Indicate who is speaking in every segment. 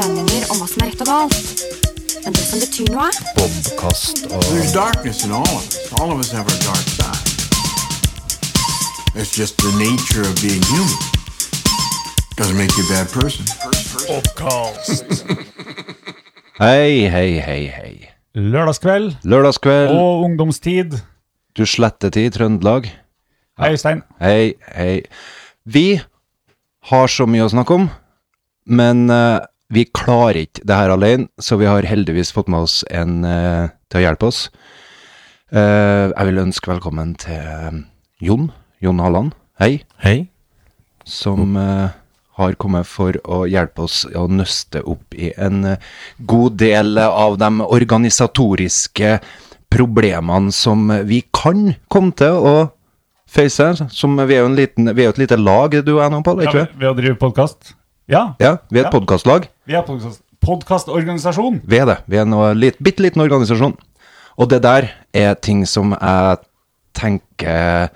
Speaker 1: hva som er rett og galt. Men det som betyr noe,
Speaker 2: Bobkast og
Speaker 3: There's darkness in all of us. All of us have our dark side. It's just the nature of being human. Doesn't make you a bad person.
Speaker 2: Hei, hei, hei, hei.
Speaker 4: Lørdagskveld
Speaker 2: Lørdagskveld,
Speaker 4: og ungdomstid.
Speaker 2: du slettetid, Trøndelag.
Speaker 4: Hei, Øystein.
Speaker 2: Hei, hei. Vi har så mye å snakke om, men eh, vi klarer ikke det her alene, så vi har heldigvis fått med oss en eh, til å hjelpe oss. Eh, jeg vil ønske velkommen til eh, Jon, Jon Halland, hei,
Speaker 5: Hei.
Speaker 2: som eh, har kommet for å hjelpe oss å nøste opp i en eh, god del av de organisatoriske problemene som vi kan komme til å face her, som vi er jo en liten, vi er jo et lite lag, du og jeg nå, Pål,
Speaker 4: Ja,
Speaker 2: ikke
Speaker 4: ved
Speaker 2: sant?
Speaker 4: ved å drive podkast. Ja,
Speaker 2: Ja, vi er et
Speaker 4: Ja.
Speaker 2: podcastlag.
Speaker 4: vi er podkast- podkastorganisasjon.
Speaker 2: Vi er det. Vi er en lit, bitte liten organisasjon. Og det der er ting som jeg tenker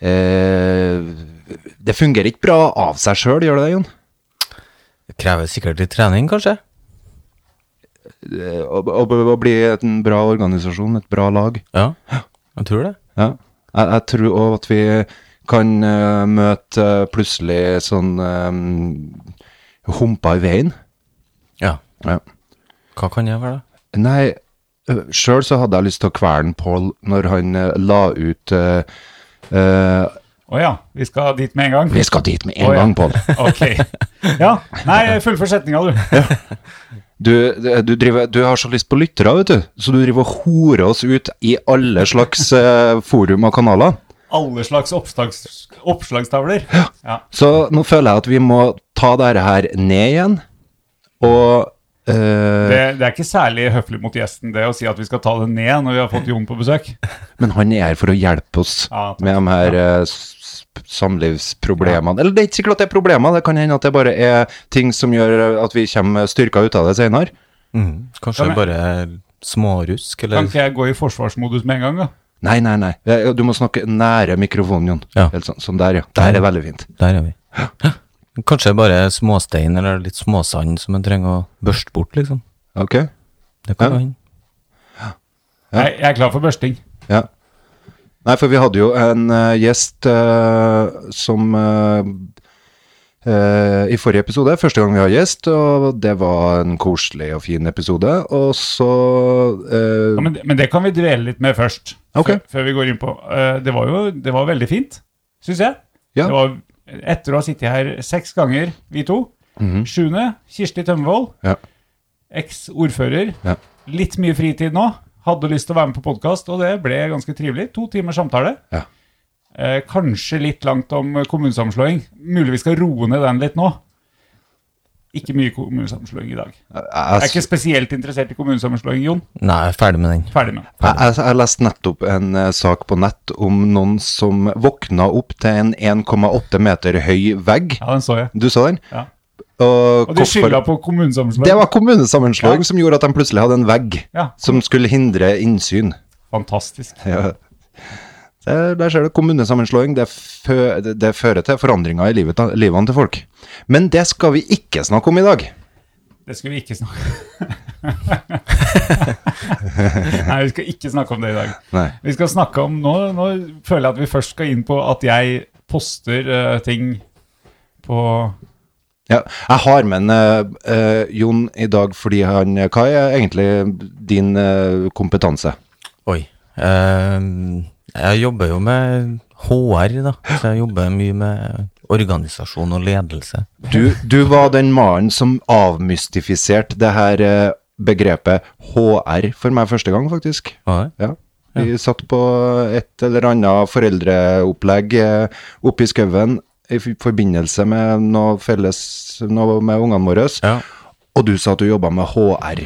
Speaker 2: eh, Det fungerer ikke bra av seg sjøl, gjør det det, Jon?
Speaker 5: Det krever sikkert litt trening, kanskje?
Speaker 2: Eh, Å, å, å bli en bra organisasjon, et bra lag.
Speaker 5: Ja, jeg tror det.
Speaker 2: Ja. Jeg, jeg tror òg at vi kan eh, møte eh, plutselig sånn eh, humper i veien.
Speaker 5: Ja.
Speaker 2: Ja.
Speaker 5: Hva kan det være, da?
Speaker 2: Nei, eh, sjøl så hadde jeg lyst til å kvele Pål når han eh, la ut eh, eh,
Speaker 4: Å ja, vi skal dit med en gang.
Speaker 2: Vi skal dit med en
Speaker 4: Å, ja.
Speaker 2: gang, Pål.
Speaker 4: Ok. Ja. Nei, fullfør setninga, du.
Speaker 2: Du, eh, du, driver, du har så lyst på lyttere, vet du, så du driver og horer oss ut i alle slags eh, forum og kanaler.
Speaker 4: Alle slags oppslags, oppslagstavler. Ja.
Speaker 2: Så nå føler jeg at vi må ta dette her ned igjen, og eh,
Speaker 4: Det, det er ikke særlig høflig mot gjesten det å si at vi skal ta det ned når vi har fått Jon på besøk.
Speaker 2: Men han er her for å hjelpe oss
Speaker 4: Ja, takk.
Speaker 2: med de her eh, s- s- samlivsproblemene. Eller det er ikke sikkert at det er problemer, det kan hende at det bare er ting som gjør eh, at vi kommer styrka ut av det senere.
Speaker 5: Kanskje
Speaker 4: Kan jeg-
Speaker 5: bare smårusk,
Speaker 4: Kan
Speaker 5: eller
Speaker 4: ikke jeg gå i forsvarsmodus med en gang, da?
Speaker 2: Nei, nei, nei. Eh, Du må snakke nære mikrofonen, Jon.
Speaker 5: Ja.
Speaker 2: Helt sånn, sånn der, ja. Der er veldig fint.
Speaker 5: Der er vi. Hæ? Kanskje bare småstein eller litt småsand som en trenger å børste bort, liksom.
Speaker 2: Ok?
Speaker 5: Det kan
Speaker 2: Ja.
Speaker 5: hende.
Speaker 4: Nei, jeg er klar for børsting.
Speaker 2: Ja. Nei, for vi hadde jo en eh, gjest eh, som eh, eh, I forrige episode, første gang vi har gjest, og det var en koselig og fin episode. Og så eh,
Speaker 4: Ja, men, men det kan vi dvele litt med først,
Speaker 2: Ok.
Speaker 4: før, før vi går inn på. Eh, det var jo det var veldig fint, syns jeg.
Speaker 2: Ja.
Speaker 4: Det var, etter å ha sittet her seks ganger, vi to.
Speaker 2: Mhm.
Speaker 4: Sjuende, Kirsti Tømmervold,
Speaker 2: Ja.
Speaker 4: eks-ordfører.
Speaker 2: Ja.
Speaker 4: Litt mye fritid nå. Hadde lyst til å være med på podkast, og det ble ganske trivelig. To timer samtale.
Speaker 2: Ja.
Speaker 4: Eh, kanskje litt langt om eh, kommunesammenslåing. Mulig vi skal roe ned den litt nå. Ikke mye kommunesammenslåing i dag. Jeg er
Speaker 2: Jeg,
Speaker 4: ikke
Speaker 2: jeg,
Speaker 4: spesielt interessert i kommunesammenslåing, Jon.
Speaker 5: Nei, jeg er ferdig med den.
Speaker 4: Ferdig med.
Speaker 2: jeg, jeg leste nettopp en eh, sak på nett om noen som våkna opp til en 1,8 meter høy vegg.
Speaker 4: Ja, den så jeg.
Speaker 2: Du så den?
Speaker 4: Ja.
Speaker 2: Og,
Speaker 4: Og de
Speaker 2: hvorfor-
Speaker 4: skylda på kommunesammenslåing.
Speaker 2: Det var kommunesammenslåing
Speaker 4: Ja.
Speaker 2: som gjorde at de plutselig hadde en vegg
Speaker 4: Ja.
Speaker 2: som skulle hindre innsyn.
Speaker 4: Fantastisk.
Speaker 2: Ja. Der, der ser du kommunesammenslåing. Det, fø, det, det fører til forandringer i livet, livene til folk. Men det skal vi ikke snakke om i dag.
Speaker 4: Det skulle vi ikke snakke Nei, vi skal ikke snakke om det i dag.
Speaker 2: Nei.
Speaker 4: Vi skal snakke om Nå, nå føler jeg at vi først skal inn på at jeg poster eh, ting på
Speaker 2: Ja, jeg har med en eh, eh, Jon i dag fordi han eh, Hva er egentlig din eh, kompetanse?
Speaker 5: Oi. Ehm, jeg jobber jo med HR, da. Så jeg jobber mye med organisasjon og ledelse.
Speaker 2: Du, du var den mannen som avmystifiserte det her eh, begrepet HR for meg første gang, faktisk.
Speaker 5: Hva er det?
Speaker 2: Ja. Vi satt på et eller annet foreldreopplegg eh, oppe i skauen i f- forbindelse med noe felles noe med ungene våre,
Speaker 5: Ja.
Speaker 2: og du sa at du jobba med HR.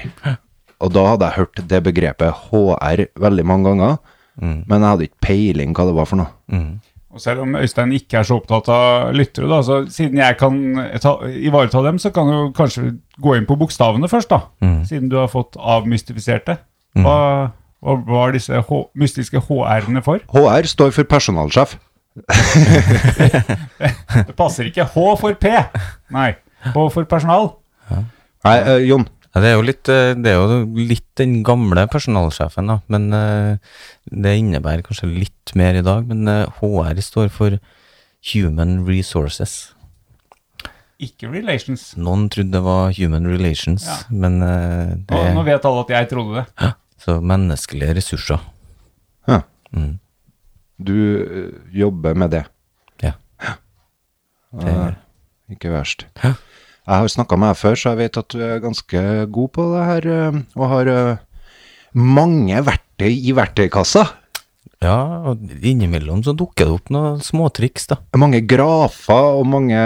Speaker 2: Og da hadde jeg hørt det begrepet HR veldig mange ganger,
Speaker 5: Mm.
Speaker 2: men jeg hadde ikke peiling hva det var for noe.
Speaker 4: Og selv om Øystein ikke er så opptatt av lyttere, da, så siden jeg kan ta, ivareta dem, så kan du kanskje gå inn på bokstavene først, da. Siden du har fått avmystifisert det. Hva, hva var disse H mystiske HR-ene for?
Speaker 2: HR står for personalsjef.
Speaker 4: Det passer ikke. H for P. Nei. H for personal.
Speaker 2: Nei, eh, Jon,
Speaker 5: Ja, det, er jo litt, eh, det er jo litt den gamle personalsjefen, da. Men eh, det innebærer kanskje litt mer i dag. Men eh, HR står for Human Resources.
Speaker 4: Ikke relations.
Speaker 5: Noen trodde det var Human Relations,
Speaker 4: Ja.
Speaker 5: men eh, det
Speaker 4: Nå, nå
Speaker 5: er
Speaker 4: vet alle at jeg trodde det.
Speaker 5: så menneskelige ressurser.
Speaker 2: Ja.
Speaker 5: Mm.
Speaker 2: Du eh, jobber med det.
Speaker 5: Ja. Det
Speaker 2: Eh,
Speaker 5: er-
Speaker 2: Ikke verst.
Speaker 5: Hæ?
Speaker 2: Jeg har snakka med deg før, så jeg vet at du er ganske god på det her, eh, og har eh, mange verktøy i verktøykassa.
Speaker 5: ja, og innimellom så dukker det opp noen småtriks, da.
Speaker 2: Mange grafer og mange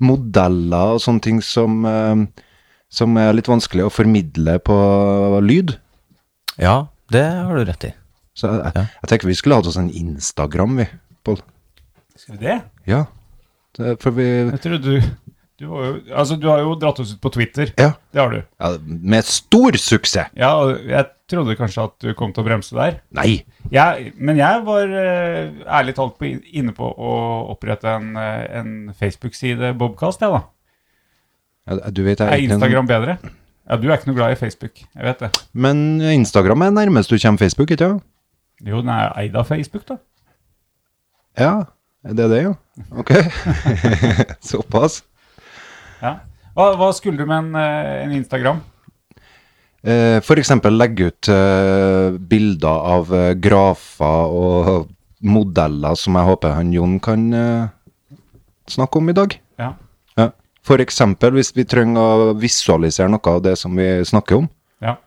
Speaker 2: modeller og sånne ting som, eh, som er litt vanskelig å formidle på lyd.
Speaker 5: Ja, det har du rett i.
Speaker 2: Så jeg,
Speaker 5: Ja.
Speaker 2: jeg tenker vi skulle hatt oss en Instagram, vi, Pål.
Speaker 4: Skal vi det?
Speaker 2: Ja. Det, for vi
Speaker 4: Jeg trodde du du, var jo, altså, du har jo dratt oss ut på Twitter.
Speaker 2: Ja.
Speaker 4: Det har du.
Speaker 2: ja med stor suksess!
Speaker 4: Ja, og jeg trodde kanskje at du kom til å bremse der.
Speaker 2: Nei!
Speaker 4: Jeg, men jeg var eh, ærlig talt på, inne på å opprette en, eh, en Facebook-side, Bobcast, jeg, da.
Speaker 2: Ja, Du vet, jeg
Speaker 4: Er
Speaker 2: ikke en- sånn-
Speaker 4: Instagram bedre? Ja, du er ikke noe glad i Facebook. Jeg vet det.
Speaker 2: Men Instagram er nærmest du kommer Facebook, ikke sant?
Speaker 4: Jo, den er eid av Facebook, da.
Speaker 2: Ja, det er det, jo. Ok. Såpass.
Speaker 4: Ja. Hva, hva skulle du med en, eh, en Instagram?
Speaker 2: Eh, For eksempel legge ut eh, bilder av eh, grafer og modeller som jeg håper han Jon kan eh, snakke om i dag.
Speaker 4: Ja.
Speaker 2: Ja. For eksempel hvis vi trenger å visualisere noe av det som vi snakker om.
Speaker 4: ja.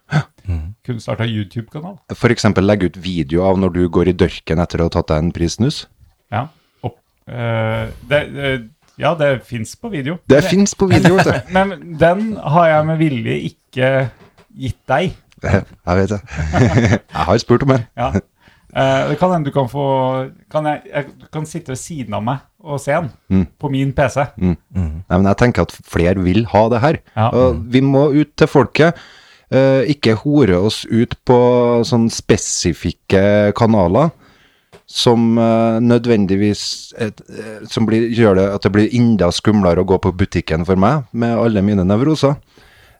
Speaker 4: Kunne starta YouTube-kanal.
Speaker 2: For eksempel legge ut video av når du går i dørken etter å ha tatt deg en prissnus.
Speaker 4: Ja. Opp. Eh, det, eh, ja, det fins på video.
Speaker 2: Det fins på video, vet du.
Speaker 4: Men den har jeg med vilje ikke gitt deg.
Speaker 2: Jeg vet det. Jeg har spurt om den.
Speaker 4: Ja. Eh, det kan hende du kan få kan jeg, jeg, Du kan sitte ved siden av meg og se den på min PC.
Speaker 2: Nei, men jeg tenker at flere vil ha det her.
Speaker 4: Ja.
Speaker 2: Og vi må ut til folket. Eh, ikke hore oss ut på sånne spesifikke kanaler som eh, nødvendigvis et, eh, som blir, gjør det at det blir enda skumlere å gå på butikken for meg med alle mine nevroser.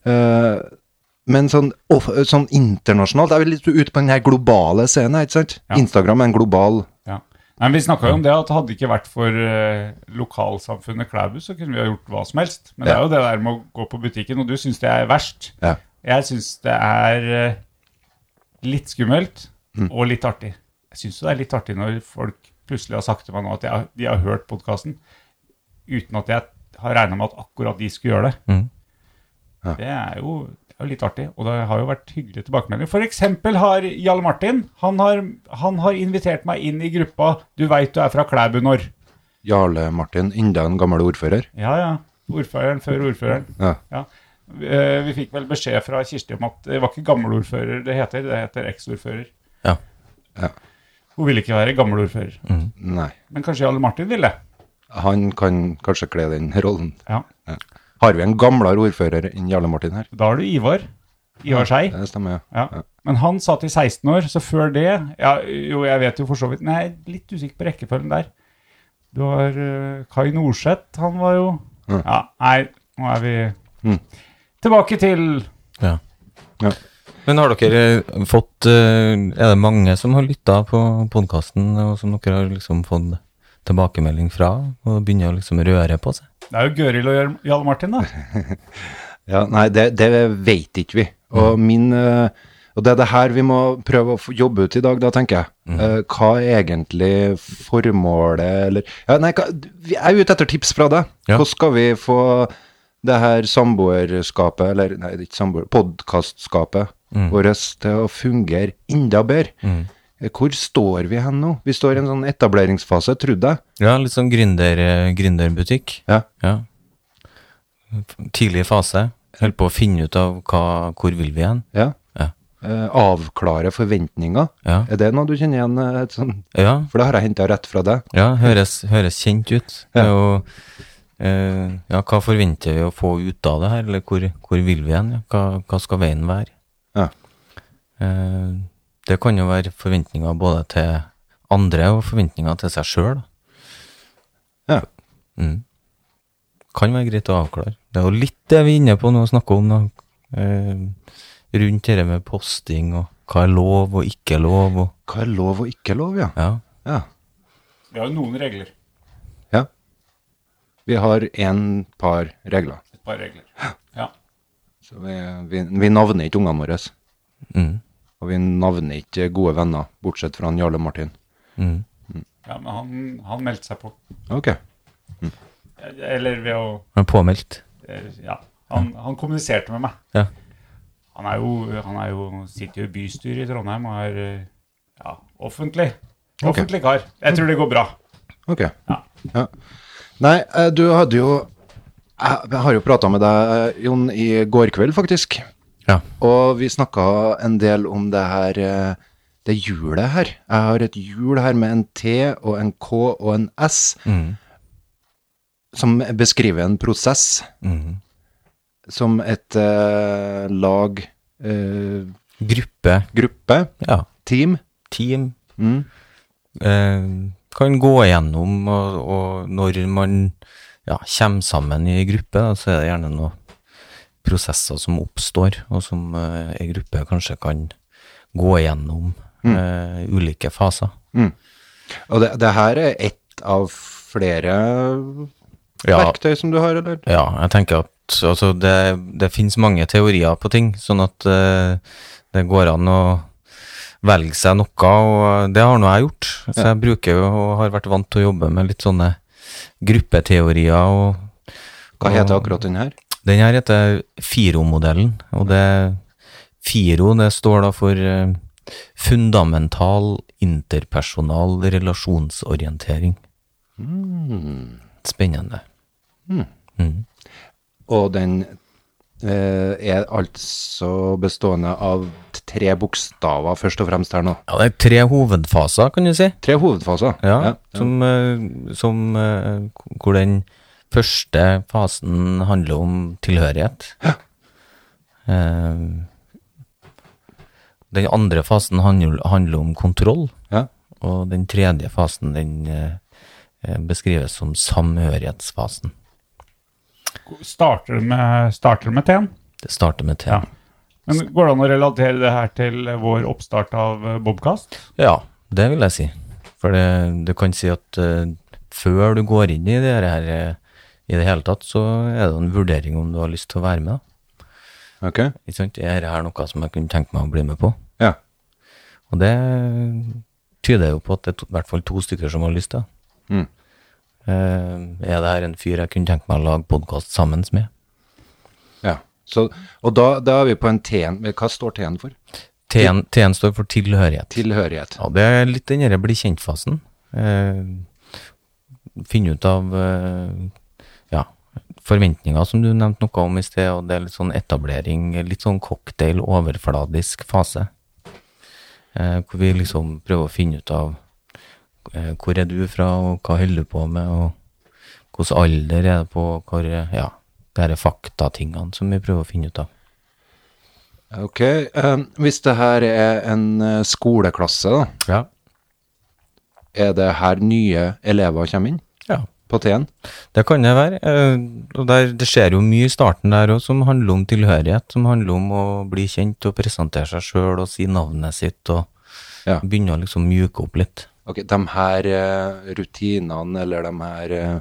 Speaker 2: Eh, men sånn, off, sånn internasjonalt Jeg vil litt ut på den her globale scenen, ikke sant? Instagram er en global
Speaker 4: Ja. Nei, men vi snakka jo om det at hadde det ikke vært for eh, lokalsamfunnet Klæbu, så kunne vi ha gjort hva som helst. Men det
Speaker 2: Ja.
Speaker 4: er jo det der med å gå på butikken, og du syns det er verst.
Speaker 2: ja.
Speaker 4: Jeg syns det er eh, litt skummelt
Speaker 2: Mm.
Speaker 4: og litt artig. Jeg syns det er litt artig når folk plutselig har sagt til meg nå at jeg, de har hørt podkasten, uten at jeg har regna med at akkurat de skulle gjøre det. Det er jo det er jo litt artig, og det har jo vært hyggelige tilbakemeldinger. For eksempel har Jarl Martin han har, han har invitert meg inn i gruppa 'Du veit du er fra Klæbu når'.
Speaker 2: Jarle Martin, enda en gammel ordfører.
Speaker 4: Ja, ja. Ordføreren før ordføreren.
Speaker 2: Ja.
Speaker 4: Ja. Eh, Vi fikk vel beskjed fra Kirsti om at det var ikke gammelordfører det heter, det heter eksordfører.
Speaker 5: Ja.
Speaker 2: Ja.
Speaker 4: Hun ville ikke være gammelordfører,
Speaker 2: Nei.
Speaker 4: men kanskje Jarle Martin ville.
Speaker 2: Han kan kanskje kle den rollen.
Speaker 4: Ja.
Speaker 2: Har vi en gamlere ordfører enn Jarle Martin her?
Speaker 4: Da har du Ivar. Ivar Skei.
Speaker 2: Det stemmer, ja.
Speaker 4: Ja. Men han satt i 16 år, så før det ja, Jo, jeg vet jo for så vidt Men jeg er litt usikker på rekkefølgen der. Du har eh, Kai Norseth, han var jo Ja, Mm. nei, nå er vi Tilbake til
Speaker 5: Ja.
Speaker 2: Ja.
Speaker 5: Men har dere eh, fått eh, Er det mange som har lytta på podkasten, og som dere har liksom fått tilbakemelding fra, og begynner å liksom røre på seg?
Speaker 4: Det er jo Gøril og Jarl- Jarle Martin, da.
Speaker 2: ja nei, det, det vet ikke vi. Og, min, eh, og det er det her vi må prøve å få jobbe ut i dag, da, tenker jeg. Eh, Hva er egentlig formålet, eller ja, Nei, hva, vi er ute etter tips fra deg.
Speaker 5: Ja.
Speaker 2: Hvordan skal vi få det her samboerskapet, eller nei, det er ikke samboer, podkastskapet vårt til å fungere enda bedre? Eh, Hvor står vi hen nå? Vi står i en sånn etableringsfase, trodde jeg.
Speaker 5: Ja, litt sånn gründer, eh, gründerbutikk.
Speaker 2: Ja.
Speaker 5: Ja. Tidlig fase. Holder på å finne ut av hva, hvor vil vi hen.
Speaker 2: Ja.
Speaker 5: Ja.
Speaker 2: Eh, avklare forventninger.
Speaker 5: Ja.
Speaker 2: Er det noe du kjenner igjen? eh, Et sånn,
Speaker 5: Ja,
Speaker 2: for det har jeg henta rett fra deg.
Speaker 5: ja høres, høres kjent ut. Det er jo, eh, ja, hva forventer vi å få ut av det her, eller hvor, hvor vil vi hen? Ja? Hva, hva skal veien være?
Speaker 2: Ja.
Speaker 5: Eh, det kan jo være forventninger både til andre og forventninger til seg sjøl.
Speaker 2: Ja.
Speaker 5: Kan være greit å avklare. Det er jo litt det vi er inne på nå og snakker om. Da. eh, rundt dette med posting og hva er lov og ikke lov og
Speaker 2: Hva er lov og ikke lov, ja?
Speaker 5: Ja.
Speaker 2: Ja.
Speaker 4: Vi har jo noen regler.
Speaker 2: ja. Vi har én par regler.
Speaker 4: Et par regler. Ja.
Speaker 2: Så vi, vi, vi navner ikke ungene våre.
Speaker 5: Mm.
Speaker 2: Og vi navner ikke gode venner, bortsett fra han Jarle Martin.
Speaker 5: Mm.
Speaker 4: ja men han, han meldte seg på.
Speaker 2: Ok.
Speaker 4: Eller ved å
Speaker 5: Han er påmeldt.
Speaker 4: Eh, Ja. Han, han kommuniserte med meg.
Speaker 5: Ja.
Speaker 4: Han, er jo, han er jo, sitter jo i bystyret i Trondheim og er eh, ja, offentlig. Offentlig kar. Jeg tror det går bra.
Speaker 2: Ok.
Speaker 4: Ja.
Speaker 2: Ja. Nei, eh, du hadde jo Jeg jeg har jo prata med deg, eh, Jon, i går kveld, faktisk.
Speaker 5: Ja.
Speaker 2: Og vi snakka en del om det her eh, Det hjulet her. Jeg har et hjul her med en T og en K og en S som beskriver en prosess
Speaker 5: Mhm.
Speaker 2: som et eh, lag, eh,
Speaker 5: Gruppe.
Speaker 2: gruppe,
Speaker 5: Ja.
Speaker 2: team.
Speaker 5: Team.
Speaker 2: Mm.
Speaker 5: eh, kan gå igjennom, og, og når man ja, kommer sammen i gruppe, da, så er det gjerne noen prosesser som oppstår, og som eh, en gruppe kanskje kan gå igjennom eh, ulike faser.
Speaker 2: Og det, det her er ett av flere
Speaker 5: Ja.
Speaker 2: verktøy som du har, eller?
Speaker 5: Ja, jeg tenker at altså, det, det finnes mange teorier på ting, sånn at eh, det går an å velge seg noe, og eh, det har nå jeg gjort. Så jeg bruker jo og har vært vant til å jobbe med litt sånne gruppeteorier og
Speaker 2: Hva heter akkurat den her?
Speaker 5: Den her heter FIRO-modellen, og det FIRO det står da for eh, fundamental interpersonal relasjonsorientering. Spennende.
Speaker 2: Og den eh, er altså bestående av tre bokstaver, først og fremst her nå.
Speaker 5: Ja, det er tre hovedfaser, kan du si.
Speaker 2: Tre hovedfaser.
Speaker 5: Ja,
Speaker 2: Ja.
Speaker 5: Som, eh, som eh, Hvor den første fasen handler om tilhørighet. Eh, Den andre fasen handler, handler om kontroll.
Speaker 2: Ja.
Speaker 5: Og den tredje fasen den eh, eh, beskrives som samhørighetsfasen.
Speaker 4: Starter det med, starter det med T-en.
Speaker 5: Det starter med T.
Speaker 4: Ja. Men går det an å relatere det her til vår oppstart av eh, Bobcast?
Speaker 5: Ja, det vil jeg si. For det, du kan si at eh, før du går inn i det her eh, i det hele tatt, så er det en vurdering om du har lyst til å være med. da.
Speaker 2: Ok.
Speaker 5: Ikke sant? Er det her noe som jeg kunne tenke meg å bli med på?
Speaker 2: Ja.
Speaker 5: Og det tyder jo på at det er to, i hvert fall to stykker som har lyst til det.
Speaker 2: Mm.
Speaker 5: Eh, er det her en fyr jeg kunne tenke meg å lage podkast sammen med?
Speaker 2: ja. Så, og da, da er vi på en T-en. Men Hva står T-en for?
Speaker 5: T-en T-en står for tilhørighet.
Speaker 2: Tilhørighet.
Speaker 5: Ja, det er litt den derre bli kjent-fasen. Eh, finne ut av eh, ja, forventninger, som du nevnte noe om i sted, og det er litt sånn etablering, litt sånn cocktail-overfladisk fase. Eh, hvor vi liksom prøver å finne ut av eh, hvor er du fra, og hva holder du på med, og hvilken alder er det på, og hvor, eh, ja, det her er faktatingene som vi prøver å finne ut av.
Speaker 2: Ok. eh, hvis det her er en eh, skoleklasse, da,
Speaker 5: Ja.
Speaker 2: er det her nye elever kommer inn?
Speaker 5: ja.
Speaker 2: På T-en?
Speaker 5: Det kan det være. eh, Og der, det skjer jo mye i starten der òg som handler om tilhørighet, som handler om å bli kjent og presentere seg sjøl og si navnet sitt og
Speaker 2: Ja.
Speaker 5: begynne å liksom mjuke opp litt.
Speaker 2: Ok, de her eh, rutinene eller de her eh,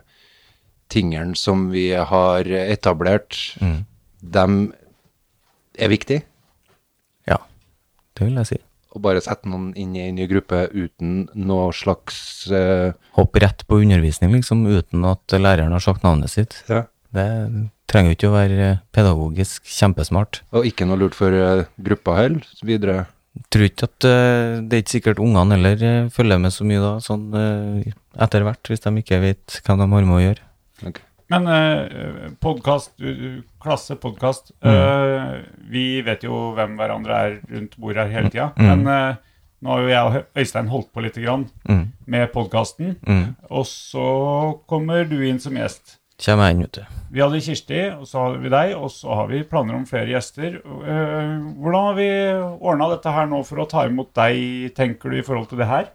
Speaker 2: tingene som vi har etablert, de er viktige.
Speaker 5: Ja, det vil jeg si.
Speaker 2: Å bare sette noen inn i en ny gruppe uten noe slags eh,
Speaker 5: Hoppe rett på undervisning liksom, uten at læreren har sagt navnet sitt. Det trenger jo ikke å være eh, pedagogisk kjempesmart.
Speaker 2: Og ikke noe lurt for eh, gruppa heller, så videre.
Speaker 5: Tror ikke at eh, Det er ikke sikkert ungene heller eh, følger med så mye da, sånn eh, etter hvert, hvis de ikke vet hva de har med å gjøre.
Speaker 2: Ok.
Speaker 4: Men eh, podkast, eh, klasse podkast eh, Vi vet jo hvem hverandre er rundt bordet her hele tida. Men eh, nå har jo jeg og Hø- Øystein holdt på lite grann med podkasten. Og så kommer du inn som gjest.
Speaker 5: Kommer jeg inn, vet du.
Speaker 4: Vi hadde Kirsti, og så hadde vi deg, og så har vi planer om flere gjester. Eh, hvordan har vi ordna dette her nå for å ta imot deg, tenker du, i forhold til det her?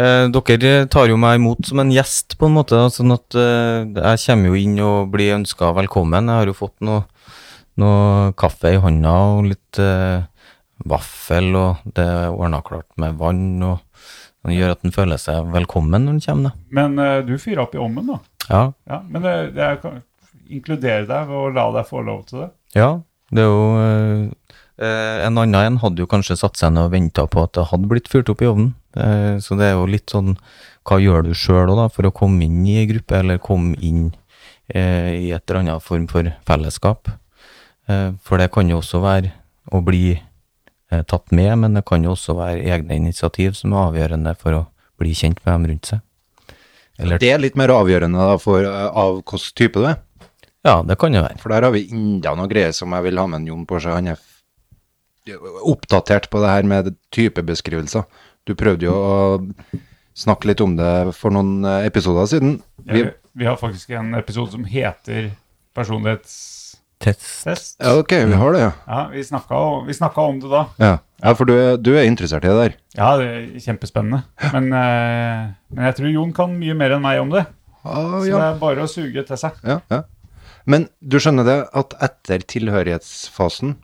Speaker 5: Eh, dere tar jo meg imot som en gjest, på en måte. da, Sånn at eh, jeg kommer jo inn og blir ønska velkommen. Jeg har jo fått noe noe kaffe i hånda og litt eh, vaffel, og det er ordna klart med vann. og Det gjør at en føler seg velkommen når en kommer. da.
Speaker 4: Men eh, du fyrer opp i ommen, da.
Speaker 5: Ja,
Speaker 4: Ja, men det, det er, kan- inkludere deg ved å la deg få lov til det.
Speaker 5: ja det er jo eh, eh, En annen en hadde jo kanskje satt seg ned og venta på at det hadde blitt fyrt opp i ovnen. Eh, så det er jo litt sånn Hva gjør du sjøl òg, da, for å komme inn i ei gruppe, eller komme inn eh, i et eller annet form for fellesskap? Eh, for det kan jo også være å bli eh, tatt med, men det kan jo også være egne initiativ som er avgjørende for å bli kjent med dem rundt seg. Eller-
Speaker 2: Det er litt mer avgjørende da, for, eh, av hvilken type det er.
Speaker 5: Ja, det kan jo være.
Speaker 2: For der har vi enda noe greier som jeg vil ha med en Jon på seg. Han er f- oppdatert på det her med typebeskrivelser. Du prøvde jo å snakke litt om det for noen eh, episoder siden. Vi,
Speaker 4: Vi, vi har faktisk en episode som heter personlighetstest.
Speaker 5: Test.
Speaker 2: ja, ok, vi har det, ja.
Speaker 4: Ja, vi snakka, o- vi snakka om det da.
Speaker 2: Ja, ja for du er, du er interessert i det der.
Speaker 4: Ja, det er kjempespennende. Men, eh, men jeg tror Jon kan mye mer enn meg om det.
Speaker 2: Ah,
Speaker 4: Så det
Speaker 2: ja.
Speaker 4: er bare å suge til seg.
Speaker 2: Ja, ja. Men du skjønner det at etter tilhørighetsfasen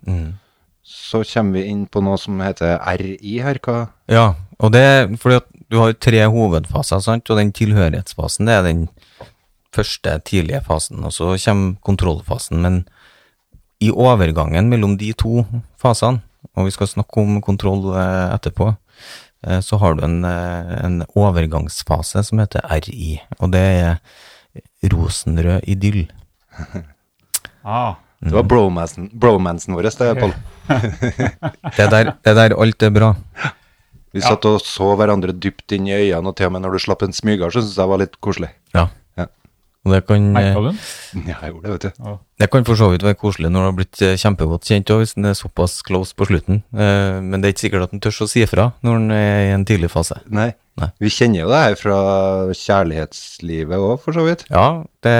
Speaker 2: så kommer vi inn på noe som heter RI her. Hva?
Speaker 5: Ja, og det er fordi at du har jo tre hovedfaser, sant? og den tilhørighetsfasen det er den første tidlige fasen, og så kommer kontrollfasen. Men i overgangen mellom de to fasene, og vi skal snakke om kontroll eh, etterpå, eh, så har du en, eh, en overgangsfase som heter RI, og det er rosenrød idyll.
Speaker 4: Ah,
Speaker 2: Det var bromansen, bromansen vår, det, Pål.
Speaker 5: Det er der, det er der alt er bra.
Speaker 2: Vi satt og så hverandre dypt inn i øynene, og til og med når du slapp en smyger, så syntes jeg det var litt koselig.
Speaker 5: Ja.
Speaker 2: Ja.
Speaker 5: Og det kan eh,
Speaker 4: merka du den?
Speaker 2: Ja, jeg gjorde det, vet du.
Speaker 5: Det kan for så vidt være koselig når du har blitt eh, kjempegodt kjent òg, hvis den er såpass close på slutten. Eh, Men det er ikke sikkert at den tør å si ifra når den er i en tidlig fase.
Speaker 2: Nei.
Speaker 5: Nei.
Speaker 2: Vi kjenner jo det her fra kjærlighetslivet òg, for så vidt.
Speaker 5: Ja, det,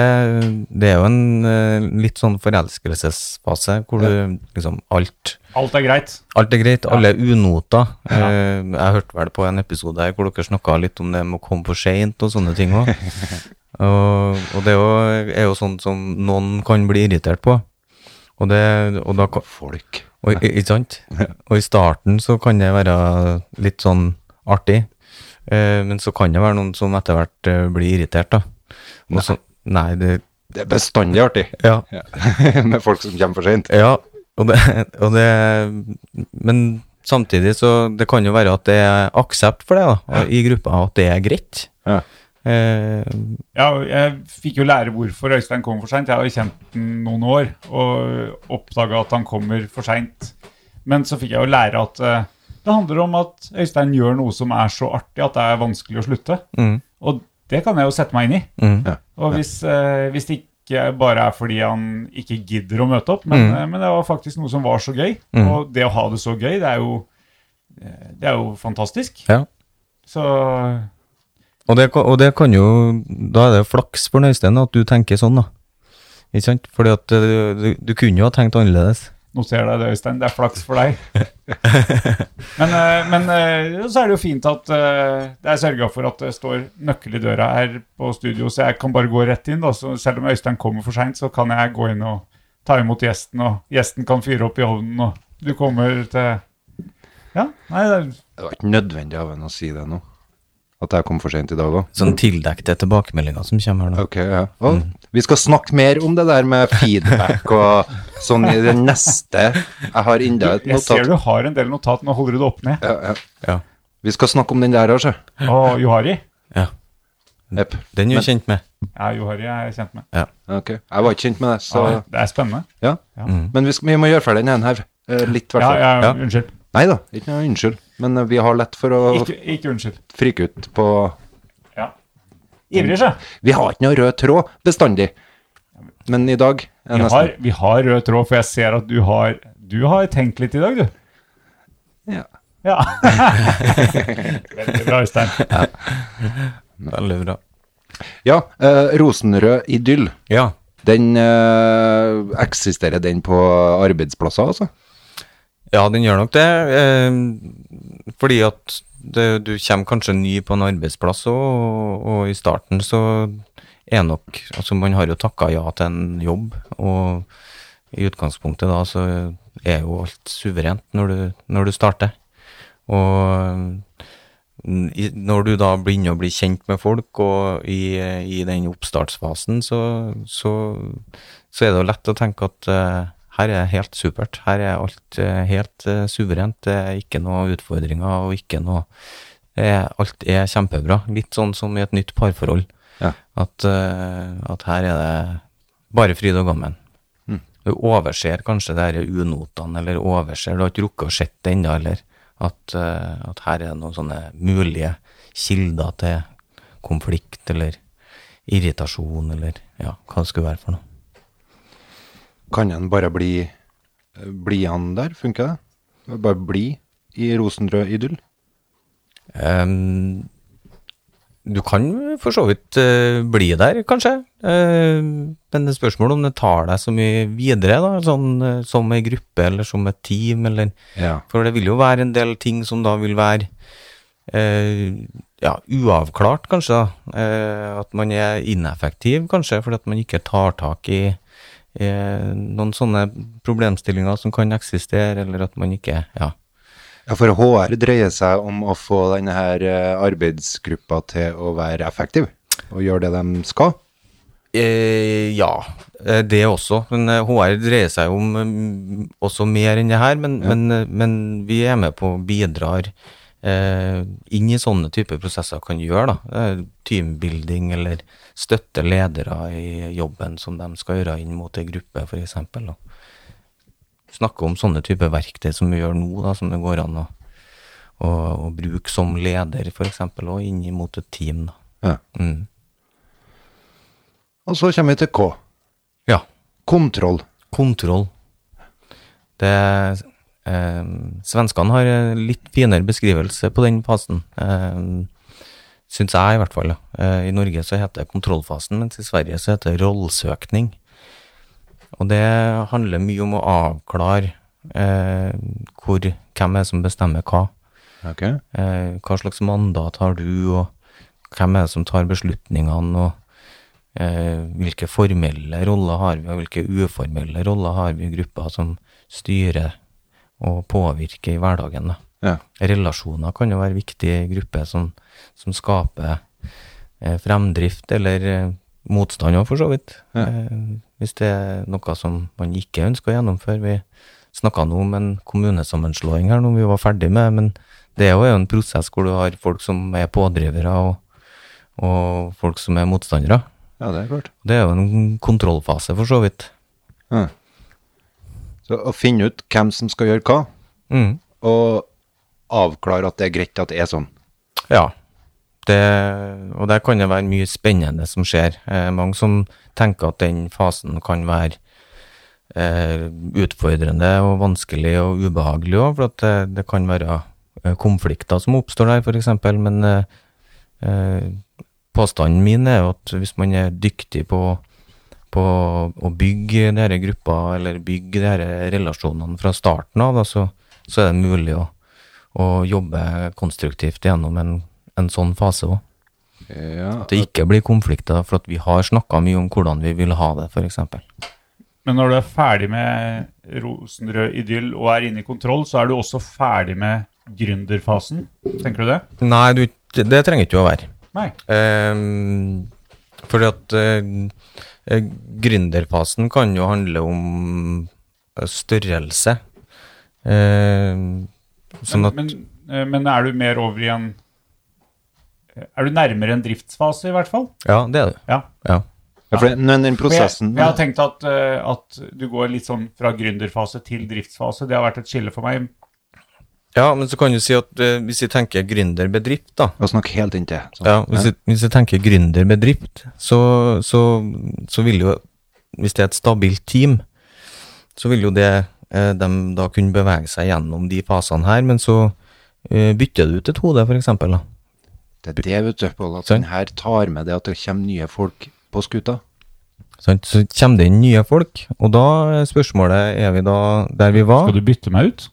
Speaker 5: det er jo en eh, litt sånn forelskelsesfase hvor du liksom alt
Speaker 4: Alt er greit.
Speaker 5: Alt er greit, alle er unota. Eh, Jeg hørte vel på en episode her hvor dere snakka litt om det med å komme for seint og sånne ting òg. og, og det er jo, er jo sånt som noen kan bli irritert på. Og, det, og da kan
Speaker 2: Folk.
Speaker 5: Og, i- ikke sant? Og i starten så kan det være litt sånn artig, eh, men så kan det være noen som etter hvert eh, blir irritert, da. Og så, nei, det
Speaker 2: Det er bestandig artig
Speaker 5: Ja.
Speaker 2: Ja. med folk som kommer for seint.
Speaker 5: ja og, det, og det Men samtidig så Det kan jo være at det er aksept for det, da, i gruppa, at det er greit.
Speaker 2: Ja.
Speaker 5: Eh,
Speaker 4: Ja, jeg fikk jo lære hvorfor Øystein kom for seint. Jeg har jo kjent den noen år og oppdaga at han kommer for seint. Men så fikk jeg jo lære at eh, det handler om at Øystein gjør noe som er så artig at det er vanskelig å slutte.
Speaker 5: Mm.
Speaker 4: Og det kan jeg jo sette meg inn i.
Speaker 5: mm.
Speaker 4: Og hvis, eh, hvis det ikke bare er fordi han ikke gidder å møte opp, men, eh, men det var faktisk noe som var så gøy. Og det å ha det så gøy, det er jo, eh, det er jo fantastisk.
Speaker 5: ja.
Speaker 4: Så
Speaker 5: Og det, kan- og det kan jo Da er det jo flaks for Øystein at du tenker sånn, da. Ikke sant? Fordi at eh, du, du kunne jo ha tenkt annerledes.
Speaker 4: noter deg det, Øystein. Det er flaks for deg. men eh, men eh, så er det jo fint at eh, det er sørga for at det står nøkkel i døra her på studio, så jeg kan bare gå rett inn. Da. Så selv om Øystein kommer for seint, så kan jeg gå inn og ta imot gjesten, og gjesten kan fyre opp i ovnen, og du kommer til Ja, nei, det er
Speaker 2: Det var ikke nødvendig av henne å si det nå. At jeg kom for seint i dag òg.
Speaker 5: Sånn tildekte tilbakemeldinger som kommer her nå.
Speaker 2: Ok, ja. Mm. Og Vi skal snakke mer om det der med feedback og sånn i det neste. Jeg har enda et
Speaker 4: Jeg ser
Speaker 2: notat.
Speaker 4: du har en del notat, nå holder du det opp ned.
Speaker 2: Ja, ja.
Speaker 5: Ja.
Speaker 2: Vi skal snakke om den der òg, sjø.
Speaker 4: Og Johari.
Speaker 5: ja.
Speaker 2: Jepp.
Speaker 5: Den er jo kjent med.
Speaker 4: Ja, Johari er jeg kjent med. Ah,
Speaker 2: Ok. Jeg var ikke kjent med det, så
Speaker 4: Det er spennende.
Speaker 2: ja. Men vi, skal, vi må gjøre ferdig den her. Eh, Litt, i hvert
Speaker 4: Ja,
Speaker 2: fall.
Speaker 4: ja,
Speaker 5: Ja.
Speaker 4: unnskyld.
Speaker 2: Nei da, ikke noe unnskyld. Men eh, vi har lett for å
Speaker 4: Ikke, ikke unnskyld.
Speaker 2: frike ut på
Speaker 4: Ja. Ivrig, sjø.
Speaker 2: Vi har ikke noe rød tråd bestandig. Men i dag er
Speaker 4: Vi
Speaker 2: nesten
Speaker 4: har, vi har rød tråd, for jeg ser at du har, du har tenkt litt i dag, du.
Speaker 2: ja.
Speaker 4: Ja. Veldig bra, Øystein.
Speaker 5: Veldig bra.
Speaker 2: ja eh, rosenrød idyll.
Speaker 5: Ja.
Speaker 2: Den eh, Eksisterer den på arbeidsplasser, altså?
Speaker 5: ja, den gjør nok det. eh, Fordi at det, du kommer kanskje ny på en arbeidsplass, og, og i starten så er nok Altså, man har jo takka ja til en jobb, og i utgangspunktet da så er jo alt suverent når du, når du starter. Og mm, i- når du da begynner å bli kjent med folk, og i, i den oppstartsfasen, så, så, så er det jo lett å tenke at eh, her er det helt supert. Her er alt eh, helt eh, suverent. Det er ikke noe utfordringer og ikke noe det er, Alt er kjempebra. Litt sånn som i et nytt parforhold.
Speaker 2: Ja.
Speaker 5: At, eh, at her er det bare fryd og gammen. Du Mm. overser kanskje det disse unotene, eller overser Du har ikke rukket å sett det ennå, eller at, eh, at her er det noen sånne mulige kilder til konflikt eller irritasjon, eller ja, hva det skulle være for noe.
Speaker 2: Kan en bare bli eh, Bli han der? Funker det? Bare bli i rosenrød idyll?
Speaker 5: Ehm, du kan for så vidt eh, bli der, kanskje. Ehm, men det er spørsmål om det tar deg så mye videre, da, sånn, eh, som ei gruppe eller som et team. Eller,
Speaker 2: Ja.
Speaker 5: For det vil jo være en del ting som da vil være eh, ja, uavklart, kanskje. da. Eh, at man er ineffektiv, kanskje, fordi at man ikke tar tak i eh, noen sånne problemstillinger som kan eksistere, eller at man ikke ja,
Speaker 2: Ja, for HR dreier seg om å få denne her eh, arbeidsgruppa til å være effektiv og gjøre det de skal.
Speaker 5: Eh, ja, eh, det også. Men eh, HR dreier seg jo om mm, også mer enn det her. Men, men, eh, men vi er med på og bidrar eh, inn i sånne typer prosesser kan gjøre. da. Eh, teambuilding eller støtte ledere i jobben som de skal gjøre inn mot ei gruppe, f.eks. Snakke om sånne typer verktøy som vi gjør nå, da, som det går an å, å, å bruke som leder, f.eks., og inn mot et team. da.
Speaker 2: Ja.
Speaker 5: Mm.
Speaker 2: Og så kommer vi til K.
Speaker 5: Ja.
Speaker 2: Kontroll.
Speaker 5: Kontroll. Det, eh, svenskene har eh, litt finere beskrivelse på den fasen. Eh, Syns jeg, i hvert fall. da. Eh, I Norge så heter det kontrollfasen, mens i Sverige så heter det rollsøkning. Og det handler mye om å avklare eh, hvor, hvem er det som bestemmer hva.
Speaker 2: Ok.
Speaker 5: Eh, hva slags mandat har du, og hvem er det som tar beslutningene, og eh, hvilke formelle roller har vi, og hvilke uformelle roller har vi i gruppa som styrer og påvirker i hverdagen. Da.
Speaker 2: Ja.
Speaker 5: Relasjoner kan jo være viktig i grupper som, som skaper eh, fremdrift eller eh, motstand òg, for så vidt.
Speaker 2: Ja.
Speaker 5: Eh, hvis det er noe som man ikke ønsker å gjennomføre. Vi snakka nå om en kommunesammenslåing her når vi var ferdig med, men det er jo en prosess hvor du har folk som er pådrivere, og, og folk som er motstandere.
Speaker 2: Ja, det er klart.
Speaker 5: Det er jo en kontrollfase, for så vidt.
Speaker 2: Ja. Så å finne ut hvem som skal gjøre hva,
Speaker 5: Mm.
Speaker 2: og avklare at det er greit at det er sånn.
Speaker 5: Ja. Det, og der kan det være mye spennende som skjer. Eh, mange som tenker at den fasen kan være eh, utfordrende og vanskelig og ubehagelig òg, for at eh, det kan være eh, konflikter som oppstår der, f.eks. Men eh, eh, påstanden min er jo at hvis man er dyktig på, på å bygge disse gruppa, eller bygge disse relasjonene fra starten av, da, så, så er det mulig å, å jobbe konstruktivt gjennom en, en sånn fase òg.
Speaker 2: Ja.
Speaker 5: At det ikke blir konflikter, for at vi har snakka mye om hvordan vi vil ha det, f.eks.
Speaker 4: Men når du er ferdig med rosenrød idyll og er inne i kontroll, så er du også ferdig med gründerfasen. Tenker du det?
Speaker 5: Nei, du, det trenger ikke å være.
Speaker 4: Nei.
Speaker 5: Um, fordi at eh, eh, gründerfasen kan jo handle om eh, størrelse. Ehm, sånn at
Speaker 4: Men, eh, men er du mer over i en Er du nærmere en driftsfase, i hvert fall?
Speaker 5: Ja, det er det.
Speaker 4: Ja.
Speaker 5: Ja.
Speaker 2: Ja, for det- men den
Speaker 4: For
Speaker 2: prosessen
Speaker 4: Jeg, jeg har tenkt at, eh, at du går litt sånn fra gründerfase til driftsfase. Det har vært et skille for meg.
Speaker 5: ja, men så kan du si at eh, hvis vi tenker gründerbedrift, da,
Speaker 2: Og snakke helt inntil. sånn.
Speaker 5: Ja, hvis, Jeg, hvis jeg tenker gründerbedrift, så, så, så vil jo Hvis det er et stabilt team, så vil jo det eh, de da kunne bevege seg gjennom de fasene her, men så eh, bytter du ut et hode, for eksempel, da.
Speaker 2: Det er det, vet du, Pål, at
Speaker 5: Sånn.
Speaker 2: den her tar med det at det kommer nye folk på skuta.
Speaker 5: Sant? Så kommer det inn nye folk, og da er spørsmålet er vi da der vi var.
Speaker 4: du bytte meg ut?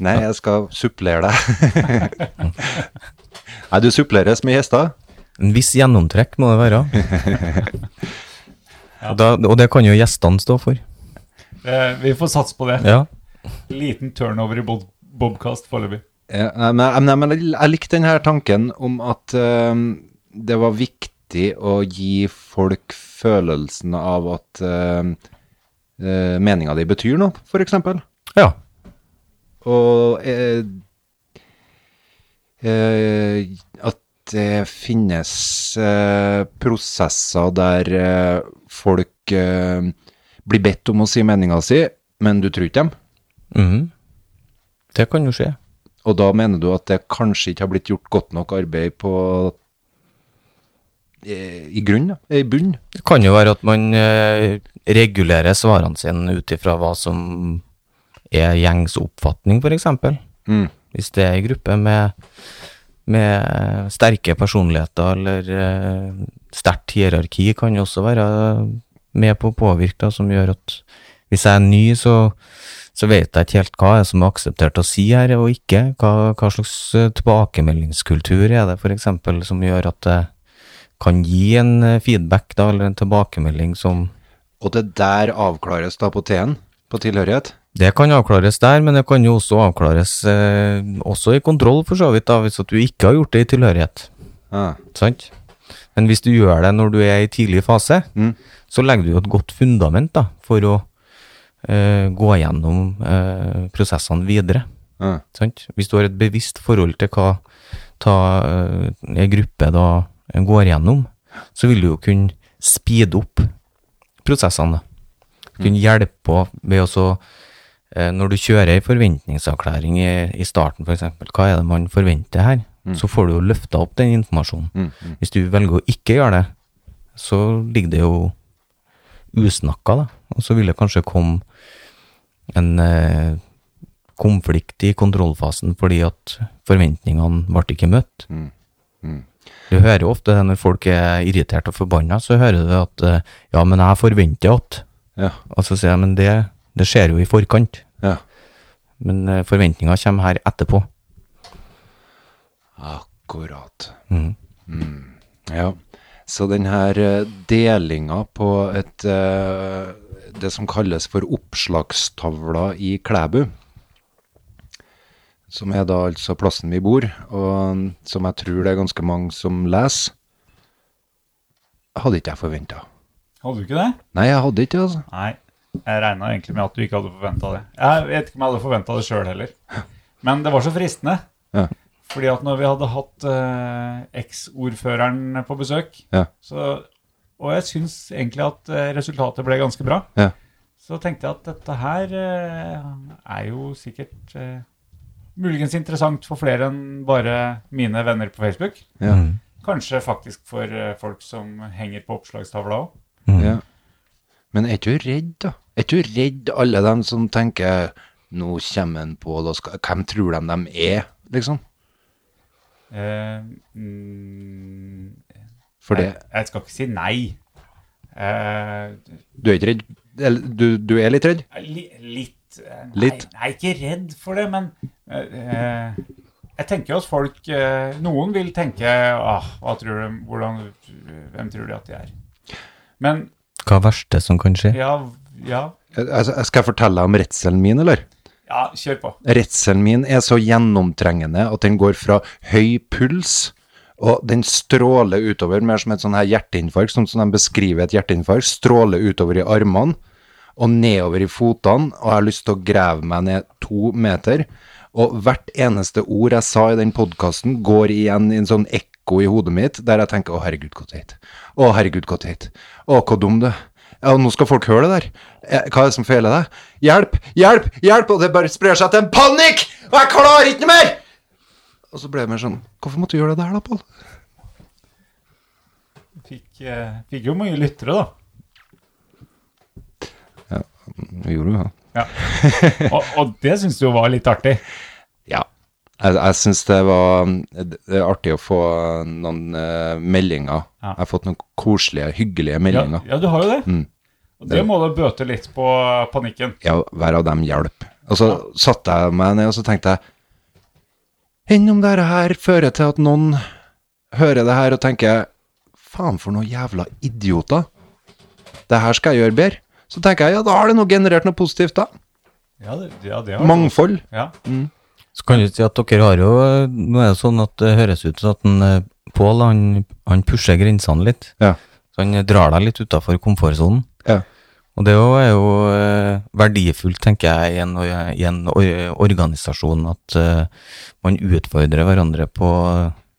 Speaker 2: Nei, jeg skal supplere deg. Nei, du suppleres med gjester.
Speaker 5: En viss gjennomtrekk må det være. Og da, og det kan jo gjestene stå for.
Speaker 4: Eh, vi får satse på det.
Speaker 5: Ja.
Speaker 4: Liten turnover i bob Bobkast foreløpig.
Speaker 2: Ja, nei, men, nei, men jeg- jeg likte denne tanken om at eh, det var viktig å gi folk følelsen av at uh, meninga di betyr noe, f.eks.
Speaker 5: ja.
Speaker 2: Og eh, eh, at det finnes eh, prosesser der eh, folk eh, blir bedt om å si meninga si, men du tror ikke dem.
Speaker 5: Mhm. Det kan jo skje.
Speaker 2: Og da mener du at det kanskje ikke har blitt gjort godt nok arbeid på eh, i grunn, da? I bunn?
Speaker 5: Det kan jo være at man eh, regulerer svarene sine ut ifra hva som er gjengs oppfatning, f.eks.
Speaker 2: Mm.
Speaker 5: Hvis det er en gruppe med, med eh, sterke personligheter eller eh, sterkt hierarki, kan jo også være med på å påvirke, da, som gjør at hvis jeg er ny, så, så vet jeg ikke helt hva jeg som er akseptert å si her og ikke. Hva, hva slags eh, tilbakemeldingskultur er det, f.eks., som gjør at jeg kan gi en eh, feedback da, eller en tilbakemelding som
Speaker 2: Og det der avklares da på T-en, på tilhørighet?
Speaker 5: Det kan avklares der, men det kan jo også avklares eh, også i kontroll, for så vidt, da, hvis at du ikke har gjort det i tilhørighet.
Speaker 2: Ah.
Speaker 5: Sant? Men hvis du gjør det når du er i tidlig fase, så legger du jo et godt fundament da, for å eh, gå gjennom eh, prosessene videre.
Speaker 2: Ah.
Speaker 5: Sant? Hvis du har et bevisst forhold til hva ta, eh, en gruppe da går gjennom, så vil du jo kunne speede opp prosessene. da. Kunne hjelpe på ved å så eh, Når du kjører ei forventningsavklaring i, i starten, f.eks., hva er det man forventer her? Så får du jo løfta opp den informasjonen. Hvis du velger å ikke gjøre det, så ligger det jo usnakka, da. Og så vil det kanskje komme en eh, konflikt i kontrollfasen fordi at forventningene ble ikke møtt. Du hører jo ofte det når folk er irritert og forbanna, så hører du at eh, ja, men jeg forventer at
Speaker 2: Ja.
Speaker 5: Og så sier jeg men det, det skjer jo i forkant.
Speaker 2: ja.
Speaker 5: Men eh, forventninga kommer her etterpå.
Speaker 2: Akkurat. Mm. Ja. Så den her eh, delinga på et eh, det som kalles for oppslagstavla i Klæbu, som er da altså plassen vi bor, og mm, som jeg tror det er ganske mange som leser, hadde ikke jeg forventa.
Speaker 4: Hadde du ikke det?
Speaker 2: Nei, jeg hadde ikke det, altså.
Speaker 4: Nei. Jeg regna egentlig med at du ikke hadde forventa det. Jeg vet ikke om jeg hadde forventa det sjøl heller. Men det var så fristende.
Speaker 2: Ja.
Speaker 4: Fordi at når vi hadde hatt eh, eksordføreren på besøk,
Speaker 2: Ja.
Speaker 4: så, og jeg syns egentlig at eh, resultatet ble ganske bra,
Speaker 2: Ja.
Speaker 4: så tenkte jeg at dette her eh, er jo sikkert eh, muligens interessant for flere enn bare mine venner på Facebook.
Speaker 2: Ja.
Speaker 4: Kanskje faktisk for eh, folk som henger på oppslagstavla òg.
Speaker 2: Ja. Men er ikke du redd, da? Er ikke du redd alle dem som tenker nå kommer han på, da skal, hvem tror de de er, liksom?
Speaker 4: Eh, mm,
Speaker 2: For det,
Speaker 4: jeg, jeg skal ikke si nei. Eh,
Speaker 2: du er ikke redd? Eller, du, du er litt redd?
Speaker 4: li, litt, eh, nei,
Speaker 2: Litt?
Speaker 4: Nei, ikke redd for det, men eh, eh, jeg tenker jo at folk eh, Noen vil tenke ah, hva tror de, hvordan, Hvem tror de at de er? Men
Speaker 5: Hva er verste som kan skje?
Speaker 4: ja, ja,
Speaker 2: Jeg, Altså, jeg skal jeg fortelle deg om redselen min, eller?
Speaker 4: ja kjør på.
Speaker 2: Redselen min er så gjennomtrengende at den går fra høy puls, og den stråler utover, mer som et sånn her hjerteinfarkt, sånn som de beskriver et hjerteinfarkt, stråler utover i armene og nedover i fotene, og jeg har lyst til å grave meg ned to meter. Og hvert eneste ord jeg sa i den podkasten, går igjen i en sånn ekko i hodet mitt, der jeg tenker 'Å, herregud, gå teit'. 'Å, herregud, gå teit'. 'Å, hvor dum du er'. Ja, nå skal folk høre det der. Eh, Hva er det som feiler deg? Hjelp! Hjelp! Hjelp! Og det bare sprer seg til en panikk! Og jeg klarer ikke mer! Og så ble jeg mer sånn Hvorfor måtte du gjøre det der, da, Pål?
Speaker 4: Fikk, eh, fikk jo mange lyttere, da.
Speaker 2: Gjorde du det?
Speaker 4: Ja. Og, og det syns du jo var litt artig.
Speaker 2: Ja. Jeg, jeg syns det var det er artig å få noen eh, meldinger.
Speaker 4: Ja.
Speaker 2: Jeg har fått noen koselige, hyggelige
Speaker 4: Ja,
Speaker 2: meldinger. Ja,
Speaker 4: ja du har jo det.
Speaker 2: Mm.
Speaker 4: Og det må da bøte litt på panikken.
Speaker 2: hver av dem hjelp. Og så satte jeg meg ned og så tenkte jeg Enn om dette her fører til at noen hører det her og tenker Faen for noen jævla idioter. Det her skal jeg gjøre bedre. Så tenker jeg ja, da har det nå generert noe positivt, da.
Speaker 4: Ja, det, ja, det har-
Speaker 2: Mangfold.
Speaker 4: Ja.
Speaker 5: Så kan du si at dere har jo Nå er det sånn at det høres ut som at en, eh, Pål han, han pusher grensene litt.
Speaker 2: Ja.
Speaker 5: Så han drar deg litt utafor komfortsonen.
Speaker 2: Ja.
Speaker 5: Og det er jo- er jo eh, verdifullt, tenker jeg, i en, i en or- organisasjon at eh, man utfordrer hverandre på,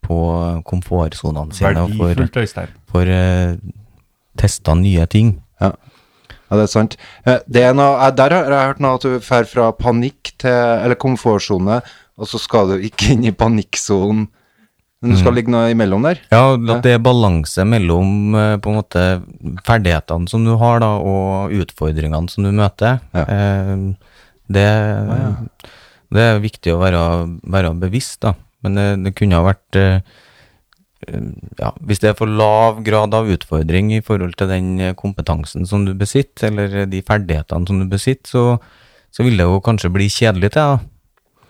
Speaker 5: på komfortsonene sine og får,
Speaker 4: Verdifullt, Øystein.
Speaker 5: får eh, testa nye ting.
Speaker 2: Ja, det er sant. Eh, Det er noe, eh, der har jeg hørt noe at du drar fra panikk til Eller komfortsone, og så skal du ikke inn i panikksonen. Men du skal ligge noe imellom der.
Speaker 5: Ja, at det er balanse mellom eh, på en måte ferdighetene som du har da, og utfordringene som du møter.
Speaker 2: Ja.
Speaker 5: Eh, Det, det er viktig å være, være bevisst, da. Men det, det kunne ha vært eh, eh, ja, Hvis det er for lav grad av utfordring i forhold til den eh, kompetansen som du besitter, eller de ferdighetene som du besitter, så, så vil det jo kanskje bli kjedelig til deg, da.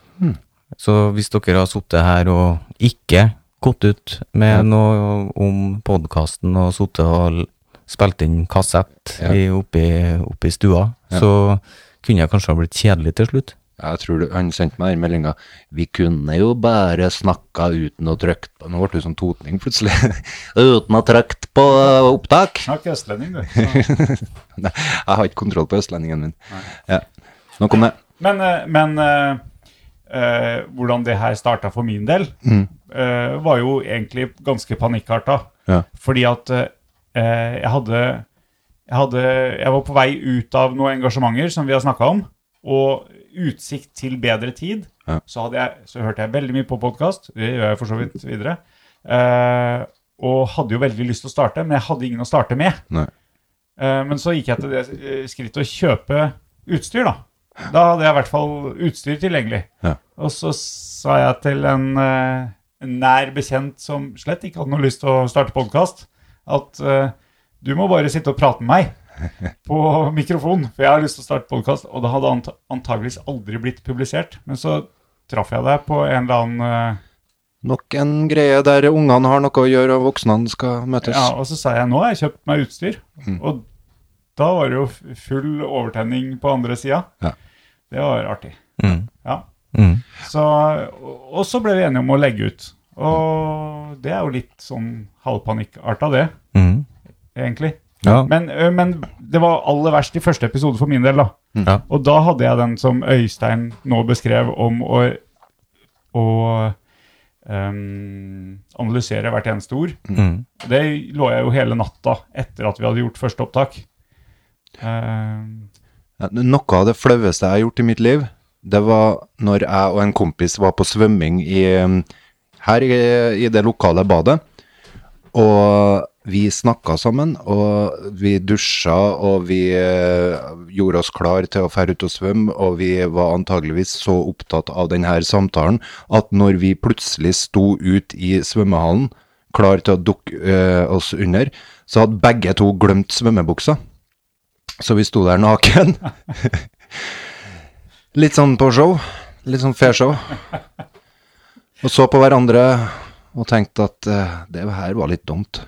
Speaker 5: Så hvis dere har sittet her og ikke gått ut med noe om podkasten og sittet og l- spilt inn kassett
Speaker 2: Ja.
Speaker 5: i, oppe, i, oppe i stua, så kunne jeg kanskje ha blitt kjedelig til slutt.
Speaker 2: Jeg tror du, Han sendte meg den meldinga 'Vi kunne jo bare snakka uten å trykke på Nå ble det sånn totning plutselig. uten å trykke på eh, opptak.
Speaker 4: Snakk østlending, du. Ja.
Speaker 2: Nei, jeg har ikke kontroll på østlendingen min. Ja. Nok om det.
Speaker 4: Men, eh, men eh, eh, hvordan det her starta for min del,
Speaker 2: Mm.
Speaker 4: eh, var jo egentlig ganske panikkarta.
Speaker 2: Ja.
Speaker 4: Fordi at eh, jeg hadde jeg, hadde, jeg var på vei ut av noen engasjementer som vi har snakka om, og utsikt til bedre tid.
Speaker 2: Ja.
Speaker 4: Så, hadde jeg, så hørte jeg veldig mye på podkast, det gjør jeg for så vidt videre. eh, og hadde jo veldig lyst til å starte, men jeg hadde ingen å starte med.
Speaker 2: Nei.
Speaker 4: Eh, men så gikk jeg til det eh, skrittet å kjøpe utstyr, da. Da hadde jeg i hvert fall utstyr tilgjengelig.
Speaker 2: Ja.
Speaker 4: Og så sa jeg til en eh, nær bekjent som slett ikke hadde noe lyst til å starte podkast, at eh, du må bare sitte og prate med meg på mikrofon, for jeg har lyst til å starte podkast. Og det hadde ant antageligvis aldri blitt publisert. Men så traff jeg deg på en eller annen eh,
Speaker 2: Nok en greie der ungene har noe å gjøre, og voksne skal møtes.
Speaker 4: Ja, og så sa jeg nå har jeg kjøpt meg utstyr.
Speaker 2: Mm.
Speaker 4: Og da var det jo f- full overtenning på andre sida.
Speaker 2: Ja.
Speaker 4: Det var artig.
Speaker 5: Mm.
Speaker 4: Ja.
Speaker 5: Mm.
Speaker 4: Så, og, og så ble vi enige om å legge ut. Og det er jo litt sånn halvpanikkarta, det,
Speaker 5: Mm.
Speaker 4: egentlig.
Speaker 5: Ja.
Speaker 4: Men, ø, men det var aller verst i første episode for min del, da.
Speaker 2: Mm.
Speaker 5: Ja.
Speaker 4: Og da hadde jeg den som Øystein nå beskrev, om å, å øhm, analysere hvert eneste ord.
Speaker 5: Mm.
Speaker 4: Det lå jeg jo hele natta etter at vi hadde gjort første opptak. Eh,
Speaker 2: Ja, Noe av det flaueste jeg har gjort i mitt liv, det var når jeg og en kompis var på svømming i, um, her i, i det lokale badet. Og vi snakka sammen, og vi dusja, og vi eh, gjorde oss klar til å fære ut og svømme, og vi var antageligvis så opptatt av denne samtalen at når vi plutselig sto ut i svømmehallen, klar til å dukke eh, oss under, så hadde begge to glemt svømmebuksa. Så vi sto der naken. Litt sånn på show. Litt sånn fair show. Og så på hverandre og tenkte at eh, det her var litt dumt.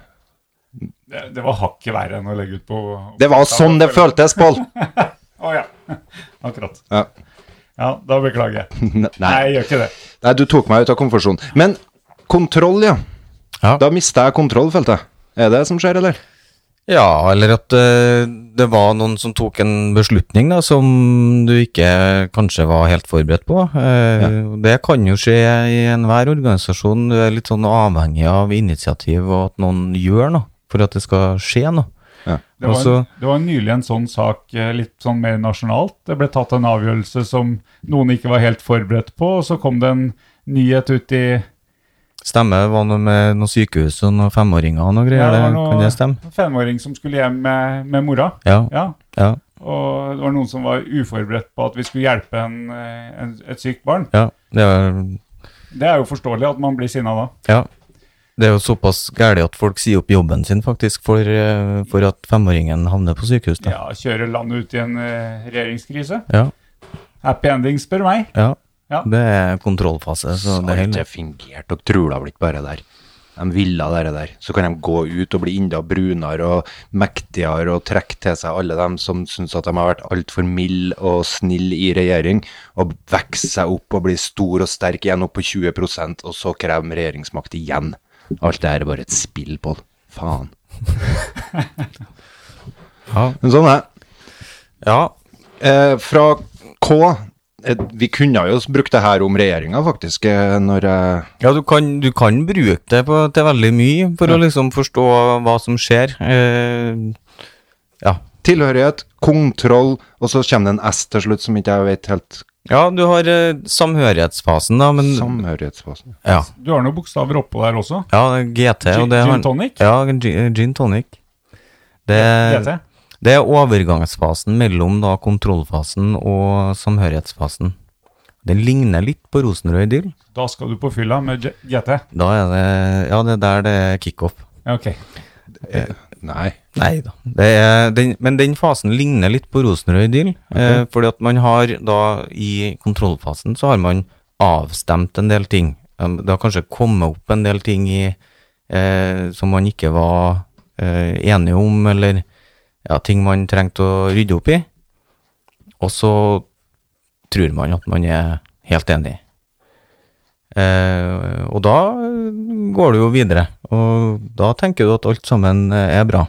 Speaker 4: det, det var hakket verre enn å legge ut på
Speaker 2: Det var sånn det føltes, Pål!
Speaker 4: Å ja. Akkurat.
Speaker 2: Ja.
Speaker 4: Ja, da beklager jeg. Nei,
Speaker 2: Nei.
Speaker 4: jeg gjør ikke det.
Speaker 2: Nei, du tok meg ut av komfortsonen. Men kontroll, ja.
Speaker 5: Ja.
Speaker 2: Da mista jeg kontroll, følte jeg. Er det det som skjer, eller?
Speaker 5: Ja, eller at eh, det var noen som tok en beslutning da, som du ikke kanskje var helt forberedt på. Eh, Det kan jo skje i enhver organisasjon. Du er litt sånn avhengig av initiativ og at noen gjør noe for at det skal skje noe.
Speaker 4: Det var,
Speaker 5: Altså-
Speaker 4: det var nylig en sånn sak, eh, litt sånn mer nasjonalt. Det ble tatt en avgjørelse som noen ikke var helt forberedt på, og så kom det en nyhet ut i
Speaker 5: Stemme var noe med noen sykehus og noen femåringer og noe
Speaker 4: Ja,
Speaker 5: greier.
Speaker 4: det var
Speaker 5: det Kan det stemme?
Speaker 4: noen femåring som skulle hjem med, med mora.
Speaker 5: Ja.
Speaker 4: Ja,
Speaker 5: ja.
Speaker 4: Og det var noen som var uforberedt på at vi skulle hjelpe en, eh, en, et sykt barn.
Speaker 5: ja. Det var
Speaker 4: Det er jo forståelig at man blir sinna da.
Speaker 5: Ja. Det er jo såpass gærent at folk sier opp jobben sin faktisk for, eh, for at femåringen havner på sykehus. Da.
Speaker 4: Ja, Kjøre landet ut i en eh, regjeringskrise.
Speaker 5: Ja.
Speaker 4: Happy ending, spør meg.
Speaker 5: ja.
Speaker 4: Ja.
Speaker 5: Det er kontrollfase. Så det
Speaker 2: har
Speaker 5: hele.
Speaker 2: ikke fungert, og trula blitt bare der. De ville det der. Så kan de gå ut og bli enda brunere og mektigere og trekke til seg alle dem som syns at de har vært altfor milde og snille i regjering, og vokse seg opp og bli stor og sterk igjen opp på 20 og så kreve regjeringsmakt igjen. Alt det her er bare et spill, Pål. Faen.
Speaker 5: Ja.
Speaker 2: Men sånn er det.
Speaker 5: Ja.
Speaker 2: Eh, fra K eh, Vi kunne jo brukt det her om regjeringa, faktisk, eh, når jeg
Speaker 5: Ja, du kan, du kan bruke det på, til veldig mye for å liksom forstå hva som skjer. Eh, ja.
Speaker 2: Tilhørighet, kontroll, og så kommer det en S til slutt som ikke jeg vet helt
Speaker 5: ja, du har eh, samhørighetsfasen, da, men
Speaker 2: Samhørighetsfasen.
Speaker 5: ja.
Speaker 4: Du har noen bokstaver oppå der også.
Speaker 5: ja, det er GT
Speaker 4: Gin-
Speaker 5: og det
Speaker 4: gin
Speaker 5: har-
Speaker 4: tonic?
Speaker 5: Ja, gin, gin tonic. Det,
Speaker 4: GT.
Speaker 5: det er overgangsfasen mellom da kontrollfasen og samhørighetsfasen. Den ligner litt på Rosenrød idyll.
Speaker 4: Da skal du på fylla med G- GT.
Speaker 5: Da er det Ja, det er der det er kickoff.
Speaker 4: Ja, Ok.
Speaker 2: Nei.
Speaker 5: Nei da. Det er den, men den fasen ligner litt på Rosenrød idyll. Eh, fordi at man har da i kontrollfasen så har man avstemt en del ting. Um, Det har kanskje kommet opp en del ting i, eh, som man ikke var eh, enige om, eller ja, ting man trengte å rydde opp i. Og så tror man at man er helt enig. Eh, og da går du jo videre, og da tenker du at alt sammen eh, er bra.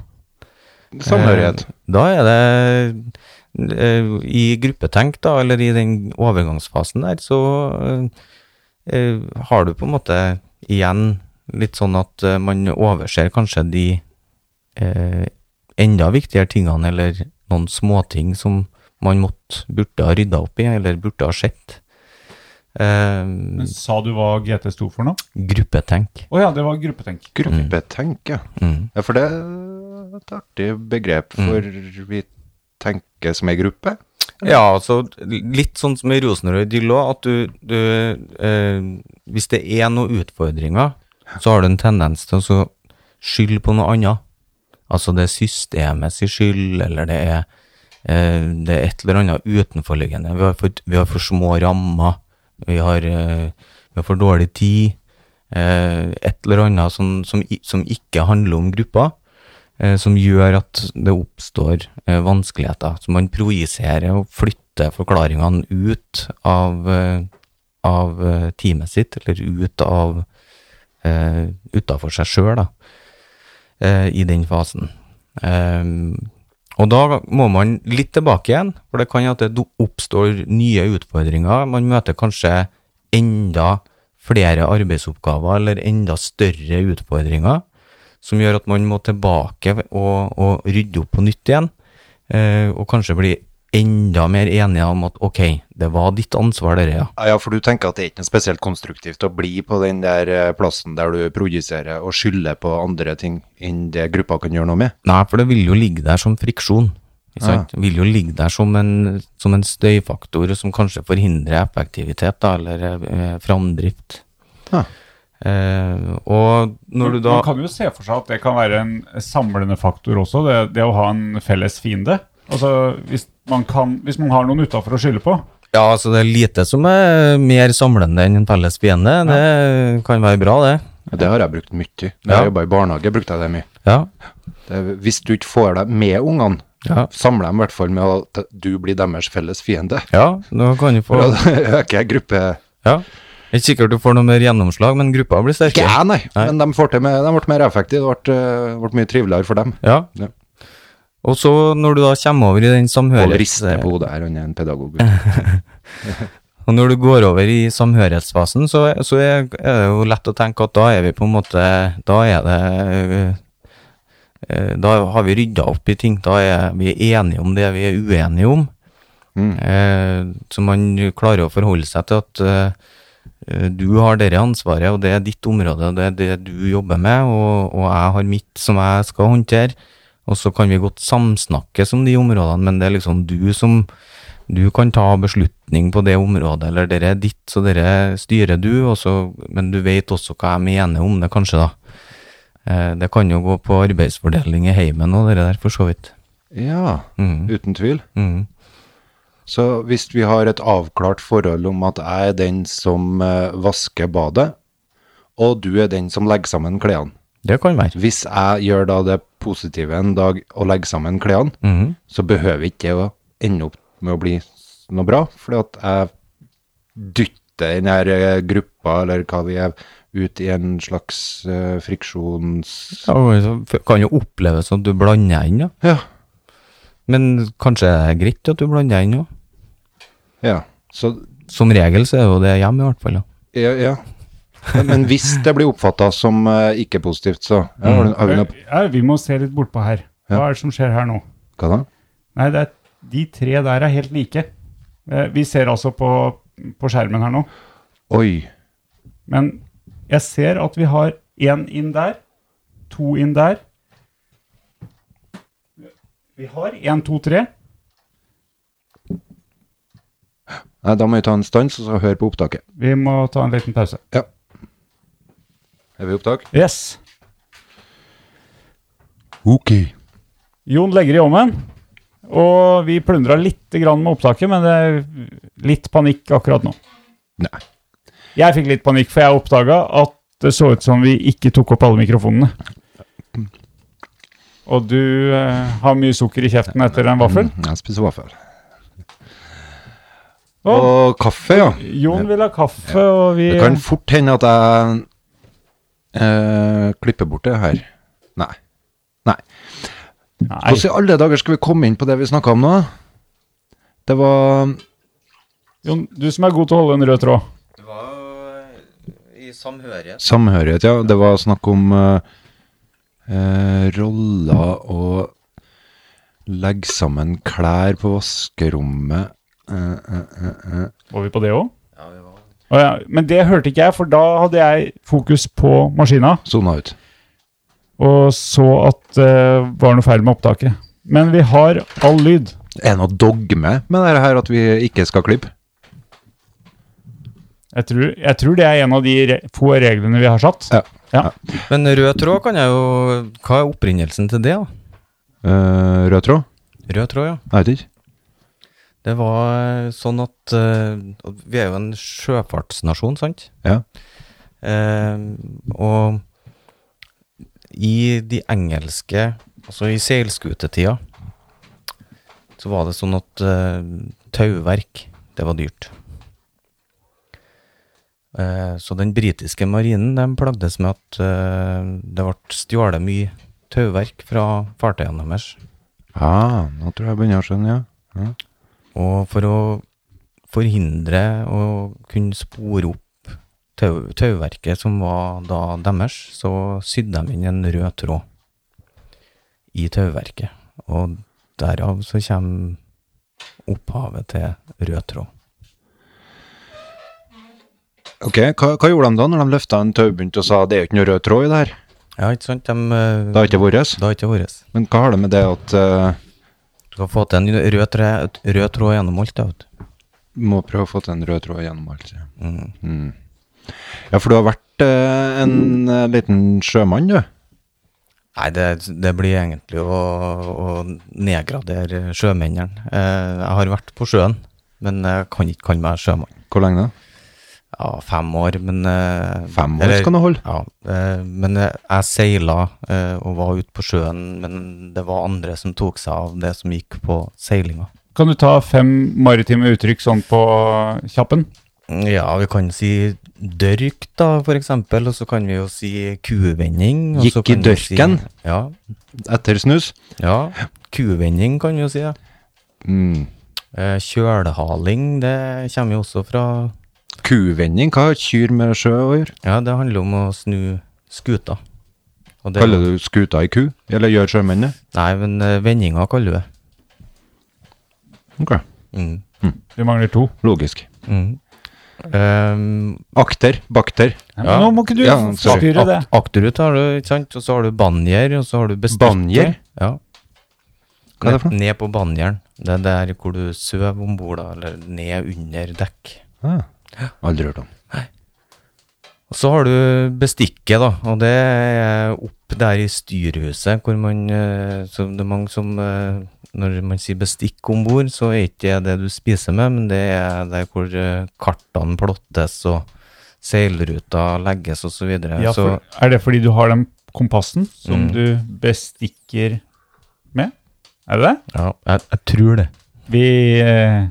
Speaker 2: Samhørighet.
Speaker 5: Eh, Da er det eh, i gruppetenk, da, eller i den overgangsfasen der, så eh, eh, har du på en måte igjen litt sånn at eh, man overser kanskje de eh, enda viktigere tingene, eller noen småting som man måtte, burde ha rydda opp i, eller burde ha sett. Eh,
Speaker 4: Men sa du hva GT sto for nå?
Speaker 5: gruppetenk.
Speaker 4: Å ja, det var gruppetenk.
Speaker 2: Gruppetenk, ja.
Speaker 5: Mm.
Speaker 2: ja. For det er et artig begrep, for vi tenker som ei gruppe.
Speaker 5: Ja, altså litt sånn som i Rosenrød idyll òg, at du, du eh, Hvis det er noen utfordringer, så har du en tendens til å så skylde på noe annet. Altså det er systemet sin skyld, eller det er, eh, det er et eller annet utenforliggende. Vi har for, vi har for små rammer, vi har, eh, vi har for dårlig tid. Eh, et eller annet som, som, i- som ikke handler om gruppa, eh, som gjør at det oppstår eh, vanskeligheter. Så man projiserer og flytter forklaringene ut av, eh, av eh, teamet sitt, eller ut av eh, utafor seg sjøl, da eh, i den fasen. Ehm, og da må man litt tilbake igjen, for det kan jo at det do- oppstår nye utfordringer. Man møter kanskje enda flere arbeidsoppgaver eller enda større utfordringer, som gjør at man må tilbake og, og rydde opp på nytt igjen, eh, og kanskje bli enda mer enige om at ok, det var ditt ansvar, dere, ja.
Speaker 2: Ja, for du tenker at det er ikke noe spesielt konstruktivt å bli på den der eh, plassen der du projiserer og skylder på andre ting enn det gruppa kan gjøre noe med.
Speaker 5: Nei, for det vil jo ligge der som friksjon. Ikke
Speaker 2: Ja.
Speaker 5: sant? Det Vil jo ligge der som en, som en støyfaktor som kanskje forhindrer effektivitet da, eller eh, framdrift.
Speaker 2: Ja.
Speaker 5: Eh, og når du da
Speaker 4: Man kan jo se for seg at det kan være en samlende faktor også, det, det å ha en felles fiende. Altså, hvis man, kan, hvis man har noen utafor å skylde på.
Speaker 5: Ja, altså det er lite som er mer samlende enn en felles fiende. Det kan være bra, det.
Speaker 2: Det har jeg brukt mye. Når
Speaker 5: Ja.
Speaker 2: jeg jobba i barnehage, brukte jeg det mye.
Speaker 5: Ja.
Speaker 2: Det, er- hvis du ikke får deg med ungene,
Speaker 5: Ja.
Speaker 2: samle dem i hvert fall med at du blir deres felles fiende.
Speaker 5: ja, nå kan du få
Speaker 2: For da øker jeg gruppe...
Speaker 5: ja. Ikke sikkert du får noe mer gjennomslag, men gruppa blir
Speaker 2: Ikke
Speaker 5: sterkere.
Speaker 2: jeg, nei, men de, får til med, de ble mer effektive. Det ble, eh, ble mye triveligere for dem.
Speaker 5: Ja.
Speaker 2: Ja.
Speaker 5: Og så når du da kommer over i den
Speaker 2: Pål
Speaker 5: samhørighets...
Speaker 2: rister på hodet her, han er en pedagog.
Speaker 5: Og når du går over i samhørighetsfasen, så, så er er det jo lett å tenke at da er vi på en måte Da er det eh, eh, Da har vi rydda opp i ting. Da er vi enige om det vi er uenige om. Eh, Så man klarer å forholde seg til at eh, du har dette ansvaret, og det er ditt område, og det er det du jobber med, og, og jeg har mitt som jeg skal håndtere. Og så kan vi godt samsnakkes om de områdene, men det er liksom du som Du kan ta beslutning på det området, eller dere er ditt, så dere styrer du, og så, men du vet også hva jeg mener om det, kanskje, da. Eh, Det kan jo gå på arbeidsfordeling i heimen og det der, for så vidt.
Speaker 2: Ja,
Speaker 5: Mm.
Speaker 2: uten tvil.
Speaker 5: Mm.
Speaker 2: Så hvis vi har et avklart forhold om at jeg er den som eh, vasker badet, og du er den som legger sammen klærne.
Speaker 5: Det kan være.
Speaker 2: Hvis jeg gjør da det positive en dag og legger sammen klærne,
Speaker 5: Mhm.
Speaker 2: så behøver ikke det å ende opp med å bli s- noe bra, fordi at jeg dytter den her eh, gruppa, eller hva vi er, ut i en slags eh, friksjons...
Speaker 5: Ja, og så f- kan jo oppleves som at du blander inn, da.
Speaker 2: Ja,
Speaker 5: Men kanskje det er greit at du blander inn òg?
Speaker 2: ja. Så
Speaker 5: Som regel så er jo det hjemme, i hvert fall. da.
Speaker 2: Ja, ja. Men- Men hvis det blir oppfatta som eh, ikke positivt, så ja, har du, har du noe
Speaker 4: Ja, vi må se litt bortpå her. Hva er det som skjer her nå?
Speaker 2: Hva da?
Speaker 4: Nei, det er, de tre der er helt like. Eh, Vi ser altså på, på skjermen her nå,
Speaker 2: Oi.
Speaker 4: men jeg ser at vi har én inn der, to inn der. Vi har én, to, tre.
Speaker 2: Nei, da må vi ta en stans og så høre på opptaket.
Speaker 4: Vi må ta en liten pause.
Speaker 2: Ja. Er vi i opptak?
Speaker 4: Yes.
Speaker 2: Ok.
Speaker 4: Jon legger i ovnen, og vi plundra litt grann med opptaket, men det er litt panikk akkurat nå.
Speaker 2: Nei.
Speaker 4: Jeg fikk litt panikk, for jeg oppdaga at det så ut som vi ikke tok opp alle mikrofonene. Og du eh, har mye sukker i kjeften etter en vaffel.
Speaker 2: Jeg spiser vaffel.
Speaker 4: Og
Speaker 2: Og kaffe, ja.
Speaker 4: Jon vil ha kaffe, og vi
Speaker 2: Det kan fort hende at jeg eh, klipper bort det her. Nei. Nei.
Speaker 4: Nei,
Speaker 2: Hvordan i alle dager skal vi komme inn på det vi snakka om nå? Det var
Speaker 4: Jon, du som er god til å holde en rød tråd.
Speaker 5: Det var eh, i samhørighet.
Speaker 2: Samhørighet, ja. Det var snakk om eh, eh, roller og legge sammen klær på vaskerommet. Eh, eh, eh, eh.
Speaker 4: Var vi på det òg?
Speaker 5: Ja, vi var
Speaker 4: Å ja. Men det hørte ikke jeg, for da hadde jeg fokus på maskina.
Speaker 2: Sona ut.
Speaker 4: og så at det var noe feil med opptaket. Men vi har all lyd.
Speaker 2: Er det noe dogme med det her at vi ikke skal klippe?
Speaker 4: Jeg tror, jeg tror det er en av de re få reglene vi har satt.
Speaker 2: Ja.
Speaker 5: Men rød tråd kan jeg jo Hva er opprinnelsen til det, da?
Speaker 2: Eh, rød tråd?
Speaker 5: Rød tråd, ja.
Speaker 2: Jeg vet ikke.
Speaker 5: Det var sånn at eh, og Vi er jo en sjøfartsnasjon, sant?
Speaker 2: Ja.
Speaker 5: Eh, og i de engelske Altså i seilskutetida så var det sånn at eh, tauverk, det var dyrt. Eh, så den britiske marinen de plagdes med at eh, det ble stjålet mye tauverk fra fartøyene deres.
Speaker 2: Ah, nå tror jeg jeg begynner å skjønne, ja. ja.
Speaker 5: Og for å forhindre å kunne spore opp tau, tauverket som var da deres, så sydde de inn en rød tråd i tauverket. Og derav så kommer opphavet til rød tråd.
Speaker 2: Ok, hva, hva gjorde de da når de løfta en taubunt og sa det er jo ikke noe rød tråd i det her?
Speaker 5: Ja, ikke sant? De, eh,
Speaker 2: Det har ikke vært.
Speaker 5: det har ikke vært.
Speaker 2: Men hva har det med det at eh,
Speaker 5: Du skal få til en rød, tre, rød tråd gjennom alt, da, vet du.
Speaker 2: Må prøve å få til en rød tråd gjennom alt. Ja, Mm. ja for du har vært eh, en eh, liten sjømann, du.
Speaker 5: Nei, det, det blir egentlig å, å nedgradere sjømennene. Eh, jeg har vært på sjøen, men jeg kan ikke kalle meg sjømann.
Speaker 2: Hvor lenge da?
Speaker 5: Ja, fem år, men eh,
Speaker 2: Fem år skal det holde.
Speaker 5: Ja, eh, men jeg, jeg seila eh, og var ute på sjøen, men det var andre som tok seg av det som gikk på seilinga.
Speaker 4: Kan du ta fem maritime uttrykk sånn på kjappen?
Speaker 5: Ja, vi kan si dørk, da, for eksempel, og så kan vi jo si kuvending. og
Speaker 2: Gikk
Speaker 5: så
Speaker 2: i
Speaker 5: kan vi si-
Speaker 2: dørken?
Speaker 5: Ja,
Speaker 2: Etter snus?
Speaker 5: Ja, kuvending kan vi jo si. Ja.
Speaker 2: Mm.
Speaker 5: Eh, Kjølhaling, det kommer jo også fra
Speaker 2: Kuvending? Hva har kyr med sjø å gjøre?
Speaker 5: Ja, det handler om å snu skuta. Og det-
Speaker 2: Kaller du skuta ei ku? Eller gjør sjømenn det?
Speaker 5: Nei, men eh, vendinga kaller du det.
Speaker 2: Ok,
Speaker 5: Mm.
Speaker 4: Vi mangler to.
Speaker 2: logisk.
Speaker 5: Mm. Ehm,
Speaker 2: Akter? Bakter?
Speaker 4: Ja. men Nå må ikke du
Speaker 2: Ja, sorry.
Speaker 4: styre det.
Speaker 5: ak- akterut har du, ikke sant? Og så har du banjer, og så har du bestikket.
Speaker 2: Banjer?
Speaker 5: Ja.
Speaker 2: Hva er det for
Speaker 5: Ned-
Speaker 2: noe?
Speaker 5: Ned på banjeren. Det er der hvor du sover om bord, da, eller ned under dekk.
Speaker 2: Ah. Aldri hørt om.
Speaker 5: Og så har du bestikket, da, og det er opp der i styrhuset, hvor man eh, så Det er mange som eh, Når man sier bestikk om bord, så er ikke det det du spiser med, men det er der hvor eh, kartene plottes og seilruta legges osv.
Speaker 4: Ja,
Speaker 5: så,
Speaker 4: for, er det fordi du har den kompassen som du bestikker med? Er det det?
Speaker 5: ja jeg, jeg tror det.
Speaker 4: Vi, eh,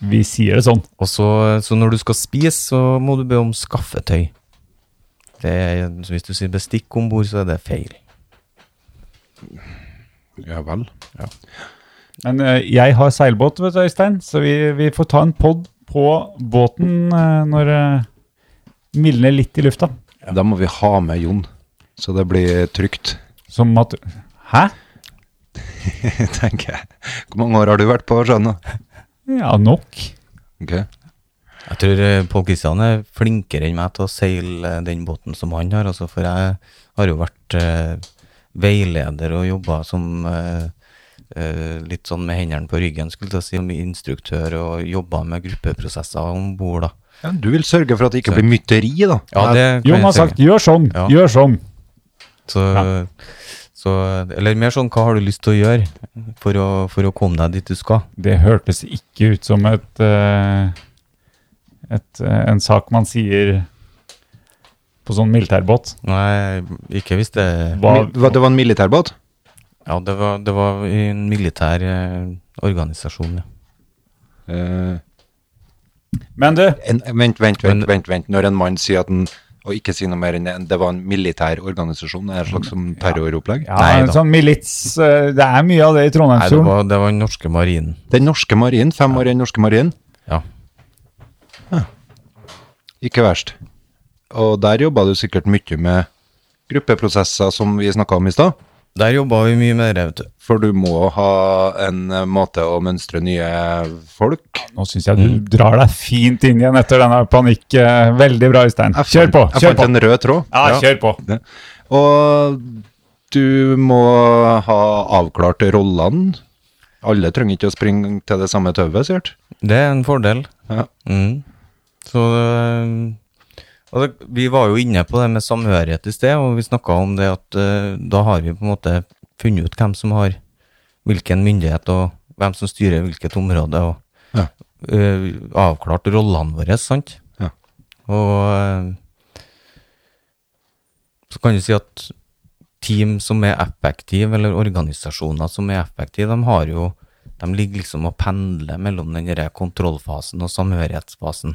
Speaker 4: vi sier det sånn.
Speaker 5: Og så, så når du skal spise, så må du be om skaffetøy. Det, er- så hvis du sier bestikk om bord, så er det feil.
Speaker 2: Ja vel.
Speaker 4: Men eh, jeg har seilbåt, vet du, Øystein, så vi, vi får ta en pod på båten eh, når uh, mildner litt i lufta.
Speaker 2: Da må vi ha med Jon, så det blir trygt,
Speaker 4: Som at Hæ?
Speaker 2: tenker jeg. Hvor mange år har du vært på sjøen, da?
Speaker 4: Ja, nok.
Speaker 2: Ok.
Speaker 5: Jeg tror eh, Pål Kristian er flinkere enn meg til å seile eh, den båten som han har, altså, for jeg har jo vært eh, veileder og jobba som eh, eh, litt sånn med hendene på ryggen, skulle jeg si, som instruktør og jobba med gruppeprosesser om bord, da.
Speaker 2: Ja, du vil sørge for at det ikke blir mytteri, da.
Speaker 5: det kan jeg
Speaker 4: Jon har
Speaker 5: si.
Speaker 4: sagt 'gjør sånn',
Speaker 5: Ja.
Speaker 4: gjør sånn.
Speaker 5: Så, så, eller mer sånn, hva har du lyst til å gjøre for å, for å komme deg dit du skal?
Speaker 4: Det hørtes ikke ut som et, eh, et eh, en sak man sier på sånn militærbåt.
Speaker 5: Nei, ikke hvis det
Speaker 4: Hva,
Speaker 2: Mil- hva, det var en militærbåt?
Speaker 5: Ja, det var, det var i en militær eh, organisasjon, ja.
Speaker 2: Eh,
Speaker 4: men du,
Speaker 2: en, vent, vent,
Speaker 5: Men-
Speaker 2: vent, vent, vent. Når en mann sier at den, og ikke sier noe mer enn det, det var en militær organisasjon, det er en slags som terroropplegg?
Speaker 4: ja,
Speaker 5: Nei
Speaker 4: en
Speaker 5: da.
Speaker 4: sånn milits eh, Det er mye av det i
Speaker 5: Nei, det
Speaker 4: Trondheimsfjorden.
Speaker 5: var, det var den norske marinen.
Speaker 2: Den norske marinen, fem år i den norske marinen,
Speaker 5: Ja.
Speaker 2: ikke verst. Og der jobba du sikkert mye med gruppeprosesser, som vi snakka om i stad.
Speaker 5: Der jobba vi mye med det, vet du.
Speaker 2: For du må ha en eh, måte å mønstre nye folk.
Speaker 4: Nå syns jeg du drar deg fint inn igjen etter denne panikk. eh, Veldig bra, Øystein.
Speaker 2: Jeg
Speaker 4: Kjør
Speaker 2: fant-
Speaker 4: på!
Speaker 2: Jeg
Speaker 4: kjør
Speaker 2: fant
Speaker 4: på.
Speaker 2: en rød tråd.
Speaker 4: Ja, kjør på.
Speaker 2: Det. Og du må ha avklart rollene. Alle trenger ikke å springe til det samme tauet, sikkert.
Speaker 5: Det er en fordel.
Speaker 2: Ja.
Speaker 5: Mm. Så eh, altså, Vi var jo inne på det med samhørighet i sted, og vi snakka om det at eh, da har vi på en måte funnet ut hvem som har hvilken myndighet, og hvem som styrer hvilket område, og
Speaker 2: Ja.
Speaker 5: eh, avklart rollene våre, sant?
Speaker 2: Ja.
Speaker 5: Og eh, så kan du si at team som er effektive, eller organisasjoner som er effektive, de har jo de ligger liksom og pendler mellom den derre kontrollfasen og samhørighetsfasen.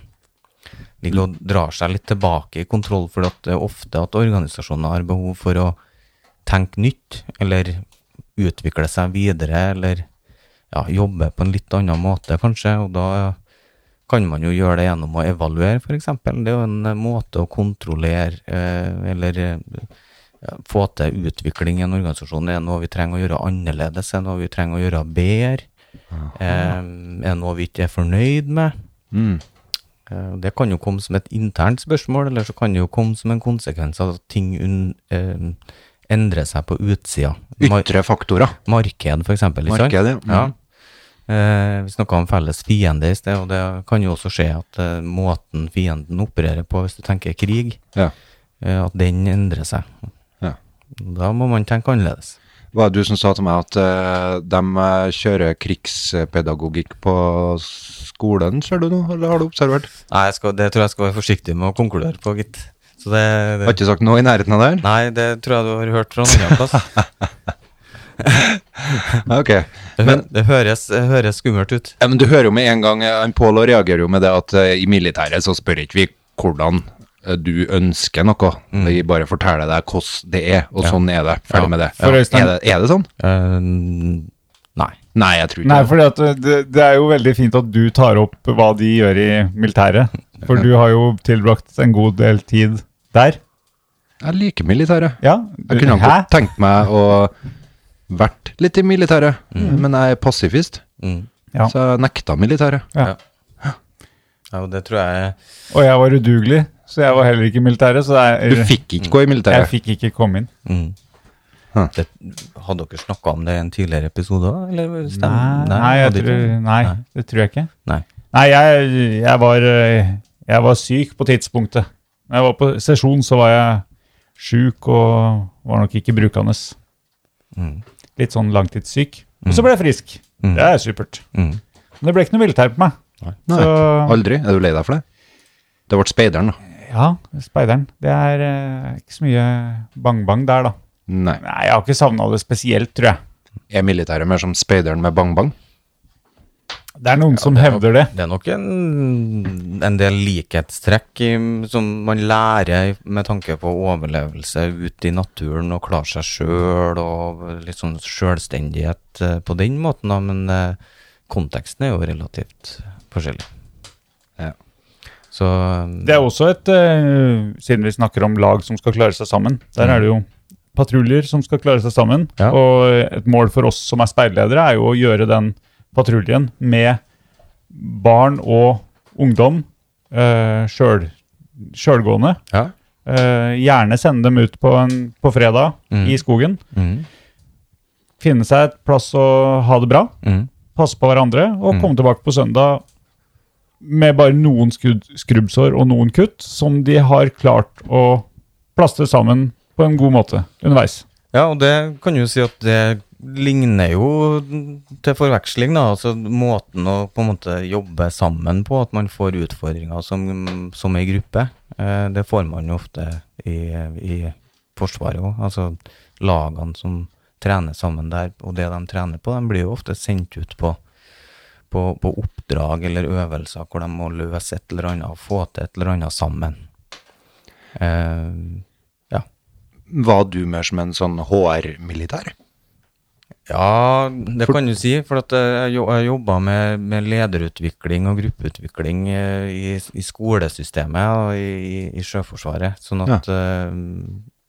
Speaker 5: Ligger og drar seg litt tilbake i kontroll, for det er ofte at organisasjoner har behov for å tenke nytt, eller utvikle seg videre, eller ja, jobbe på en litt annen måte, kanskje. Og da kan man jo gjøre det gjennom å evaluere, f.eks. Det er jo en eh, måte å kontrollere eh, eller eh, ja, få til utvikling i en organisasjon. Er det noe vi trenger å gjøre annerledes? Er det noe vi trenger å gjøre bedre? Eh, er det noe vi ikke er fornøyd med?
Speaker 2: Mm.
Speaker 5: Eh, Det kan jo komme som et internt spørsmål, eller så kan det jo komme som en konsekvens av at ting un, eh, endrer seg på utsida. Mar-
Speaker 2: Ytre faktorer.
Speaker 5: Marked, for eksempel. ikke sant?
Speaker 2: Marked, ja.
Speaker 5: sånn. ja. Eh, vi snakka om felles fiende i sted, og det kan jo også skje at eh, måten fienden opererer på, hvis du tenker krig,
Speaker 2: Ja.
Speaker 5: eh, at den endrer seg.
Speaker 2: Ja.
Speaker 5: Da må man tenke annerledes.
Speaker 2: Hva er det du som sa til meg at eh, de eh, kjører krigspedagogikk på skolen, ser du nå? Eller har du observert?
Speaker 5: Nei, jeg skal, det tror jeg skal være forsiktig med å konkludere på, gitt. Så det,
Speaker 2: Har
Speaker 5: det
Speaker 2: ikke sagt noe i nærheten av det? her?
Speaker 5: Nei, det tror jeg du har hørt fra en annen plass.
Speaker 2: Ok.
Speaker 5: Det, hø-
Speaker 2: Men,
Speaker 5: det høres, det høres skummelt ut.
Speaker 2: ja, men du hører jo med en gang, eh, han Pål og reagerer jo med det at eh, i militæret så spør ikke vi hvordan eh, du ønsker noe.
Speaker 4: Mm.
Speaker 2: Vi bare forteller deg hvordan det er, og sånn er det. Ferdig med det.
Speaker 4: For Øystein-
Speaker 2: Er det. Er det sånn?
Speaker 5: Eh, nei.
Speaker 2: Nei, jeg tror ikke
Speaker 4: Nei,
Speaker 2: det.
Speaker 4: fordi at det, det er jo veldig fint at du tar opp hva de gjør i militæret. For du har jo tilbrakt en god del tid der.
Speaker 2: Jeg liker militæret.
Speaker 4: Ja.
Speaker 2: Jeg kunne
Speaker 4: Hæ?
Speaker 2: godt tenkt meg å vært litt i militæret, men jeg er passivist,
Speaker 5: Mm.
Speaker 4: Mm. Ja.
Speaker 2: så jeg nekta militæret.
Speaker 4: Ja.
Speaker 5: Ja, og det tror jeg
Speaker 4: Og jeg var udugelig, så jeg var heller ikke i militæret. Så
Speaker 2: Du
Speaker 4: jeg,
Speaker 2: fikk ikke gå i
Speaker 4: jeg
Speaker 2: militæret.
Speaker 4: fikk ikke komme inn.
Speaker 5: mm.
Speaker 2: Hm.
Speaker 5: det, Hadde dere snakka om det i en tidligere episode? også, Eller stemmer
Speaker 4: Nei, jeg
Speaker 5: hadde
Speaker 4: tror,
Speaker 5: ikke?
Speaker 4: nei,
Speaker 5: Nei.
Speaker 4: det tror jeg ikke.
Speaker 5: Nei.
Speaker 4: Nei, jeg, jeg, var, eh, jeg var syk på tidspunktet. Når jeg var på sesjon, så var jeg sjuk og var nok ikke brukende.
Speaker 5: Mm.
Speaker 4: Litt sånn langtidssyk. Og så ble jeg frisk.
Speaker 5: Mm.
Speaker 4: Det er supert.
Speaker 5: Mm.
Speaker 4: Men det ble ikke noe militær på meg.
Speaker 2: Nei,
Speaker 4: Så-
Speaker 2: aldri. Er du lei deg for det? Det ble speideren, da.
Speaker 4: Ja, speideren. Det er eh, ikke så mye bang-bang der, da.
Speaker 2: Nei.
Speaker 4: Nei, jeg har ikke savna det spesielt, tror jeg.
Speaker 2: Er militæret mer som speideren med bang-bang?
Speaker 4: Det er noen som hevder det.
Speaker 5: Det er nok en, en del likhetstrekk i, som man lærer i- med tanke på overlevelse ute i naturen og klare seg sjøl og litt sånn sjølstendighet eh, på den måten, da, men eh, konteksten er jo relativt forskjellig.
Speaker 2: Ja.
Speaker 5: Så
Speaker 4: Det er også et eh, Siden vi snakker om lag som skal klare seg sammen, der er det jo patruljer som skal klare seg sammen.
Speaker 5: Ja.
Speaker 4: Og et mål for oss som er speilledere, er jo å gjøre den patruljen med barn og ungdom eh, sjøl- sjølgående.
Speaker 5: Ja.
Speaker 4: Eh, gjerne sende dem ut på, en, på fredag
Speaker 5: Mm.
Speaker 4: i skogen.
Speaker 5: Mm,
Speaker 4: Finne seg et plass å ha det bra.
Speaker 5: mm,
Speaker 4: passe på hverandre og komme tilbake på søndag med bare noen skudd, skrubbsår og noen kutt som de har klart å plastre sammen på en god måte underveis.
Speaker 5: Ja, og det kan jo si at det ligner jo til forveksling, da. Altså måten å på en måte jobbe sammen på, at man får utfordringer som, som ei gruppe. Eh, Det får man jo ofte i, i Forsvaret òg. Altså lagene som trener sammen der, og det de trener på, de blir jo ofte sendt ut på på, på oppdrag eller øvelser hvor de må løse et eller annet og få til et eller annet sammen. Eh, ja.
Speaker 2: Var du mer som en sånn HR-militær?
Speaker 5: Ja, det kan du si. For at eh, jeg jo- jeg jobba med, med lederutvikling og gruppeutvikling eh, i, i skolesystemet og i, i Sjøforsvaret. Sånn at eh,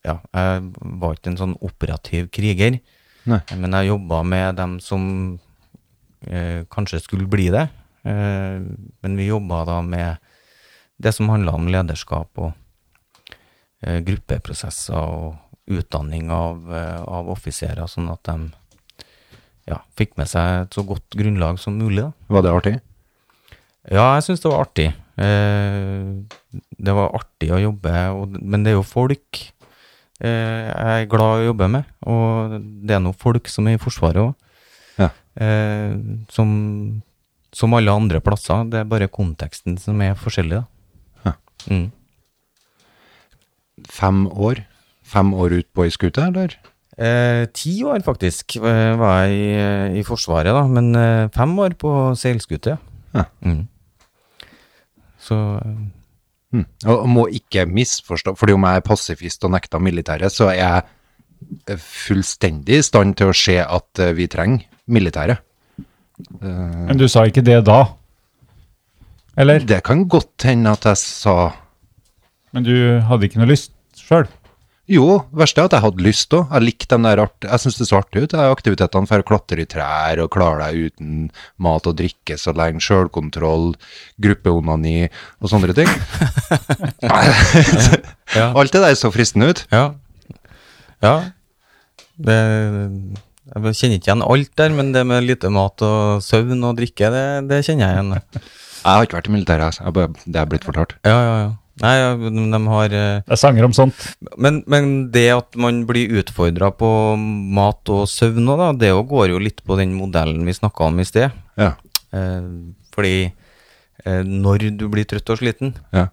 Speaker 5: ja, jeg var ikke en sånn operativ kriger.
Speaker 2: Nei.
Speaker 5: Men jeg jobba med dem som eh, kanskje skulle bli det. Eh, men vi jobba da med det som handla om lederskap og eh, gruppeprosesser og utdanning av, eh, av offiserer, sånn at de ja, fikk med seg et så godt grunnlag som mulig. Da.
Speaker 2: Var det artig?
Speaker 5: Ja, jeg syns det var artig. Eh, det var artig å jobbe, og, men det er jo folk eh, jeg er glad i å jobbe med. Og det er nå folk som er i Forsvaret òg.
Speaker 2: Ja.
Speaker 5: Eh, som, som alle andre plasser. Det er bare konteksten som er forskjellig, da.
Speaker 2: Ja.
Speaker 5: Mm.
Speaker 2: Fem år? Fem år ut på ei skute, eller?
Speaker 5: Eh, ti år faktisk eh, var jeg i, eh, i Forsvaret, da, men eh, fem år på seilskute.
Speaker 2: Ja.
Speaker 5: Mm. Så eh,
Speaker 2: Mm. Og og må ikke misforstå, fordi om jeg er pasifist og nekter militæret, så er jeg fullstendig i stand til å se at eh, vi trenger militæret.
Speaker 4: Men du sa ikke det da? Eller?
Speaker 2: Det kan godt hende at jeg sa
Speaker 4: Men du hadde ikke noe lyst sjøl?
Speaker 2: Jo, verste er at jeg hadde lyst òg. Jeg likte den der art... Jeg syns det så artig ut. Jeg aktivitetene for å klatre i trær og klare deg uten mat og drikke så lenge, sjølkontroll, gruppeonani og sånne ting.
Speaker 5: ja.
Speaker 2: Alt det der så fristende ut.
Speaker 5: ja. Ja. Det, jeg kjenner ikke igjen alt der, men det med lite mat og søvn og drikke, det, det kjenner jeg igjen.
Speaker 2: Jeg har ikke vært i militæret, altså. Jeg bare- det er blitt fortalt.
Speaker 5: Ja, ja, ja. Nei, ja, men de har eh,
Speaker 4: Det er sanger om sånt.
Speaker 5: Men, men det at man blir utfordra på mat og søvn òg, da, det jo går jo litt på den modellen vi snakka om i sted.
Speaker 2: Ja.
Speaker 5: Eh, fordi eh, når du blir trøtt og sliten,
Speaker 2: ja.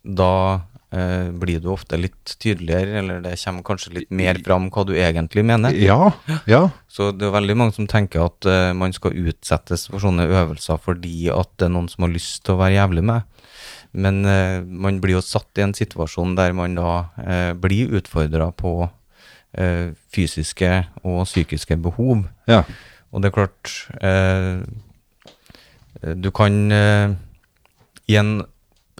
Speaker 5: da eh, blir du ofte litt tydeligere, eller det kommer kanskje litt mer fram hva du egentlig mener.
Speaker 2: Ja, ja.
Speaker 5: Så det er veldig mange som tenker at eh, man skal utsettes for sånne øvelser fordi at det er noen som har lyst til å være jævlig med. Men eh, man blir jo satt i en situasjon der man da eh, blir utfordra på eh, fysiske og psykiske behov.
Speaker 2: ja.
Speaker 5: Og det er klart eh, Du kan eh, i, en,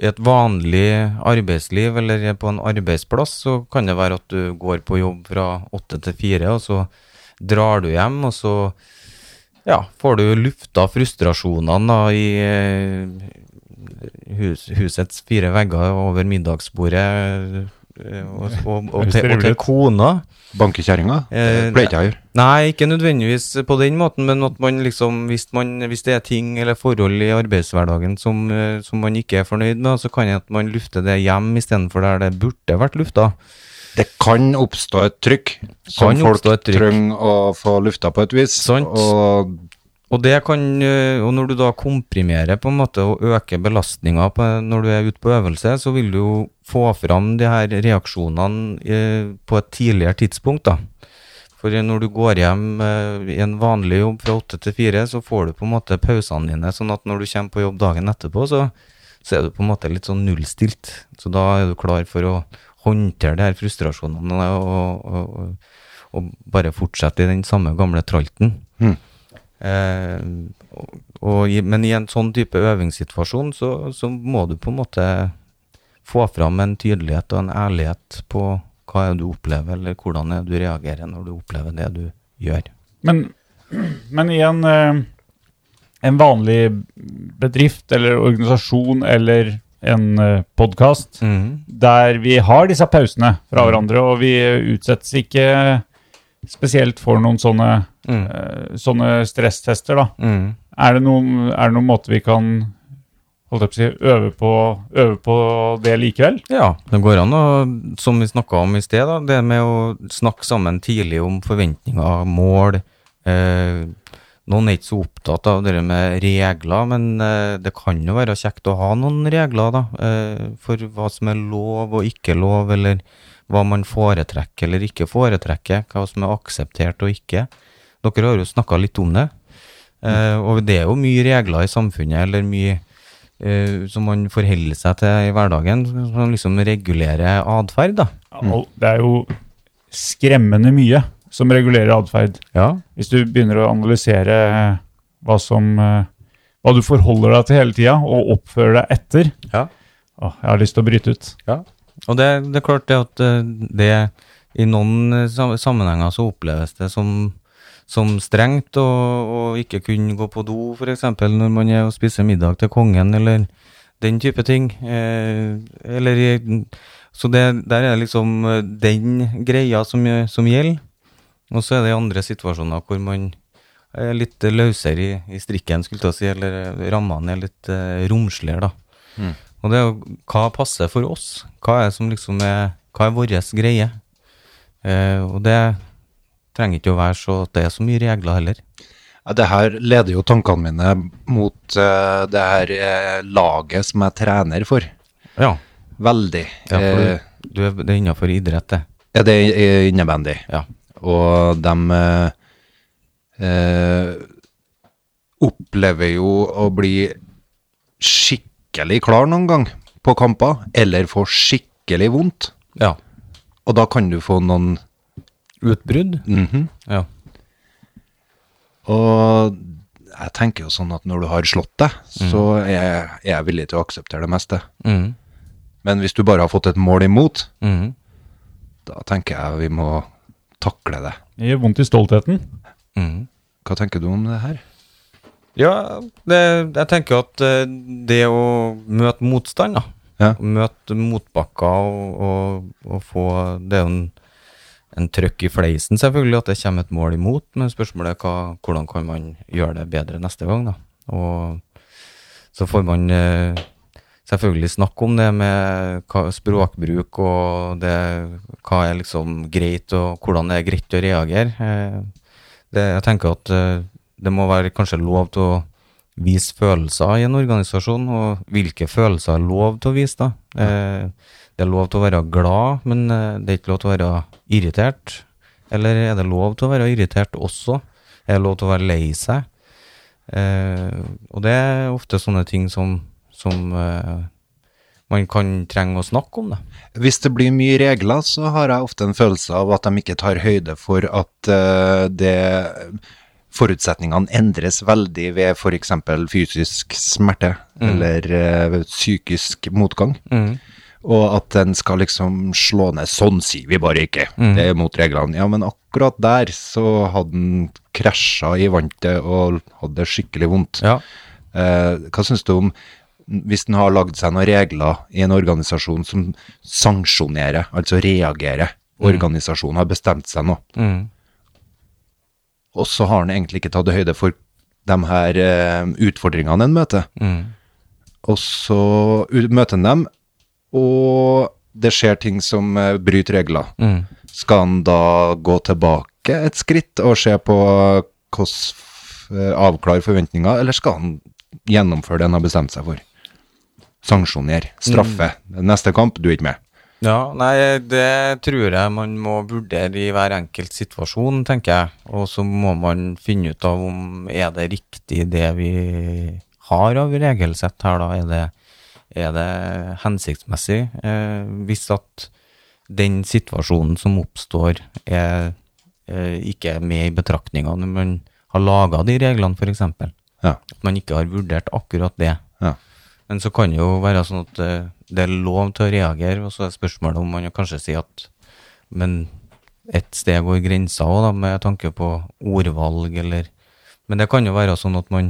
Speaker 5: I et vanlig arbeidsliv eller på en arbeidsplass så kan det være at du går på jobb fra åtte til fire, og så drar du hjem, og så ja, får du lufta frustrasjonene da, i eh, hus, husets fire vegger over middagsbordet. eh, Og, og, og, til, og til kona.
Speaker 2: Banke kjerringa?
Speaker 5: Eh,
Speaker 2: Det pleier ikke jeg å gjøre.
Speaker 5: Nei, ikke nødvendigvis på den måten, men at man liksom, hvis, man, hvis det er ting eller forhold i arbeidshverdagen som, eh, som man ikke er fornøyd med, så kan jeg at man lufter det hjem istedenfor der det burde vært lufta.
Speaker 2: Det kan oppstå et trykk som
Speaker 5: Kan
Speaker 2: folk
Speaker 5: oppstå et trykk.
Speaker 2: trenger å få lufta på et vis.
Speaker 5: Sant.
Speaker 2: Og
Speaker 5: Og, det kan, eh, og når du da komprimerer på en måte og øker belastninga på- når du er ute på øvelse, så vil du jo få fram de her reaksjonene eh, på et tidligere tidspunkt. da. For når du går hjem eh, i en vanlig jobb fra åtte til fire, så får du på en måte pausene dine, sånn at når du kommer på jobb dagen etterpå, så, så er du på en måte litt sånn nullstilt. Så da er du klar for å håndtere de her frustrasjonene og, og, og, og bare fortsette i den samme gamle tralten. Eh, og, og, i- men i en sånn type øvingssituasjon så, så må du på en måte få fram en tydelighet og en ærlighet på hva er det du opplever, eller hvordan er det du reagerer når du opplever det du gjør.
Speaker 4: Men, men i en, eh, en vanlig bedrift eller organisasjon eller en eh, podkast
Speaker 5: Mm.
Speaker 4: der vi har disse pausene fra hverandre, og vi utsettes ikke spesielt for noen sånne,
Speaker 5: Mm.
Speaker 4: eh, sånne stresstester, da.
Speaker 5: Mm.
Speaker 4: Er det noen, er det noen måte vi kan holdt jeg på å si, øve, på, øve på det likevel?
Speaker 5: Ja, det går an å, som vi snakka om i sted, da, det med å snakke sammen tidlig om forventninger, mål. Eh, noen er ikke så opptatt av det der med regler, men eh, det kan jo være kjekt å ha noen regler da, eh, for hva som er lov og ikke lov, eller hva man foretrekker eller ikke foretrekker, hva som er akseptert og ikke. Dere har jo snakka litt om det. Eh, og det er jo mye regler i samfunnet, eller mye eh, som man forholder seg til i hverdagen, som liksom regulerer atferd, da.
Speaker 4: Al- Det er jo skremmende mye som regulerer atferd.
Speaker 5: Ja.
Speaker 4: Hvis du begynner å analysere eh, hva som eh, Hva du forholder deg til hele tida, og oppfører deg etter
Speaker 5: Ja.
Speaker 4: Åh, Jeg har lyst til å bryte ut.
Speaker 5: Og det, det er klart det at eh, det i noen eh, sam- sammenhenger så oppleves det som, som strengt å å ikke kunne gå på do, f.eks. når man er og spiser middag til kongen, eller den type ting. Eh, eller i- Så det, der er det liksom eh, den greia som, gjø- som gjelder. Og så er det andre situasjoner hvor man er litt løsere i, i strikken, skulle jeg til å si, eller rammene er litt eh, romsligere, da. Og det er jo hva passer for oss? Hva er som liksom er, hva er vår greie? Eh, og det trenger ikke å være så at det er så mye regler heller.
Speaker 2: Ja, det her leder jo tankene mine mot eh, det her eh, laget som jeg trener for.
Speaker 5: Ja,
Speaker 2: Veldig.
Speaker 5: ja for
Speaker 2: Eh,
Speaker 5: du, du er, det er innenfor idrett, det.
Speaker 2: ja, det er innebandy.
Speaker 5: Ja.
Speaker 2: Og de eh, eh, opplever jo å bli skikkelig klar noen gang på kamper, eller få skikkelig vondt.
Speaker 5: ja.
Speaker 2: Og da kan du få noen
Speaker 5: Utbrudd?
Speaker 2: mhm.
Speaker 5: Ja.
Speaker 2: Og jeg tenker jo sånn at når du har slått deg, så er jeg, er jeg villig til å akseptere det meste.
Speaker 5: Mhm.
Speaker 2: Men hvis du bare har fått et mål imot,
Speaker 5: Mhm.
Speaker 2: da tenker jeg vi må takle det.
Speaker 4: Det gjør vondt i stoltheten.
Speaker 5: Mhm.
Speaker 2: Hva tenker du om det her?
Speaker 5: Ja, det, jeg tenker at eh, det å møte motstand, da.
Speaker 2: Ja.
Speaker 5: Møte motbakker og, og, og få Det er jo en, en trøkk i fleisen, selvfølgelig, at det kommer et mål imot. Men spørsmålet er hva, hvordan kan man gjøre det bedre neste gang, da. Og så får man eh, selvfølgelig snakke om det med hva, språkbruk og det, hva er liksom greit, og hvordan det er greit å reagere. Eh, det, jeg tenker at eh, det må være kanskje lov til å vise følelser i en organisasjon, og hvilke følelser er lov til å vise, da. Eh, det er lov til å være glad, men eh, det er ikke lov til å være irritert. Eller er det lov til å være irritert også? Er det lov til å være lei seg? Eh, og det er ofte sånne ting som, som eh, man kan trenge å snakke om, da.
Speaker 2: Hvis det blir mye regler, så har jeg ofte en følelse av at de ikke tar høyde for at eh, det Forutsetningene endres veldig ved f.eks. fysisk smerte eller eh, ved psykisk motgang. Og at en skal liksom slå ned Sånn sier vi bare ikke. Det er mot reglene. Ja, men akkurat der så hadde han krasja i vantet og hadde det skikkelig vondt.
Speaker 5: Ja.
Speaker 2: Eh, hva syns du om hvis en har lagd seg noen regler i en organisasjon som sanksjonerer, altså reagerer? Organisasjonen har bestemt seg nå.
Speaker 5: Mm,
Speaker 2: Og så har en egentlig ikke tatt høyde for de her eh, utfordringene en møter.
Speaker 5: mm,
Speaker 2: Og så u- møter en dem, og det skjer ting som eh, bryter regler.
Speaker 5: mm.
Speaker 2: Skal en da gå tilbake et skritt og se på hvordan eh, avklare forventninger, eller skal han gjennomføre det han har bestemt seg for? Sanksjonere, straffe. Neste kamp, du er ikke med.
Speaker 5: Ja, nei, det tror jeg man må vurdere i hver enkelt situasjon, tenker jeg. Og så må man finne ut av om er det riktig det vi har av regelsett her, da. Er det, er det hensiktsmessig? Eh, hvis at den situasjonen som oppstår er eh, ikke er med i betraktninga når man har laga de reglene, f.eks.
Speaker 2: Ja.
Speaker 5: At man ikke har vurdert akkurat det.
Speaker 2: Ja.
Speaker 5: Men så kan det jo være sånn at eh, det er lov til å reagere, og så er spørsmålet om man jo kanskje sier at Men et sted går grensa òg, da, med tanke på ordvalg eller Men det kan jo være sånn at man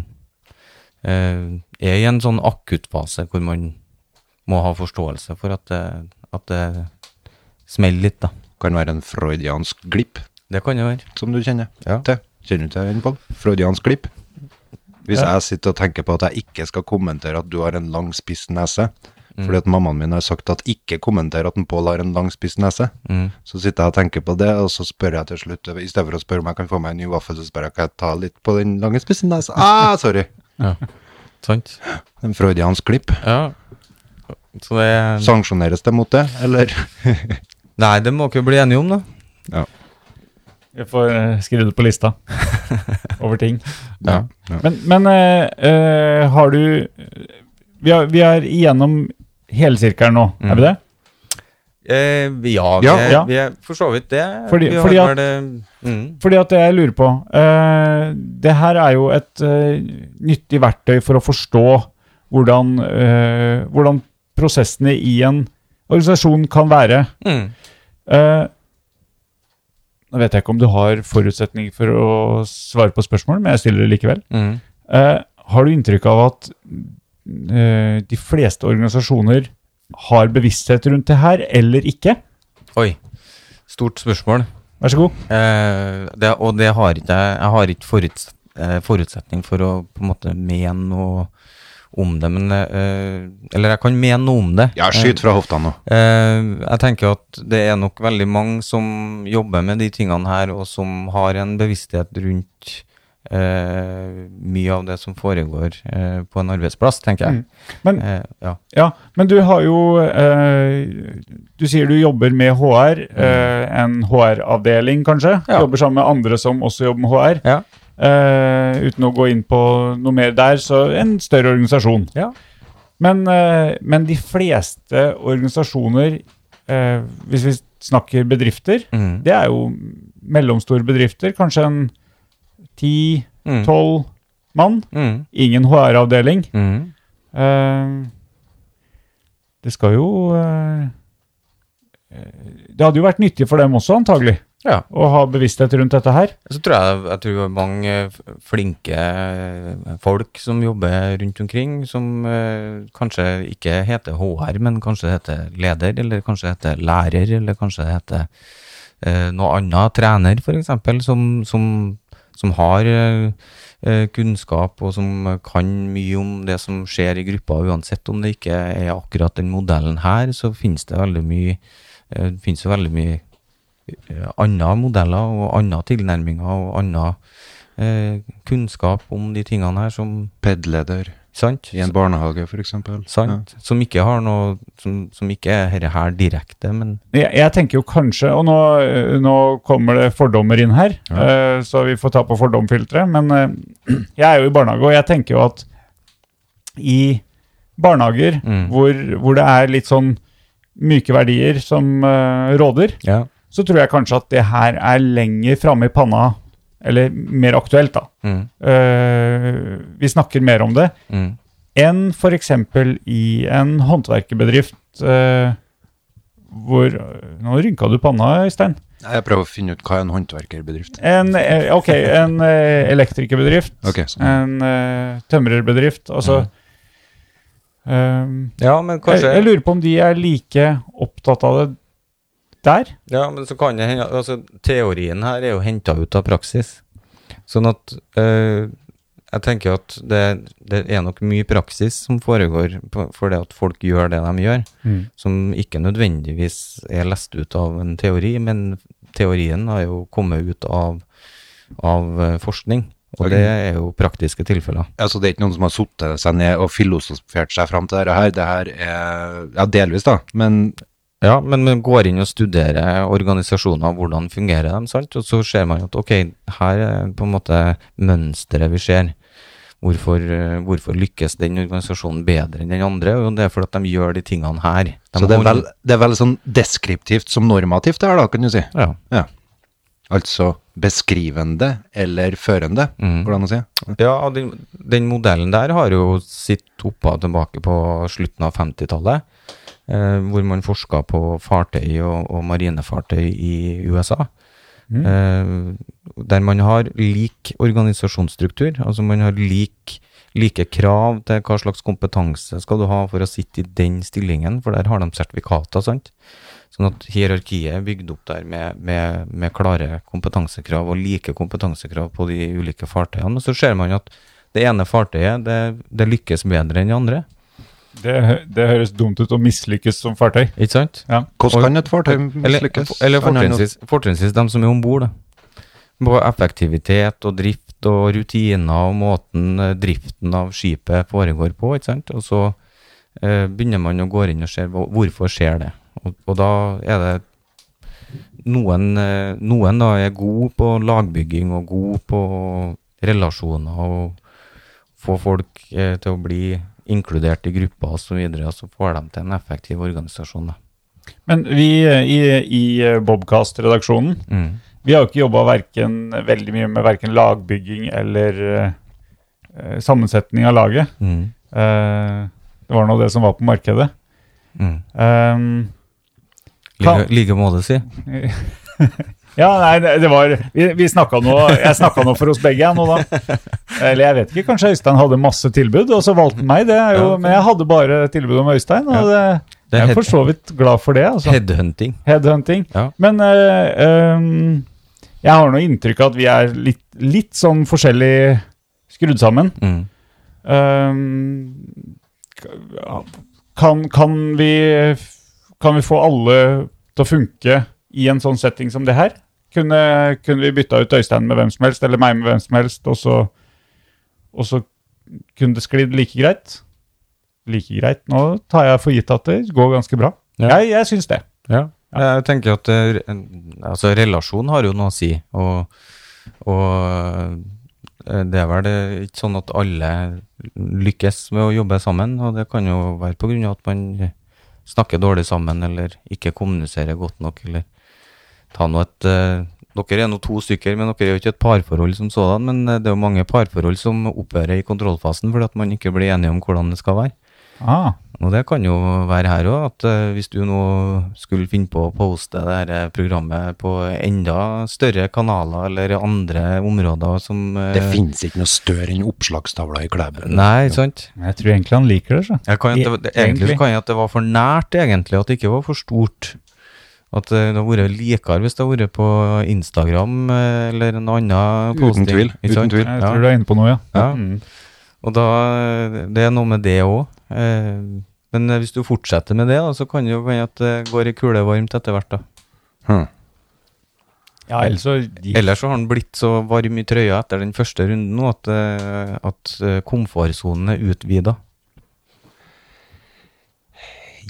Speaker 5: eh, er i en sånn akuttfase hvor man må ha forståelse for at det, at det smeller litt, da.
Speaker 2: Kan være en freudiansk glipp,
Speaker 5: Det kan jo være.
Speaker 2: som du kjenner
Speaker 5: Ja.
Speaker 2: til. Kjenner du til den, Pål? Freudiansk glipp. Hvis jeg sitter og tenker på at jeg ikke skal kommentere at du har en lang, spiss nese, fordi at mammaen min har sagt at ikke kommenter at en Pål har en lang, spiss nese,
Speaker 5: Mm.
Speaker 2: så sitter jeg og tenker på det, og så spør jeg til slutt, i stedet for å spørre om jeg kan få meg en ny vaffel, så spør jeg kan jeg ta litt på den lange, spisse nesa. Ah, sorry!
Speaker 5: Sant?
Speaker 2: En freudiansk glipp.
Speaker 5: Ja. Så det
Speaker 2: Sanksjoneres det mot det, eller?
Speaker 5: Nei, det må dere bli enige om, da.
Speaker 4: Jeg får eh, skrive det på lista over ting.
Speaker 2: Ja. ja.
Speaker 4: Men, men eh, eh, har du vi er, vi er igjennom helsirkelen nå, er
Speaker 2: Mm.
Speaker 4: vi det?
Speaker 5: Eh, ja,
Speaker 2: Ja,
Speaker 5: vi,
Speaker 4: ja.
Speaker 5: vi er for så vidt det.
Speaker 4: Fordi-
Speaker 5: vi
Speaker 4: fordi at-
Speaker 5: vel, eh, mm,
Speaker 4: Fordi at det jeg lurer på eh, Det her er jo et eh, nyttig verktøy for å forstå hvordan, eh, hvordan prosessene i en organisasjon kan være.
Speaker 5: mm.
Speaker 4: Eh, Nå vet jeg ikke om du har forutsetninger for å svare på spørsmål, men jeg stiller det likevel.
Speaker 5: Mm.
Speaker 4: Eh, har du inntrykk av at eh, de fleste organisasjoner har bevissthet rundt det her, eller ikke?
Speaker 5: Oi, stort spørsmål.
Speaker 4: Vær så god.
Speaker 5: Eh, det, og det har ikke jeg. Jeg har ikke foruts, eh, forutsetning for å på en måte mene noe om det, men eh, Eller jeg kan mene noe om det.
Speaker 2: ja, skyt fra hofta nå.
Speaker 5: Eh, jeg tenker at det er nok veldig mange som jobber med de tingene her, og som har en bevissthet rundt eh, mye av det som foregår eh, på en arbeidsplass, tenker jeg.
Speaker 4: Mm. Men
Speaker 5: Eh, ja.
Speaker 4: Ja, men du har jo eh, Du sier du jobber med HR, eh, en HR-avdeling kanskje?
Speaker 5: Ja.
Speaker 4: Jobber sammen med andre som også jobber med HR.
Speaker 5: Ja.
Speaker 4: Eh, uten å gå inn på noe mer der, så en større organisasjon.
Speaker 5: Ja.
Speaker 4: Men, eh, men de fleste organisasjoner, eh, hvis vi snakker bedrifter,
Speaker 5: Mm.
Speaker 4: det er jo mellomstore bedrifter, kanskje en 10-12
Speaker 5: Mm.
Speaker 4: mann.
Speaker 5: Mm.
Speaker 4: Ingen HR-avdeling.
Speaker 5: Mm.
Speaker 4: Eh, det skal jo eh, Det hadde jo vært nyttig for dem også, antagelig,
Speaker 5: Ja.
Speaker 4: å ha bevissthet rundt dette her.
Speaker 5: Så tror jeg, jeg tror det er mange f- flinke folk som jobber rundt omkring, som eh, kanskje ikke heter HR, men kanskje heter leder, eller kanskje heter lærer, eller kanskje heter eh, noe annet, trener f.eks., som, som, som har eh, eh, kunnskap og som kan mye om det som skjer i gruppa, uansett om det ikke er akkurat den modellen her, så finnes det veldig mye, eh, det finnes jo veldig mye eh, andre modeller og andre tilnærminger og andre eh, kunnskap om de tingene her som
Speaker 2: Pedleder
Speaker 5: Sant?
Speaker 2: i en barnehage, for eksempel.
Speaker 5: Sant? Som ikke har noe Som, som ikke er herre her direkte, men
Speaker 4: Jeg, jeg tenker jo kanskje Og nå, eh, nå kommer det fordommer inn her, eh, så vi får ta på fordomfilteret. Men eh, jeg er jo i barnehage, og jeg tenker jo at i barnehager
Speaker 5: Mm.
Speaker 4: hvor, hvor det er litt sånn myke verdier som eh, råder,
Speaker 5: Ja.
Speaker 4: så tror jeg kanskje at det her er lenger framme i panna, eller mer aktuelt, da.
Speaker 5: Mm,
Speaker 4: Eh, vi snakker mer om det,
Speaker 5: mm,
Speaker 4: enn f.eks. i en håndverkerbedrift eh, hvor Nå rynka du panna, Øystein.
Speaker 2: Ja. Jeg prøver å finne ut hva er en håndverkerbedrift.
Speaker 4: En, eh, ok, en eh, elektrikerbedrift,
Speaker 2: Ok, sånn.
Speaker 4: en eh, tømrerbedrift Altså eh,
Speaker 5: ja, men
Speaker 4: jeg,
Speaker 5: kanskje
Speaker 4: jeg lurer på om de er like opptatt av det der?
Speaker 5: Ja, men så kan det hende altså, Teorien her er jo henta ut av praksis. Sånn at eh, Jeg tenker at det, det er nok mye praksis som foregår på- for det at folk gjør det de gjør,
Speaker 4: Mm.
Speaker 5: som ikke nødvendigvis er lest ut av en teori, men teorien har jo kommet ut av, av eh, forskning. Og det er jo praktiske tilfeller.
Speaker 2: Altså, det er ikke noen som har satt seg ned og filosofert seg fram til dette her. Det her er Ja, delvis, da, men
Speaker 5: Ja, men man går inn og studerer organisasjoner, hvordan fungerer de, sant? Og så ser man jo at ok, her er på en måte mønsteret vi ser. Hvorfor, eh, hvorfor lykkes den organisasjonen bedre enn den andre? Jo, det er fordi at de gjør de tingene her. De
Speaker 2: Så det er, vel,
Speaker 5: holder-
Speaker 2: det er vel sånn deskriptivt som normativt, det her, da, kan du si.
Speaker 5: Ja.
Speaker 2: Ja. Altså beskrivende eller førende,
Speaker 5: Mhm.
Speaker 2: går det an å si.
Speaker 5: Ja, og den, den modellen der har jo sitt oppa og tilbake på slutten av 50-tallet, eh, hvor man forska på fartøy og, og marinefartøy i USA. Eh, der man har lik organisasjonsstruktur, altså man har lik, like krav til hva slags kompetanse skal du ha for å sitte i den stillingen, for der har de sertifikater, sant? Sånn at hierarkiet er bygd opp der med, med, med klare kompetansekrav og like kompetansekrav på de ulike fartøyene. Og så ser man at det ene fartøyet, det, det lykkes bedre enn det andre.
Speaker 4: Det, hø- det høres dumt ut å mislykkes som fartøy.
Speaker 5: Ikke sant?
Speaker 4: Ja.
Speaker 2: Hvordan kan et fartøy
Speaker 5: Eller,
Speaker 2: mislykkes?
Speaker 5: eller
Speaker 2: Annet enn å-
Speaker 5: fortrinnsvis, fortrinnsvis de som er om bord, da. På effektivitet og drift og rutiner og måten eh, driften av skipet foregår på, ikke sant. Og så eh, begynner man å gå inn og se hvor- hvorfor skjer det. Og, og da er det noen, eh, noen da er god på lagbygging og god på relasjoner og få folk eh, til å bli inkludert i grupper osv., og så får de til en effektiv organisasjon. da.
Speaker 4: Men vi eh, i, i eh, Bobcast-redaksjonen Vi har jo ikke jobba veldig mye med verken lagbygging eller eh, sammensetning av laget.
Speaker 5: Mm.
Speaker 4: Eh, det var nå det som var på markedet.
Speaker 5: Mm.
Speaker 4: Ehm,
Speaker 5: Like, like måte, si.
Speaker 4: ja, nei, det det var Vi, vi snakka nå Jeg snakka nå for oss begge, jeg, nå da. Eller jeg vet ikke, kanskje Øystein hadde masse tilbud, og så valgte han meg. det er jo,
Speaker 5: Ja.
Speaker 4: Men jeg hadde bare tilbud om Øystein, og det,
Speaker 5: Det er
Speaker 4: jeg
Speaker 5: head-
Speaker 4: er for så vidt glad for det. altså.
Speaker 5: Headhunting.
Speaker 4: Headhunting.
Speaker 5: Ja.
Speaker 4: Men eh, ehm, jeg har noe inntrykk av at vi er litt, litt sånn forskjellig skrudd sammen.
Speaker 5: Mm.
Speaker 4: Ehm, ja, kan, kan, vi, kan vi få alle til å funke i en sånn setting som det her? Kunne, kunne vi bytta ut Øystein med hvem som helst, eller meg med hvem som helst, og så, og så kunne det sklidd like greit? Like greit. Nå tar jeg for gitt at det går ganske bra.
Speaker 5: Ja.
Speaker 4: Jeg, jeg syns det.
Speaker 5: Jeg tenker at eh, altså, relasjon har jo noe å si, og, og eh, det er vel det, ikke sånn at alle lykkes med å jobbe sammen, og det kan jo være på grunn av at man snakker dårlig sammen, eller ikke kommuniserer godt nok, eller ta nå et eh, dere er nå to stykker, men dere er jo ikke et parforhold som sådan. Men eh, det er jo mange parforhold som opphører i kontrollfasen fordi at man ikke blir enige om hvordan det skal være.
Speaker 4: Ah.
Speaker 5: Og det kan jo være her òg, at eh, hvis du nå skulle finne på å poste det her eh, programmet på enda større kanaler eller andre områder som eh,
Speaker 2: Det finnes ikke noe større enn oppslagstavla i Klæbu.
Speaker 5: Nei, sant?
Speaker 4: Men Jeg tror egentlig han liker det. Så.
Speaker 5: Jeg kan, det,
Speaker 4: E,
Speaker 5: det, egentlig så kan jeg at det var for nært, egentlig. At det ikke var for stort. At eh, det hadde vært likere hvis det hadde vært på Instagram eh, eller en annen posting.
Speaker 2: tvil,
Speaker 5: ikke
Speaker 2: uten
Speaker 5: sant?
Speaker 2: tvil.
Speaker 5: Ja.
Speaker 4: Jeg tror du er inne på noe, ja.
Speaker 5: Ja.
Speaker 4: Mm.
Speaker 5: Og da, det er noe med det òg. Men eh, hvis du fortsetter med det, da, så kan det jo hende at det går i kule varmt etter hvert. da.
Speaker 2: Hm.
Speaker 4: ja ellers så gikk
Speaker 5: Ellers så har han blitt så varm i trøya etter den første runden nå at, eh, at eh, komfortsonen er utvida.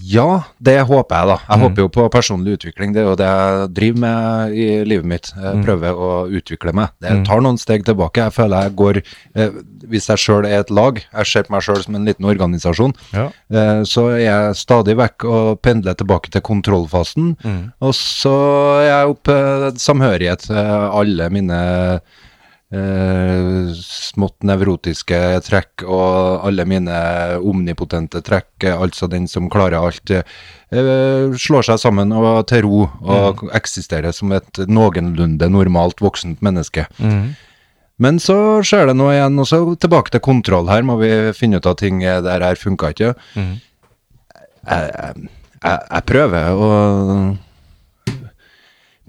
Speaker 2: Ja, det håper jeg, da. Jeg
Speaker 5: Mhm.
Speaker 2: håper jo på personlig utvikling. Det er jo det jeg driver med i livet mitt. Jeg
Speaker 5: Mhm.
Speaker 2: prøver å utvikle meg. Jeg tar noen steg tilbake. Jeg føler jeg går eh, Hvis jeg sjøl er et lag, jeg ser på meg sjøl som en liten organisasjon,
Speaker 5: Ja.
Speaker 2: eh, så er jeg stadig vekk og pendler tilbake til kontrollfasen. Og så er jeg oppe eh, samhørighet til alle mine eh, smått nevrotiske trekk og alle mine omnipotente trekk, eh, altså den som klarer alt, eh, slår seg sammen og til ro og eksisterer som et noenlunde normalt voksent menneske. Men så skjer det noe igjen, og så tilbake til kontroll. Her må vi finne ut av ting eh, der her funka ikke. Jeg, jeg, jeg prøver å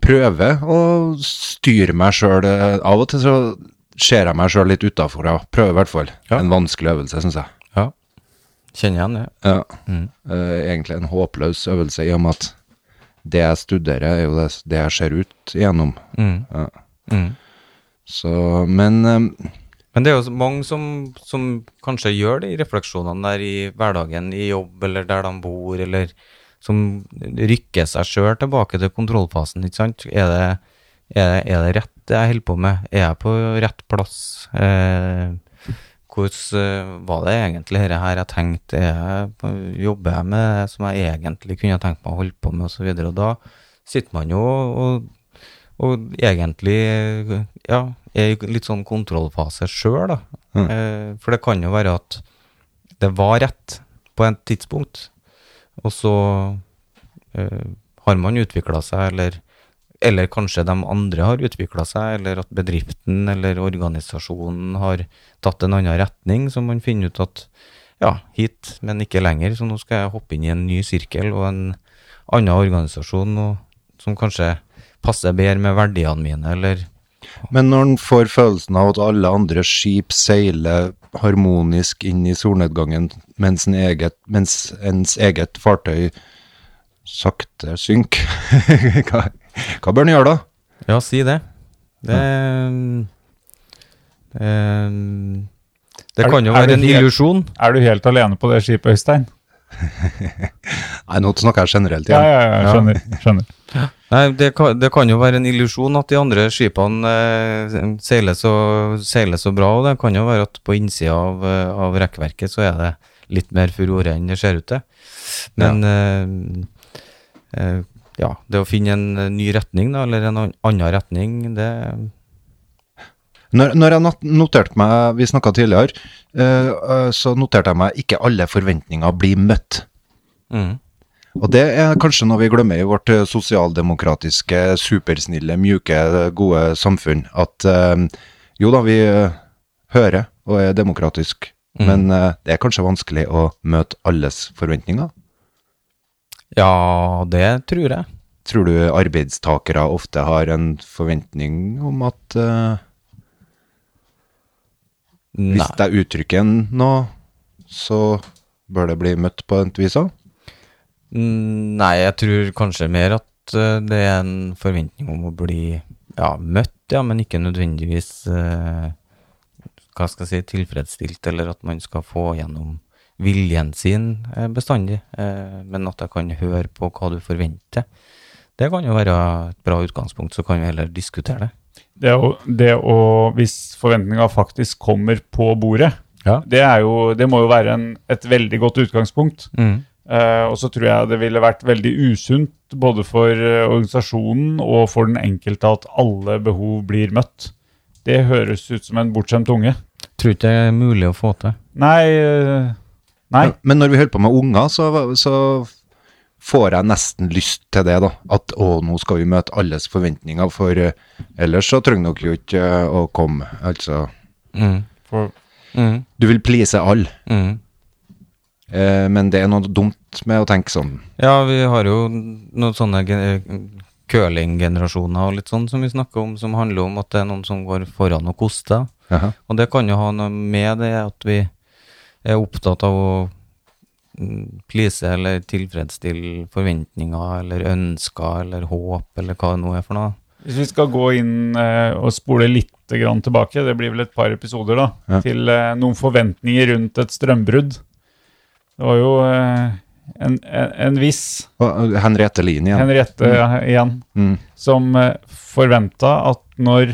Speaker 2: prøve å styre meg sjøl. Av og til så ser jeg meg sjøl litt utafor og prøver i hvert fall.
Speaker 5: Ja.
Speaker 2: En vanskelig øvelse, syns jeg.
Speaker 5: Ja. Kjenner igjen det.
Speaker 2: Ja. Eh, egentlig en håpløs øvelse i og med at det jeg studerer, er jo det, det jeg ser ut igjennom.
Speaker 5: Mm.
Speaker 2: Ja.
Speaker 5: Mm.
Speaker 2: Så, men eh,
Speaker 5: Men det er jo så mange som, som kanskje gjør de refleksjonene der i hverdagen, i jobb eller der de bor, eller som rykker seg sjøl tilbake til kontrollfasen, ikke sant. Er det, er det, er det rett det jeg holder på med? Er jeg på rett plass? Eh, hvordan eh, var det egentlig dette her jeg tenkte? Er jeg, jobber jeg med det som jeg egentlig kunne tenkt meg å holde på med, og så videre, Og da sitter man jo og og egentlig ja, er i litt sånn kontrollfase sjøl, da. Eh, For det kan jo være at det var rett på et tidspunkt, og så eh, har man utvikla seg, eller, eller kanskje de andre har utvikla seg, eller at bedriften eller organisasjonen har tatt en annen retning, så man finner ut at ja, hit, men ikke lenger, så nå skal jeg hoppe inn i en ny sirkel og en annen organisasjon og, som kanskje passer bedre med verdiene mine, eller
Speaker 2: Men når en får følelsen av at alle andre skip seiler harmonisk inn i solnedgangen, mens, en eget, mens ens eget fartøy sakte synker, hva, hva bør en gjøre da?
Speaker 5: Ja, si det. Det, Ehm, det
Speaker 4: Er-
Speaker 5: kan jo
Speaker 4: er
Speaker 5: være
Speaker 4: det
Speaker 5: en
Speaker 4: helt-
Speaker 5: illusjon.
Speaker 4: Er du helt alene på det skipet, Øystein?
Speaker 2: Nei, nå snakker jeg generelt
Speaker 4: Ja,
Speaker 2: igjen.
Speaker 4: ja, ja, skjønner. skjønner.
Speaker 5: Nei, det kan, det kan jo være en illusjon at de andre skipene eh, seiler, så, seiler så bra, og det kan jo være at på innsida av, eh, av rekkverket så er det litt mer furore enn det ser ut til. Men eh, eh, ja, det å finne en eh, ny retning, da, eller en an- annen retning, det
Speaker 2: Når, når jeg not- noterte meg, vi snakka tidligere, eh, eh, så noterte jeg meg ikke alle forventninger blir møtt.
Speaker 5: mm.
Speaker 2: Og det er kanskje noe vi glemmer i vårt eh, sosialdemokratiske, supersnille, mjuke, eh, gode samfunn. At eh, jo da, vi eh, hører og er demokratisk, men eh, det er kanskje vanskelig å møte alles forventninger.
Speaker 5: Ja, det tror jeg.
Speaker 2: Tror du arbeidstakere ofte har en forventning om at eh, hvis
Speaker 5: Nei.
Speaker 2: jeg uttrykker noe, så bør det bli møtt på et vis òg?
Speaker 5: Mm, Nei, jeg tror kanskje mer at eh, det er en forventning om å bli ja, møtt, ja, men ikke nødvendigvis eh, hva skal jeg si, tilfredsstilt, eller at man skal få gjennom viljen sin eh, bestandig. eh, Men at jeg kan høre på hva du forventer. Det kan jo være et bra utgangspunkt, så kan vi heller diskutere det.
Speaker 4: Det å, det å Hvis forventninga faktisk kommer på bordet,
Speaker 5: Ja.
Speaker 4: det, er jo, det må jo være en, et veldig godt utgangspunkt. Eh, og så tror jeg det ville vært veldig usunt både for eh, organisasjonen og for den enkelte at alle behov blir møtt. Det høres ut som en bortskjemt unge.
Speaker 5: Tror ikke det er mulig å få til.
Speaker 4: Nei, eh, nei.
Speaker 2: Men- Men når vi holder på med unger, så, så får jeg nesten lyst til det, da. At å, nå skal vi møte alles forventninger, for eh, ellers så trenger dere jo ikke eh, å komme. Altså,
Speaker 4: For,
Speaker 5: Mm.
Speaker 2: du vil please alle,
Speaker 5: Mm.
Speaker 2: eh, men det er noe dumt med å tenke sånn.
Speaker 5: Ja, vi har jo noen sånne gen- eh, curlinggenerasjoner og litt sånn som vi snakker om, som handler om at det er noen som går foran og koster.
Speaker 2: Jaha.
Speaker 5: Og det kan jo ha noe med det at vi er opptatt av å mm, please eller tilfredsstille forventninger eller ønsker eller håp eller hva det nå er for noe.
Speaker 4: Hvis vi skal gå inn eh, og spole litt grann tilbake, det blir vel et par episoder, da,
Speaker 2: Ja.
Speaker 4: til eh, noen forventninger rundt et strømbrudd. Det var jo eh, en, en, en viss
Speaker 2: Og, eh, Henriette Lien igjen.
Speaker 4: Henriette eh, igjen,
Speaker 2: Mm.
Speaker 4: som eh, forventa at når,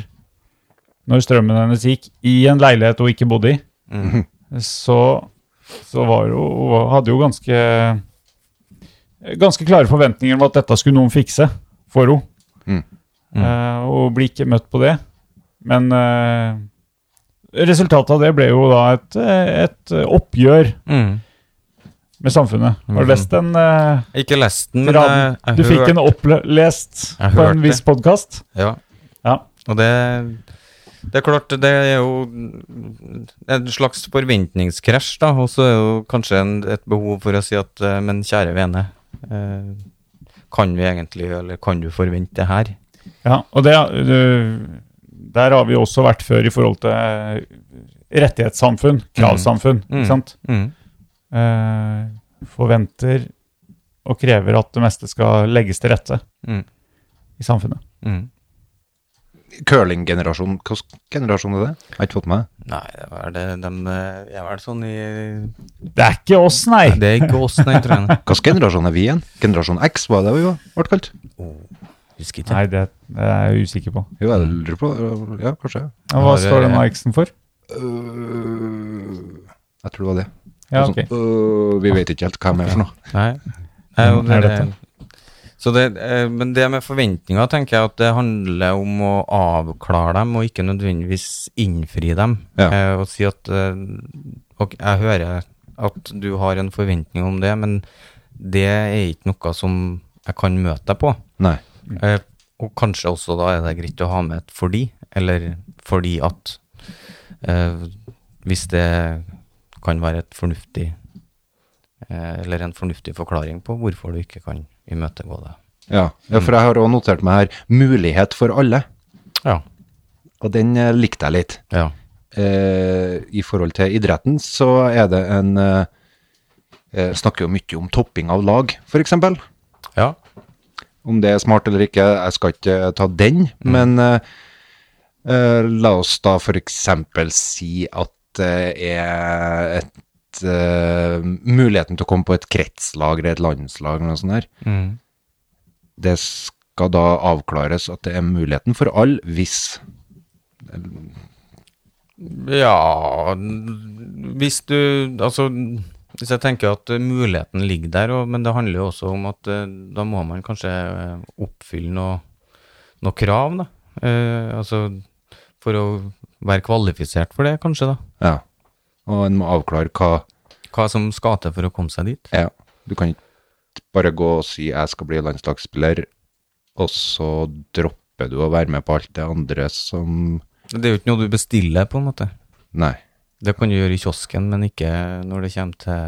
Speaker 4: når strømmen hennes gikk i en leilighet hun ikke bodde i,
Speaker 5: Mm.
Speaker 4: så, så var jo, hun hadde jo ganske, ganske klare forventninger om at dette skulle noen fikse for henne.
Speaker 2: Mm.
Speaker 5: Mm.
Speaker 4: Eh, og blir ikke møtt på det. Men eh, resultatet av det ble jo da et, et oppgjør
Speaker 5: Mm.
Speaker 4: med samfunnet. Har du lest den? eh,
Speaker 5: Ikke lest den, men jeg,
Speaker 4: tiraden?
Speaker 5: jeg
Speaker 4: du fikk
Speaker 5: hørte-
Speaker 4: den opplest
Speaker 5: Jeg
Speaker 4: på
Speaker 5: hørte.
Speaker 4: en viss podkast?
Speaker 5: Ja.
Speaker 4: Ja.
Speaker 5: Og det, det er klart, det er jo en slags forventningskrasj, da. Og så er det jo kanskje en, et behov for å si at eh, men kjære vene, eh, kan vi egentlig, eller kan du forvente det her?
Speaker 4: Ja, og det, eh, der har vi også vært før i forhold til eh, rettighetssamfunn, kravsamfunn.
Speaker 5: Mm.
Speaker 4: ikke sant?
Speaker 5: Mm.
Speaker 4: eh, forventer og krever at det meste skal legges til rette
Speaker 5: Mm.
Speaker 4: i samfunnet.
Speaker 5: Mm.
Speaker 2: Curling-generasjon, hvilken generasjon er det? Jeg har ikke fått med meg.
Speaker 5: Nei, det er, det, dem, eh, jeg er vel sånn i
Speaker 4: Det er ikke oss, nei.
Speaker 5: Det er ikke oss, nei, tror jeg.
Speaker 2: Hvilken generasjon er vi igjen? Generasjon X var det vi var- ble kalt?
Speaker 5: Husker ikke.
Speaker 4: Nei, det det er jeg usikker på.
Speaker 2: Jo, jeg lurer på Ja, kanskje.
Speaker 4: Ja, Hva
Speaker 5: Har,
Speaker 4: står den
Speaker 5: eh,
Speaker 4: X-en for?
Speaker 2: Øh, jeg tror det var det.
Speaker 4: Ja,
Speaker 2: Noe
Speaker 4: ok.
Speaker 2: sånt, øh, vi vet ikke helt hva de er for noe.
Speaker 5: Nei. Nei, og
Speaker 4: Er
Speaker 5: det,
Speaker 4: dette?
Speaker 5: så det, eh, men det med forventninger tenker jeg at det handler om å avklare dem, og ikke nødvendigvis innfri dem.
Speaker 2: Ja.
Speaker 5: Eh, og si at eh, ok, jeg hører at du har en forventning om det, men det er ikke noe som jeg kan møte deg på.
Speaker 2: Nei.
Speaker 5: Eh, og kanskje også da er det greit å ha med et fordi, eller fordi at eh, Hvis det kan være et fornuftig eh, Eller en fornuftig forklaring på hvorfor du ikke kan imøtegå det.
Speaker 2: Ja, ja for jeg har også notert meg her 'mulighet for alle',
Speaker 5: Ja.
Speaker 2: og den eh, likte jeg litt.
Speaker 5: ja.
Speaker 2: eh, i forhold til idretten, så er det en eh, eh, Snakker jo mye om topping av lag, f.eks.
Speaker 5: Ja.
Speaker 2: Om det er smart eller ikke, jeg skal ikke ta den, men eh, eh, la oss da f.eks. si at det er et eh, Muligheten til å komme på et kretslag eller et landslag eller noe sånt her.
Speaker 5: Mm.
Speaker 2: Det skal da avklares at det er muligheten for alle hvis
Speaker 5: Ja n- Hvis du Altså, hvis jeg tenker at eh, muligheten ligger der, og, men det handler jo også om at eh, da må man kanskje eh, oppfylle noe, noe krav, da. Eh, altså for å være kvalifisert for det, kanskje, da.
Speaker 2: Ja. Og en må avklare hva
Speaker 5: Hva som skal til for å komme seg dit.
Speaker 2: Ja, du kan ikke bare gå og si jeg skal bli landslagsspiller, og så dropper du å være med på alt det andre som
Speaker 5: Det er jo ikke noe du bestiller, på en måte.
Speaker 2: Nei.
Speaker 5: Det kan du gjøre i kiosken, men ikke når det kommer til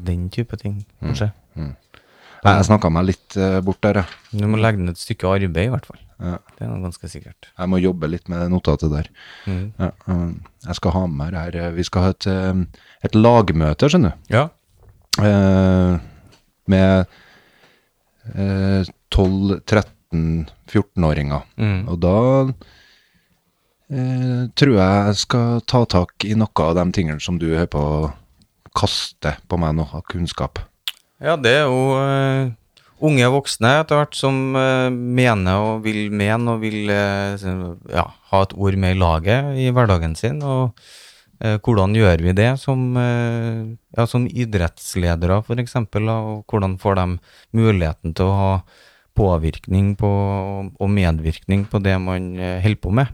Speaker 5: den type ting, kanskje.
Speaker 2: Nei, jeg snakka meg litt eh, bort der, jeg.
Speaker 5: Du må legge ned et stykke arbeid, i hvert fall.
Speaker 2: Ja.
Speaker 5: Det er noe ganske sikkert.
Speaker 2: Jeg må jobbe litt med det notatet der.
Speaker 5: Mm.
Speaker 2: Ja, um, jeg skal ha med her eh, Vi skal ha et, eh, et lagmøte, skjønner du.
Speaker 5: Ja.
Speaker 2: Eh, med eh, 12-13-14-åringer.
Speaker 5: Mm.
Speaker 2: Og da eh, tror jeg jeg skal ta tak i noe av de tingene som du holder på å kaste på meg nå, av kunnskap.
Speaker 5: Ja, det er jo eh, unge voksne etter hvert som eh, mener og vil mene og vil eh, så- ja, ha et ord med i laget i hverdagen sin. Og eh, hvordan gjør vi det som, eh, ja, som idrettsledere, f.eks.? Og hvordan får de muligheten til å ha påvirkning på, og medvirkning på det man eh, holder på med?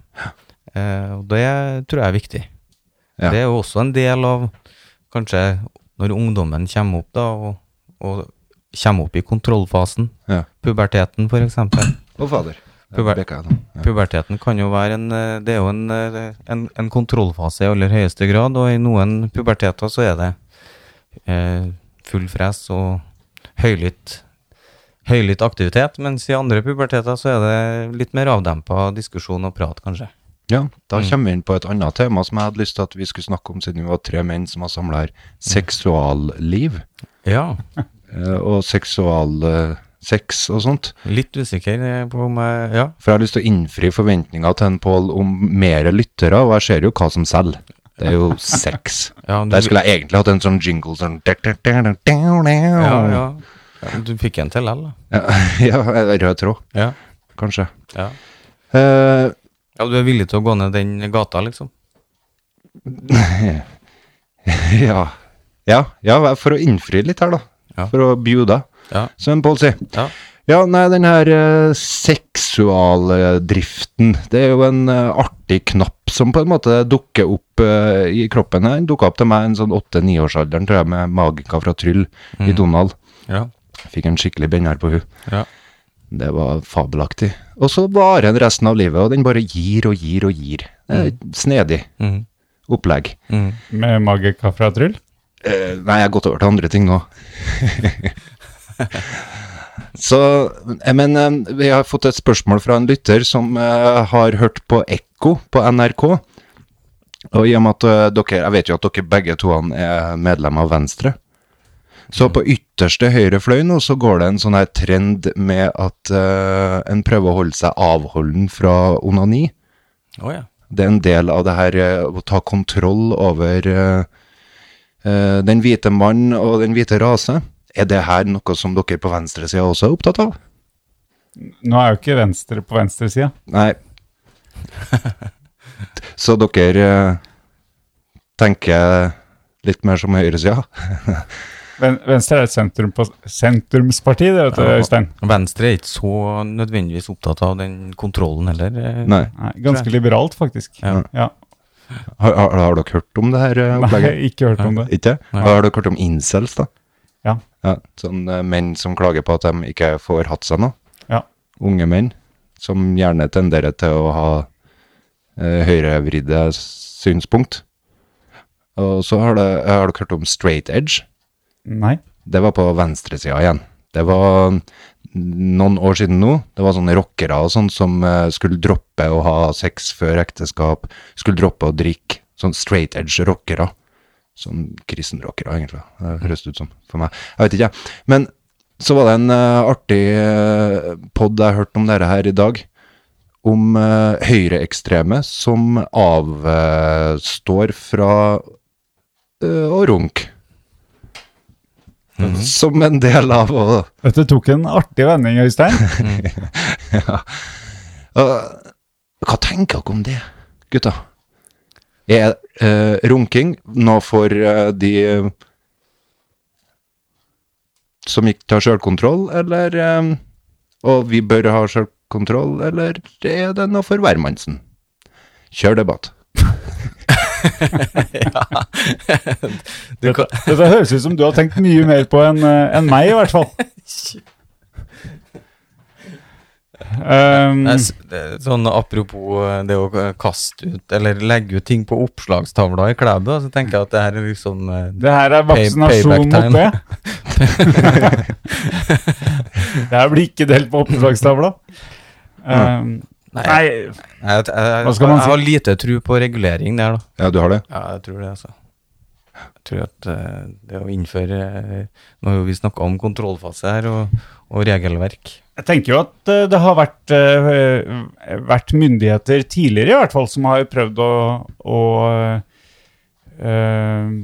Speaker 5: Eh, og det tror jeg er viktig.
Speaker 2: Ja.
Speaker 5: Det er jo også en del av kanskje når ungdommen kommer opp da, og, og kommer opp i kontrollfasen.
Speaker 2: Ja.
Speaker 5: Puberteten, for eksempel.
Speaker 2: Å, fader.
Speaker 5: Du
Speaker 2: Der
Speaker 5: bare-
Speaker 2: bekka jeg nå. Ja.
Speaker 5: Puberteten kan jo være en, eh, det er jo en, eh, en, en kontrollfase i aller høyeste grad, og i noen puberteter så er det eh, full fres og høylytt, høylytt aktivitet, mens i andre puberteter så er det litt mer avdempa diskusjon og prat, kanskje.
Speaker 2: ja, da
Speaker 5: Mm.
Speaker 2: kommer vi inn på et annet tema som jeg hadde lyst til at vi skulle snakke om, siden vi var tre menn som har samla
Speaker 5: Mm.
Speaker 2: her. Seksualliv.
Speaker 5: Ja,
Speaker 2: eh, Og seksual... eh, Sex og sånt.
Speaker 5: litt usikker eh, på om jeg Ja,
Speaker 2: For jeg har lyst til å innfri forventninga til en Pål om mer lyttere, og jeg ser jo hva som selger. Det er jo sex.
Speaker 5: Ja, du-
Speaker 2: Der skulle jeg egentlig hatt en sånn jingle sånn
Speaker 5: ja, ja. Du fikk en til L, da.
Speaker 2: Ja, ja, rød tråd,
Speaker 5: Ja.
Speaker 2: kanskje.
Speaker 5: ja.
Speaker 2: Eh,
Speaker 5: Ja, du er villig til å gå ned den gata, liksom?
Speaker 2: ja. Ja, ja, for å innfri litt her, da.
Speaker 5: Ja.
Speaker 2: For å bjuda,
Speaker 5: Ja.
Speaker 2: som Pål sier.
Speaker 5: Ja.
Speaker 2: Ja, nei, den her eh, seksualdriften, det er jo en eh, artig knapp som på en måte dukker opp eh, i kroppen. her. Den dukka opp til meg i en sånn åtte-niårsalderen, tror jeg, med Magica fra Tryll i Donald.
Speaker 5: Ja.
Speaker 2: Fikk en skikkelig benner på hun.
Speaker 5: ja.
Speaker 2: Det var fabelaktig. Og så varer den resten av livet, og den bare gir og gir og gir. Det er et Snedig
Speaker 5: Mhm.
Speaker 2: opplegg.
Speaker 5: Mhm.
Speaker 4: Med Magica fra Tryll?
Speaker 2: Eh, nei, jeg har gått over til andre ting nå. Så, eh, men eh, vi har fått et spørsmål fra en lytter som eh, har hørt på Ekko på NRK. Og i og med at eh, dere, jeg vet jo at dere begge to er medlem av Venstre. Så på ytterste høyre fløy nå så går det en sånn her trend med at eh, en prøver å holde seg avholden fra onani.
Speaker 5: Å ja.
Speaker 2: Det er en del av det her eh, å ta kontroll over eh, eh, den hvite mann og den hvite rase. Er det her noe som dere på venstresida også er opptatt av?
Speaker 4: Nå er jo ikke venstre på venstresida.
Speaker 2: Nei. Så dere eh, tenker litt mer som høyresida?
Speaker 4: Ven venstre er et sentrum på, sentrumsparti, det vet du, Øystein.
Speaker 5: Venstre er ikke så nødvendigvis opptatt av den kontrollen heller. eh.
Speaker 2: Nei.
Speaker 4: Nei, ganske liberalt, faktisk.
Speaker 5: Ja.
Speaker 4: Ja.
Speaker 2: Har, har, har dere hørt om det her eh,
Speaker 4: Nei,
Speaker 2: opplegget?
Speaker 4: ikke hørt om det.
Speaker 2: Ikke?
Speaker 5: Nei.
Speaker 2: Har dere hørt om incels, da?
Speaker 4: Ja.
Speaker 2: sånn eh, menn som klager på at de ikke får hatt seg noe.
Speaker 4: Ja.
Speaker 2: Unge menn som gjerne tenderer til å ha eh, høyrevridde synspunkt. Og så har, det, har dere hørt om straight edge.
Speaker 4: Nei.
Speaker 2: Det var på venstresida igjen. Det var noen år siden nå. Det var sånne rockere og sånn som eh, skulle droppe å ha sex før ekteskap, skulle droppe å drikke. Sånn straight edge rockere. Sånn kristenrockere, egentlig. Det høres ut som for meg. Jeg vet ikke, jeg. Men så var det en eh, artig uh, pod jeg hørte om dette her i dag. Om eh, høyreekstreme som avstår fra eh, å runke. Som en del av å
Speaker 4: Dette tok en artig vending, Øystein.
Speaker 2: Øh, Hva tenker dere om det, gutta? Er eh, runking noe for eh, de eh, som ikke tar sjølkontroll, eller eh, Og vi bør ha sjølkontroll, eller er det noe for hvermannsen? Kjør debatt.
Speaker 5: Du kan,
Speaker 4: Dette høres ut som du har tenkt mye mer på enn eh, enn meg, i hvert fall. Um, Ehm,
Speaker 5: Nei, s- det- sånn apropos eh, det å eh, kaste ut eller legge ut ting på oppslagstavla i Klæbu, da, så tenker jeg at det her er liksom eh,
Speaker 4: det her er vaksinasjon
Speaker 5: Pay- payback
Speaker 4: mot det.
Speaker 5: time.
Speaker 4: det her blir ikke delt på oppslagstavla. Um,
Speaker 5: Mm. Nei,
Speaker 4: nei,
Speaker 5: jeg, jeg, jeg, jeg,
Speaker 4: Hva skal man si?
Speaker 5: har lite tro på regulering der, da.
Speaker 2: Ja, du har det?
Speaker 5: Ja, jeg tror det, altså. Jeg tror at eh, det å innføre eh, Nå har jo vi snakka om kontrollfase her, og, og regelverk.
Speaker 4: jeg tenker jo at eh, det har vært, eh, vært myndigheter tidligere, i hvert fall, som har prøvd å, å eh,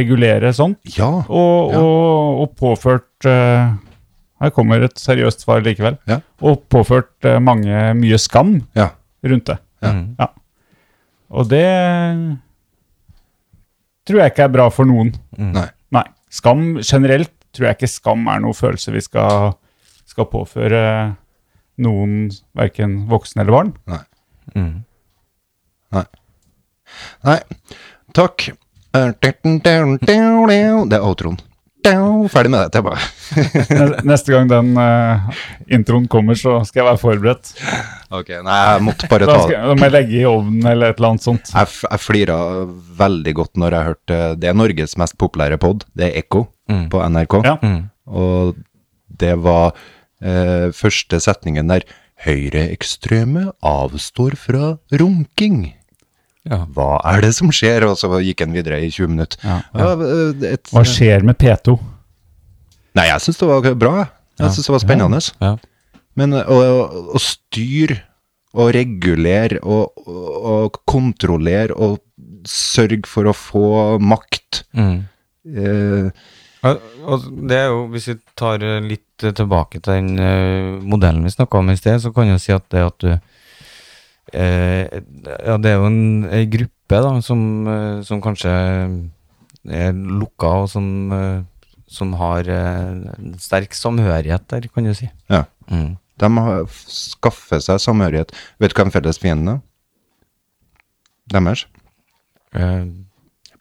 Speaker 4: regulere sånt.
Speaker 2: Ja.
Speaker 4: og,
Speaker 2: Ja.
Speaker 4: og, og påført eh, Her kommer et seriøst svar likevel.
Speaker 2: Ja.
Speaker 4: Og påført eh, mange mye skam
Speaker 2: ja.
Speaker 4: rundt det.
Speaker 5: Mm.
Speaker 4: Og det tror jeg ikke er bra for noen.
Speaker 5: Mm.
Speaker 2: Nei.
Speaker 4: Nei. Skam generelt tror jeg ikke skam er noe følelse vi skal, skal påføre noen, verken voksne eller barn.
Speaker 5: Mm.
Speaker 2: Nei. Takk. Det er outroen. Ferdig med det. Det er bare
Speaker 4: Ne- Neste gang den eh, introen kommer, så skal jeg være forberedt.
Speaker 2: Ok, nei, jeg måtte bare
Speaker 4: Da,
Speaker 2: ta
Speaker 4: skal,
Speaker 2: det.
Speaker 4: jeg- da må jeg legge i ovnen eller et eller annet sånt.
Speaker 2: Jeg, f- jeg flira veldig godt når jeg hørte Det er Norges mest populære pod, det er Ekko
Speaker 5: Mm.
Speaker 2: på NRK.
Speaker 4: Ja.
Speaker 5: Mm.
Speaker 2: Og det var eh, første setningen der Høyreekstreme avstår fra runking.
Speaker 5: Ja.
Speaker 2: Hva er det som skjer? Og så gikk han videre i 20 minutter. Ja, eh, et,
Speaker 4: Hva skjer med P2?
Speaker 2: nei, jeg syns det var bra. jeg. Jeg syns det var spennende.
Speaker 5: Ja.
Speaker 2: Men eh, å, å, å styre og regulere og, og, og kontrollere og sørge for å få makt
Speaker 5: Mm.
Speaker 2: eh,
Speaker 5: Og, og det er jo, hvis vi tar eh, litt eh, tilbake til den eh, modellen vi snakka om i sted, så kan jeg jo si at det at du eh, Ja, det er jo en, ei gruppe da, som, eh, som kanskje er lukka, og som, eh, som har eh, en sterk samhørighet der, kan du si.
Speaker 2: Ja.
Speaker 5: Mm.
Speaker 2: De har skaffet seg samhørighet. Vet du hvem felles fienden er? Deres?
Speaker 5: Eh,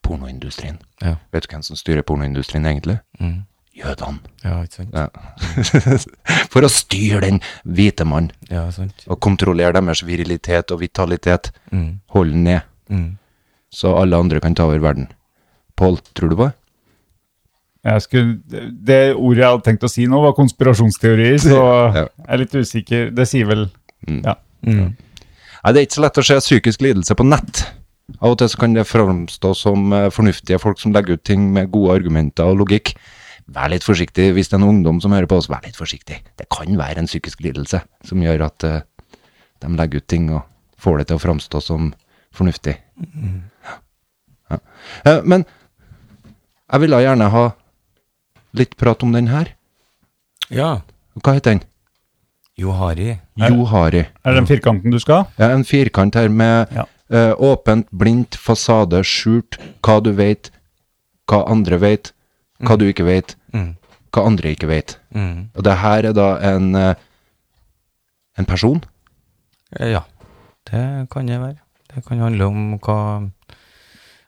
Speaker 2: Pornoindustrien.
Speaker 5: Ja.
Speaker 2: Vet du hvem som styrer pornoindustrien egentlig?
Speaker 5: mm.
Speaker 2: Jødene.
Speaker 5: Ja, ikke sant?
Speaker 2: Ja. For å styre den hvite mann
Speaker 5: Ja, sant.
Speaker 2: og kontrollere deres virilitet og vitalitet.
Speaker 5: Mm.
Speaker 2: Hold den ned,
Speaker 5: Mm.
Speaker 2: så alle andre kan ta over verden. Pål, tror du på det?
Speaker 4: Jeg skulle, det ordet jeg hadde tenkt å si nå, var konspirasjonsteorier, så
Speaker 2: Ja.
Speaker 4: jeg er litt usikker. Det sier vel ja.
Speaker 5: Mm.
Speaker 2: Nei, det er ikke så lett å se psykisk lidelse på nett. Av og til så kan det framstå som eh, fornuftige folk som legger ut ting med gode argumenter og logikk. Vær litt forsiktig hvis det er en ungdom som hører på oss, vær litt forsiktig. Det kan være en psykisk lidelse som gjør at eh, de legger ut ting og får det til å framstå som fornuftig. Ja. Eh, Men jeg ville gjerne ha litt prat om den her.
Speaker 5: Ja.
Speaker 2: Hva heter den?
Speaker 5: Johari.
Speaker 2: Johari.
Speaker 4: Er det den firkanten du skal ha?
Speaker 2: Ja, en firkant her med
Speaker 4: Ja.
Speaker 2: eh, åpent, blindt, fasade, skjult, hva du vet, hva andre vet, hva du ikke vet,
Speaker 5: Mm.
Speaker 2: hva andre ikke vet.
Speaker 5: Mm.
Speaker 2: Og det her er da en, eh, en person.
Speaker 5: Eh, Ja, det kan det være. Det kan handle om hva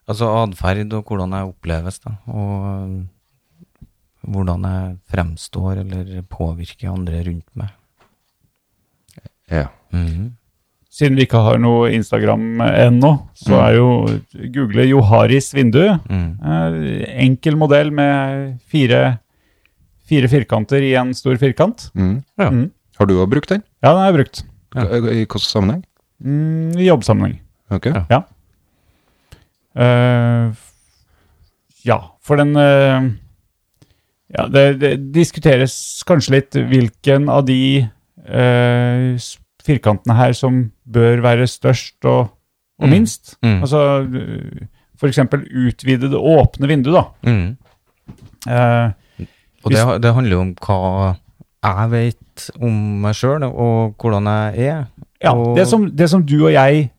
Speaker 5: Altså atferd og hvordan jeg oppleves, da. Og eh, hvordan jeg fremstår eller påvirker andre rundt meg.
Speaker 2: Ja.
Speaker 5: Mhm.
Speaker 4: Siden vi ikke har noe Instagram ennå, så er jo Google Joharis vindu.
Speaker 5: Mm.
Speaker 4: Eh, Enkel modell med fire, fire firkanter i en stor firkant.
Speaker 2: Mm.
Speaker 5: Ja.
Speaker 4: Mm.
Speaker 2: Har du òg brukt den?
Speaker 4: Ja, den har jeg brukt.
Speaker 5: Ja.
Speaker 2: K- I hvilken sammenheng?
Speaker 4: Mm, I jobbsammenheng.
Speaker 2: Ok.
Speaker 5: Ja.
Speaker 4: Eh, ja, for den eh, ja, det, det diskuteres kanskje litt hvilken av de eh, s- firkantene her som bør være størst og, og
Speaker 5: Mm.
Speaker 4: minst.
Speaker 5: Mm.
Speaker 4: Altså eh, for eksempel utvide det åpne vinduet, da.
Speaker 5: Mm.
Speaker 4: Eh,
Speaker 5: Og det, det handler jo om hva jeg vet om meg sjøl, og hvordan jeg er.
Speaker 4: ja,
Speaker 5: og,
Speaker 4: det som, det som du og jeg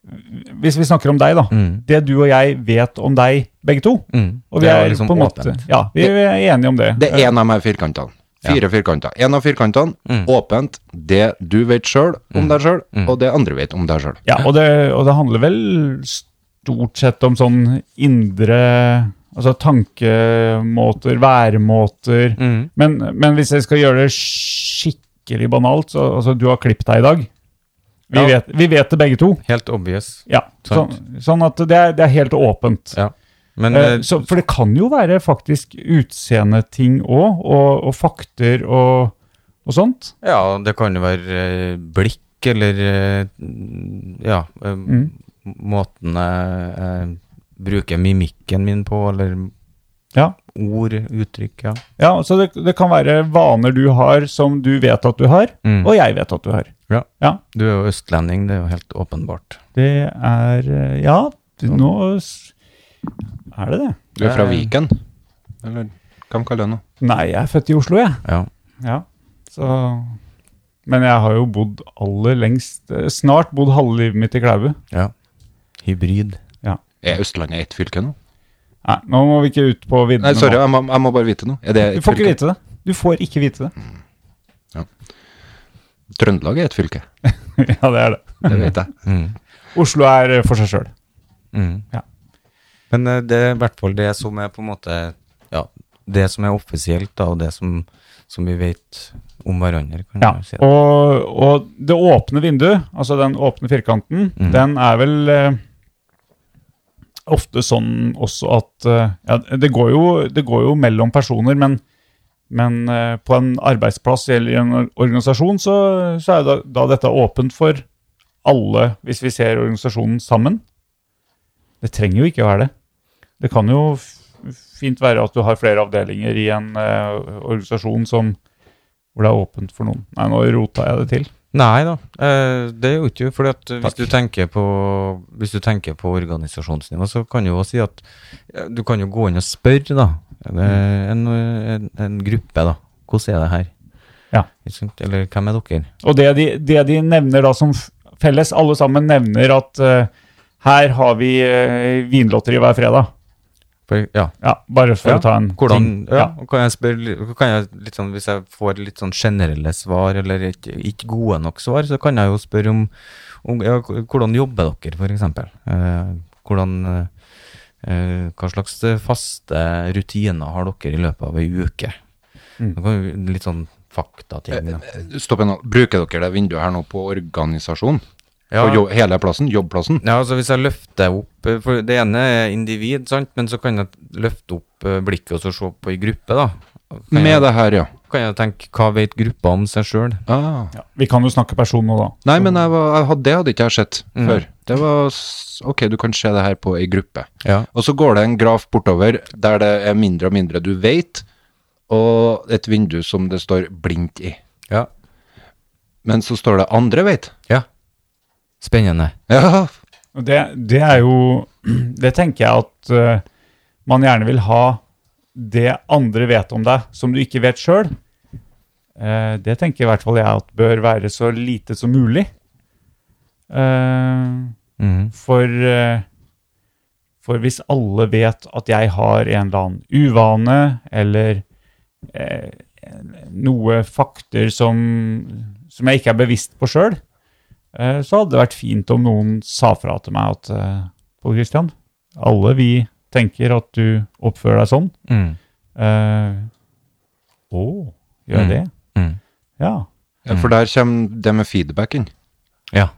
Speaker 4: Hvis vi snakker om deg, da.
Speaker 5: mm.
Speaker 4: Det du og jeg vet om deg, begge to.
Speaker 5: Mm.
Speaker 4: Og vi
Speaker 5: Det
Speaker 4: er
Speaker 5: liksom
Speaker 4: på en måte
Speaker 5: åpent.
Speaker 4: Ja, vi er enige om det.
Speaker 2: Det er en av de her firkantene. Fire firkanter. En av firkantene,
Speaker 5: Mm.
Speaker 2: åpent, det du vet sjøl om deg sjøl, og det andre vet om deg sjøl.
Speaker 4: Ja, og det, og det handler vel stort sett om sånn indre Altså tankemåter, væremåter.
Speaker 5: Mm.
Speaker 4: Men, men hvis jeg skal gjøre det skikkelig banalt, så altså, du har klippet deg i dag. Vi,
Speaker 5: Ja.
Speaker 4: vet, vi vet det begge to.
Speaker 5: Helt obvious.
Speaker 4: Ja, sånn,
Speaker 5: Sant.
Speaker 4: sånn at det er, det er helt åpent.
Speaker 5: Ja. Men
Speaker 4: Eh,
Speaker 5: eh,
Speaker 4: så, for det kan jo være faktisk utseendeting òg, og, og fakter og, og sånt.
Speaker 5: Ja, det kan jo være eh, blikk eller eh, ja, eh,
Speaker 4: Mm.
Speaker 5: måten jeg eh, bruker mimikken min på, eller
Speaker 4: Ja.
Speaker 5: ord, uttrykk, ja.
Speaker 4: Ja, så det, det kan være vaner du har som du vet at du har,
Speaker 5: Mm.
Speaker 4: og jeg vet at du har.
Speaker 5: Ja.
Speaker 4: Ja,
Speaker 5: Du er jo østlending, det er jo helt åpenbart.
Speaker 4: det er eh, Ja, du- nå s- er det det.
Speaker 2: Du er fra
Speaker 5: Eh.
Speaker 2: Viken? Eller hva de kaller det nå?
Speaker 4: Nei, jeg er født i Oslo, jeg.
Speaker 5: Ja.
Speaker 4: Ja, så... Men jeg har jo bodd aller lengst eh, Snart bodd halve livet mitt i Klæbu.
Speaker 5: ja. Hybrid.
Speaker 2: Er Østlandet ett fylke nå?
Speaker 4: Nei, nå må vi ikke ut på viddene.
Speaker 2: Nei, sorry,
Speaker 4: nå.
Speaker 2: jeg må, jeg må bare vite noe. Er det
Speaker 4: Du
Speaker 2: ett
Speaker 4: får ikke
Speaker 2: fylke?
Speaker 4: vite det. Du får ikke vite det.
Speaker 2: Trøndelag er ett fylke.
Speaker 4: ja, det er det.
Speaker 2: Det vet jeg.
Speaker 5: Mm.
Speaker 4: Oslo er eh, for seg sjøl.
Speaker 5: Mm.
Speaker 4: Ja.
Speaker 5: Men eh, det er i hvert fall det som er på en måte ja, det som er offisielt, da, og det som, som vi vet om hverandre, kan
Speaker 4: Ja,
Speaker 5: man si.
Speaker 4: og, og det åpne vinduet, altså den åpne firkanten,
Speaker 5: Mm.
Speaker 4: den er vel eh, ofte sånn også at eh, ja, det, går jo, det går jo mellom personer, men, men eh, på en arbeidsplass eller i en or- organisasjon så, så er da, da dette åpent for alle, hvis vi ser organisasjonen sammen. Det trenger jo ikke å være det. Det kan jo f- fint være at du har flere avdelinger i en eh, organisasjon som hvor det er åpent for noen. Nei, nå rota jeg det til.
Speaker 5: Nei da, eh, det er jo ikke fordi at eh, hvis du, tenker på, hvis du tenker på organisasjonsnivå, så kan du jo også si at eh, du kan jo gå inn og spørre da, eh, en, en, en gruppe da, hvordan er det her?
Speaker 4: Ja.
Speaker 5: Ikke sant? Eller hvem er dere?
Speaker 4: Og det de, det de nevner da som f- felles, alle sammen nevner at eh, her har vi eh, vinlotteri hver fredag.
Speaker 5: For, ja.
Speaker 4: Ja, bare for
Speaker 5: Ja,
Speaker 4: å ta en
Speaker 5: Hvordan,
Speaker 4: ting.
Speaker 5: ja, og kan jeg spørre, li- kan jeg litt sånn, hvis jeg får litt sånn generelle svar, eller ikke, ikke gode nok svar, så kan jeg jo spørre om, om ja, k- hvordan jobber dere, for eksempel? Eh, hvordan, eh, eh, hva slags eh, faste rutiner har dere i løpet av en uke?
Speaker 4: Mm.
Speaker 5: Det kan jo være Litt sånn faktating. da.
Speaker 2: Stopp en halv. Bruker dere det vinduet her nå på organisasjon?
Speaker 5: Ja.
Speaker 2: På jo, hele plassen? Jobbplassen?
Speaker 5: Ja, altså hvis jeg løfter opp eh, For det ene er individ, sant? Men så kan jeg løfte opp eh, blikket og så se på i gruppe, da. Kan
Speaker 2: Med
Speaker 5: jeg,
Speaker 2: det her, ja.
Speaker 5: kan jeg tenke, hva vet gruppa om seg sjøl?
Speaker 2: Ah.
Speaker 4: Ja, vi kan jo snakke person nå, da.
Speaker 2: Nei, men jeg var, jeg hadde, det hadde ikke jeg sett før. Det var s- Ok, du kan se det her på ei gruppe.
Speaker 5: Ja.
Speaker 2: Og så går det en graf bortover der det er mindre og mindre du vet, og et vindu som det står blindt i.
Speaker 5: Ja.
Speaker 2: Men så står det andre vet.
Speaker 5: Ja. Spennende.
Speaker 2: Ja,
Speaker 4: Og det, det er jo Det tenker jeg at eh, man gjerne vil ha det andre vet om deg, som du ikke vet sjøl. det tenker i hvert fall jeg at bør være så lite som mulig. Eh,
Speaker 5: Mhm.
Speaker 4: for, eh, for hvis alle vet at jeg har en eller annen uvane eller eh, noe fakter som, som jeg ikke er bevisst på sjøl, eh, så hadde det vært fint om noen sa fra til meg at eh, Pål Christian, alle vi tenker at du oppfører deg sånn.
Speaker 5: Mm.
Speaker 4: Eh, Å, gjør jeg det?
Speaker 5: Mm.
Speaker 4: Ja.
Speaker 2: Ja, for der kommer det med feedbacken.
Speaker 5: Ja.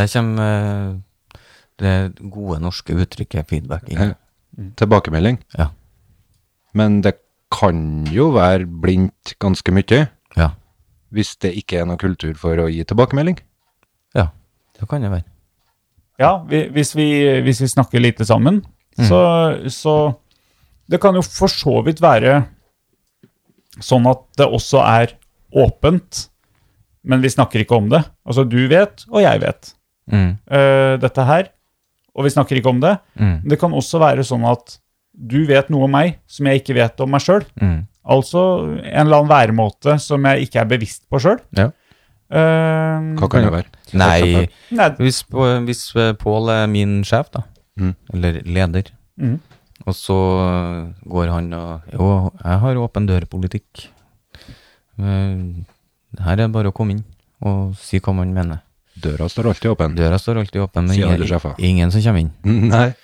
Speaker 5: Der kommer eh, det gode norske uttrykket feedback inn.
Speaker 2: Ja. Tilbakemelding.
Speaker 5: Ja.
Speaker 2: Men det kan jo være blindt ganske mye
Speaker 5: Ja.
Speaker 2: hvis det ikke er noe kultur for å gi tilbakemelding.
Speaker 5: ja. Det kan det være.
Speaker 4: Ja, vi, hvis, vi, hvis vi snakker lite sammen,
Speaker 5: Mm.
Speaker 4: så, så Det kan jo for så vidt være sånn at det også er åpent, men vi snakker ikke om det. Altså, du vet, og jeg vet
Speaker 5: Mm.
Speaker 4: eh, dette her, og vi snakker ikke om det.
Speaker 5: Mm.
Speaker 4: Det kan også være sånn at du vet noe om meg som jeg ikke vet om meg sjøl.
Speaker 5: Mm.
Speaker 4: Altså en eller annen væremåte som jeg ikke er bevisst på sjøl.
Speaker 5: Ja.
Speaker 2: Hva kan det være?
Speaker 5: Nei,
Speaker 4: Nei,
Speaker 5: hvis, På- hvis eh, Pål er min sjef, da,
Speaker 2: Mm.
Speaker 5: eller leder,
Speaker 4: Mm.
Speaker 5: og så eh, går han og Jo, jeg har åpen dør-politikk. Eh, Her er det bare å komme inn og si hva man mener.
Speaker 2: Døra står alltid åpen.
Speaker 5: Døra står alltid åpen, men
Speaker 2: Sier alle
Speaker 5: ingen,
Speaker 2: sjefer.
Speaker 5: ingen som kommer inn.
Speaker 2: Nei.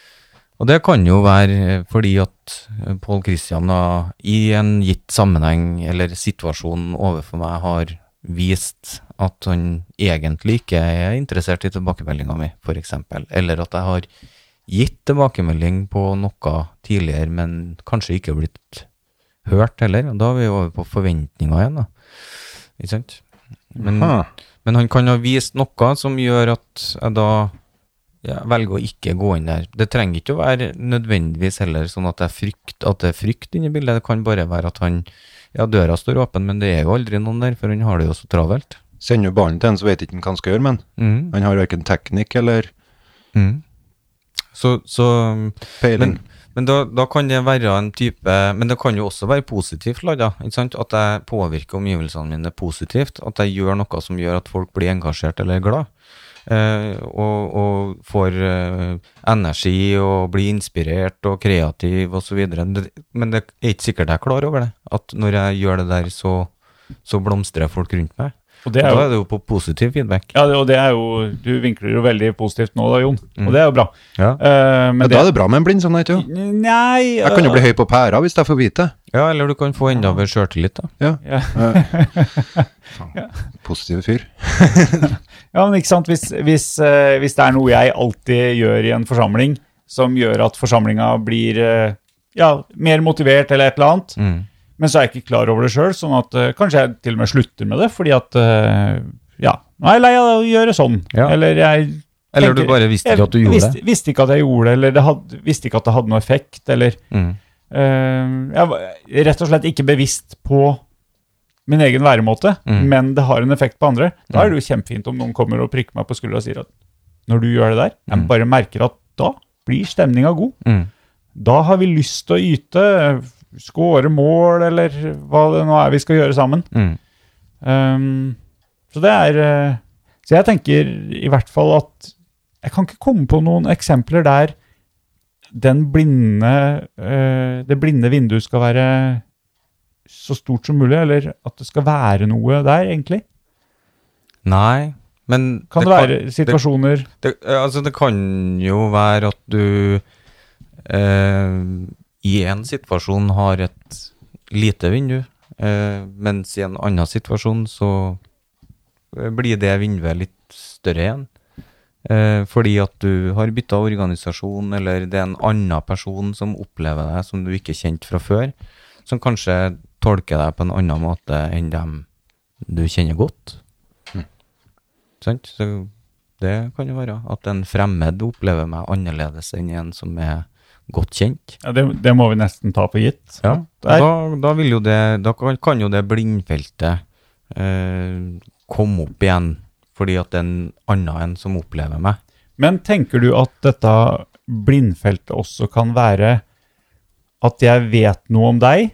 Speaker 5: Og det kan jo være eh, fordi at eh, Pål Kristian da, i en gitt sammenheng eller situasjon overfor meg har vist at han egentlig ikke er interessert i tilbakemeldinga mi, f.eks. Eller at jeg har gitt tilbakemelding på noe tidligere, men kanskje ikke blitt hørt heller. Og da er vi over på forventninger igjen, da. Ikke sant? Men,
Speaker 2: Ha.
Speaker 5: men han kan ha vist noe som gjør at jeg da ja, velger å ikke gå inn der. Det trenger ikke å være nødvendigvis heller sånn at, jeg frykt, at det er frykt inni bildet. Det kan bare være at han Ja, døra står åpen, men det er jo aldri noen der, for han har det jo så travelt.
Speaker 2: Sender du ballen til en, så vet ikke han hva han skal gjøre, men
Speaker 5: Mm.
Speaker 2: han har verken teknikk eller
Speaker 5: Mm. Så, så
Speaker 2: peiling.
Speaker 5: Men, men da, da kan det være en type Men det kan jo også være positivt lada. ikke sant? At jeg påvirker omgivelsene mine positivt. At jeg gjør noe som gjør at folk blir engasjert eller glad. Eh, og, og får eh, energi og blir inspirert og kreativ osv. Men det er ikke sikkert jeg er klar over det. At når jeg gjør det der, så, så blomstrer folk rundt meg.
Speaker 4: og det
Speaker 5: Og
Speaker 4: er jo
Speaker 5: da er det jo på positiv feedback.
Speaker 4: Ja, det- og det er jo Du vinkler jo veldig positivt nå da, Jon, og det er jo bra.
Speaker 5: Mm. Ja.
Speaker 4: Eh, men
Speaker 2: ja, da er det bra med en blind sånn, ikke jo?
Speaker 4: Nei eh,
Speaker 2: Jeg kan jo bli høy på pæra hvis jeg får vite det.
Speaker 5: ja, eller du kan få enda mer sjøltillit, da.
Speaker 4: ja.
Speaker 2: Positiv fyr.
Speaker 4: ja, men ikke sant. Hvis, hvis, eh, hvis det er noe jeg alltid gjør i en forsamling som gjør at forsamlinga blir eh, ja, mer motivert eller et eller annet,
Speaker 5: Mm.
Speaker 4: men så er jeg ikke klar over det sjøl, sånn at eh, kanskje jeg til og med slutter med det fordi at eh, Ja, nå er jeg lei av å gjøre sånn.
Speaker 5: Ja.
Speaker 4: Eller jeg
Speaker 5: Eller du
Speaker 4: tenker-
Speaker 5: bare visste ikke at du
Speaker 4: jeg
Speaker 5: gjorde
Speaker 4: visste,
Speaker 5: det.
Speaker 4: Visste ikke at jeg gjorde det, eller det hadde, visste ikke at det hadde noe effekt, eller
Speaker 5: Mm.
Speaker 4: Eh, jeg var rett og slett ikke bevisst på min egen væremåte,
Speaker 5: Mm.
Speaker 4: men det har en effekt på andre. Da er det jo kjempefint om noen kommer og prikker meg på skuldra og sier at når du gjør det der, jeg bare merker at da blir stemninga god.
Speaker 5: Mm.
Speaker 4: Da har vi lyst til å yte, eh, skåre mål, eller hva det nå er vi skal gjøre sammen.
Speaker 5: Mm.
Speaker 4: Um, så det er eh, Så jeg tenker i hvert fall at jeg kan ikke komme på noen eksempler der den blinde eh, det blinde vinduet skal være så stort som mulig, eller at det skal være noe der, egentlig.
Speaker 5: Nei, men
Speaker 4: Kan det, være situasjoner
Speaker 5: Det, det, altså det kan jo være at du eh, i en situasjon har et lite vindu, eh, mens i en annen situasjon så eh, blir det vinduet litt større igjen. Eh, fordi at du har bytta organisasjon, eller det er en annen person som opplever deg som du ikke kjente fra før, som kanskje tolker deg på en annen måte enn dem du kjenner godt. Sant? Så det kan jo være. At en fremmed opplever meg annerledes enn en som er godt kjent.
Speaker 4: ja, det, det må vi nesten ta for gitt.
Speaker 5: Ja,
Speaker 4: Der.
Speaker 5: da, da, vil jo det, da kan, kan jo det blindfeltet eh, komme opp igjen fordi at det er en annen enn som opplever meg.
Speaker 4: Men tenker du at dette blindfeltet også kan være at jeg vet noe om deg,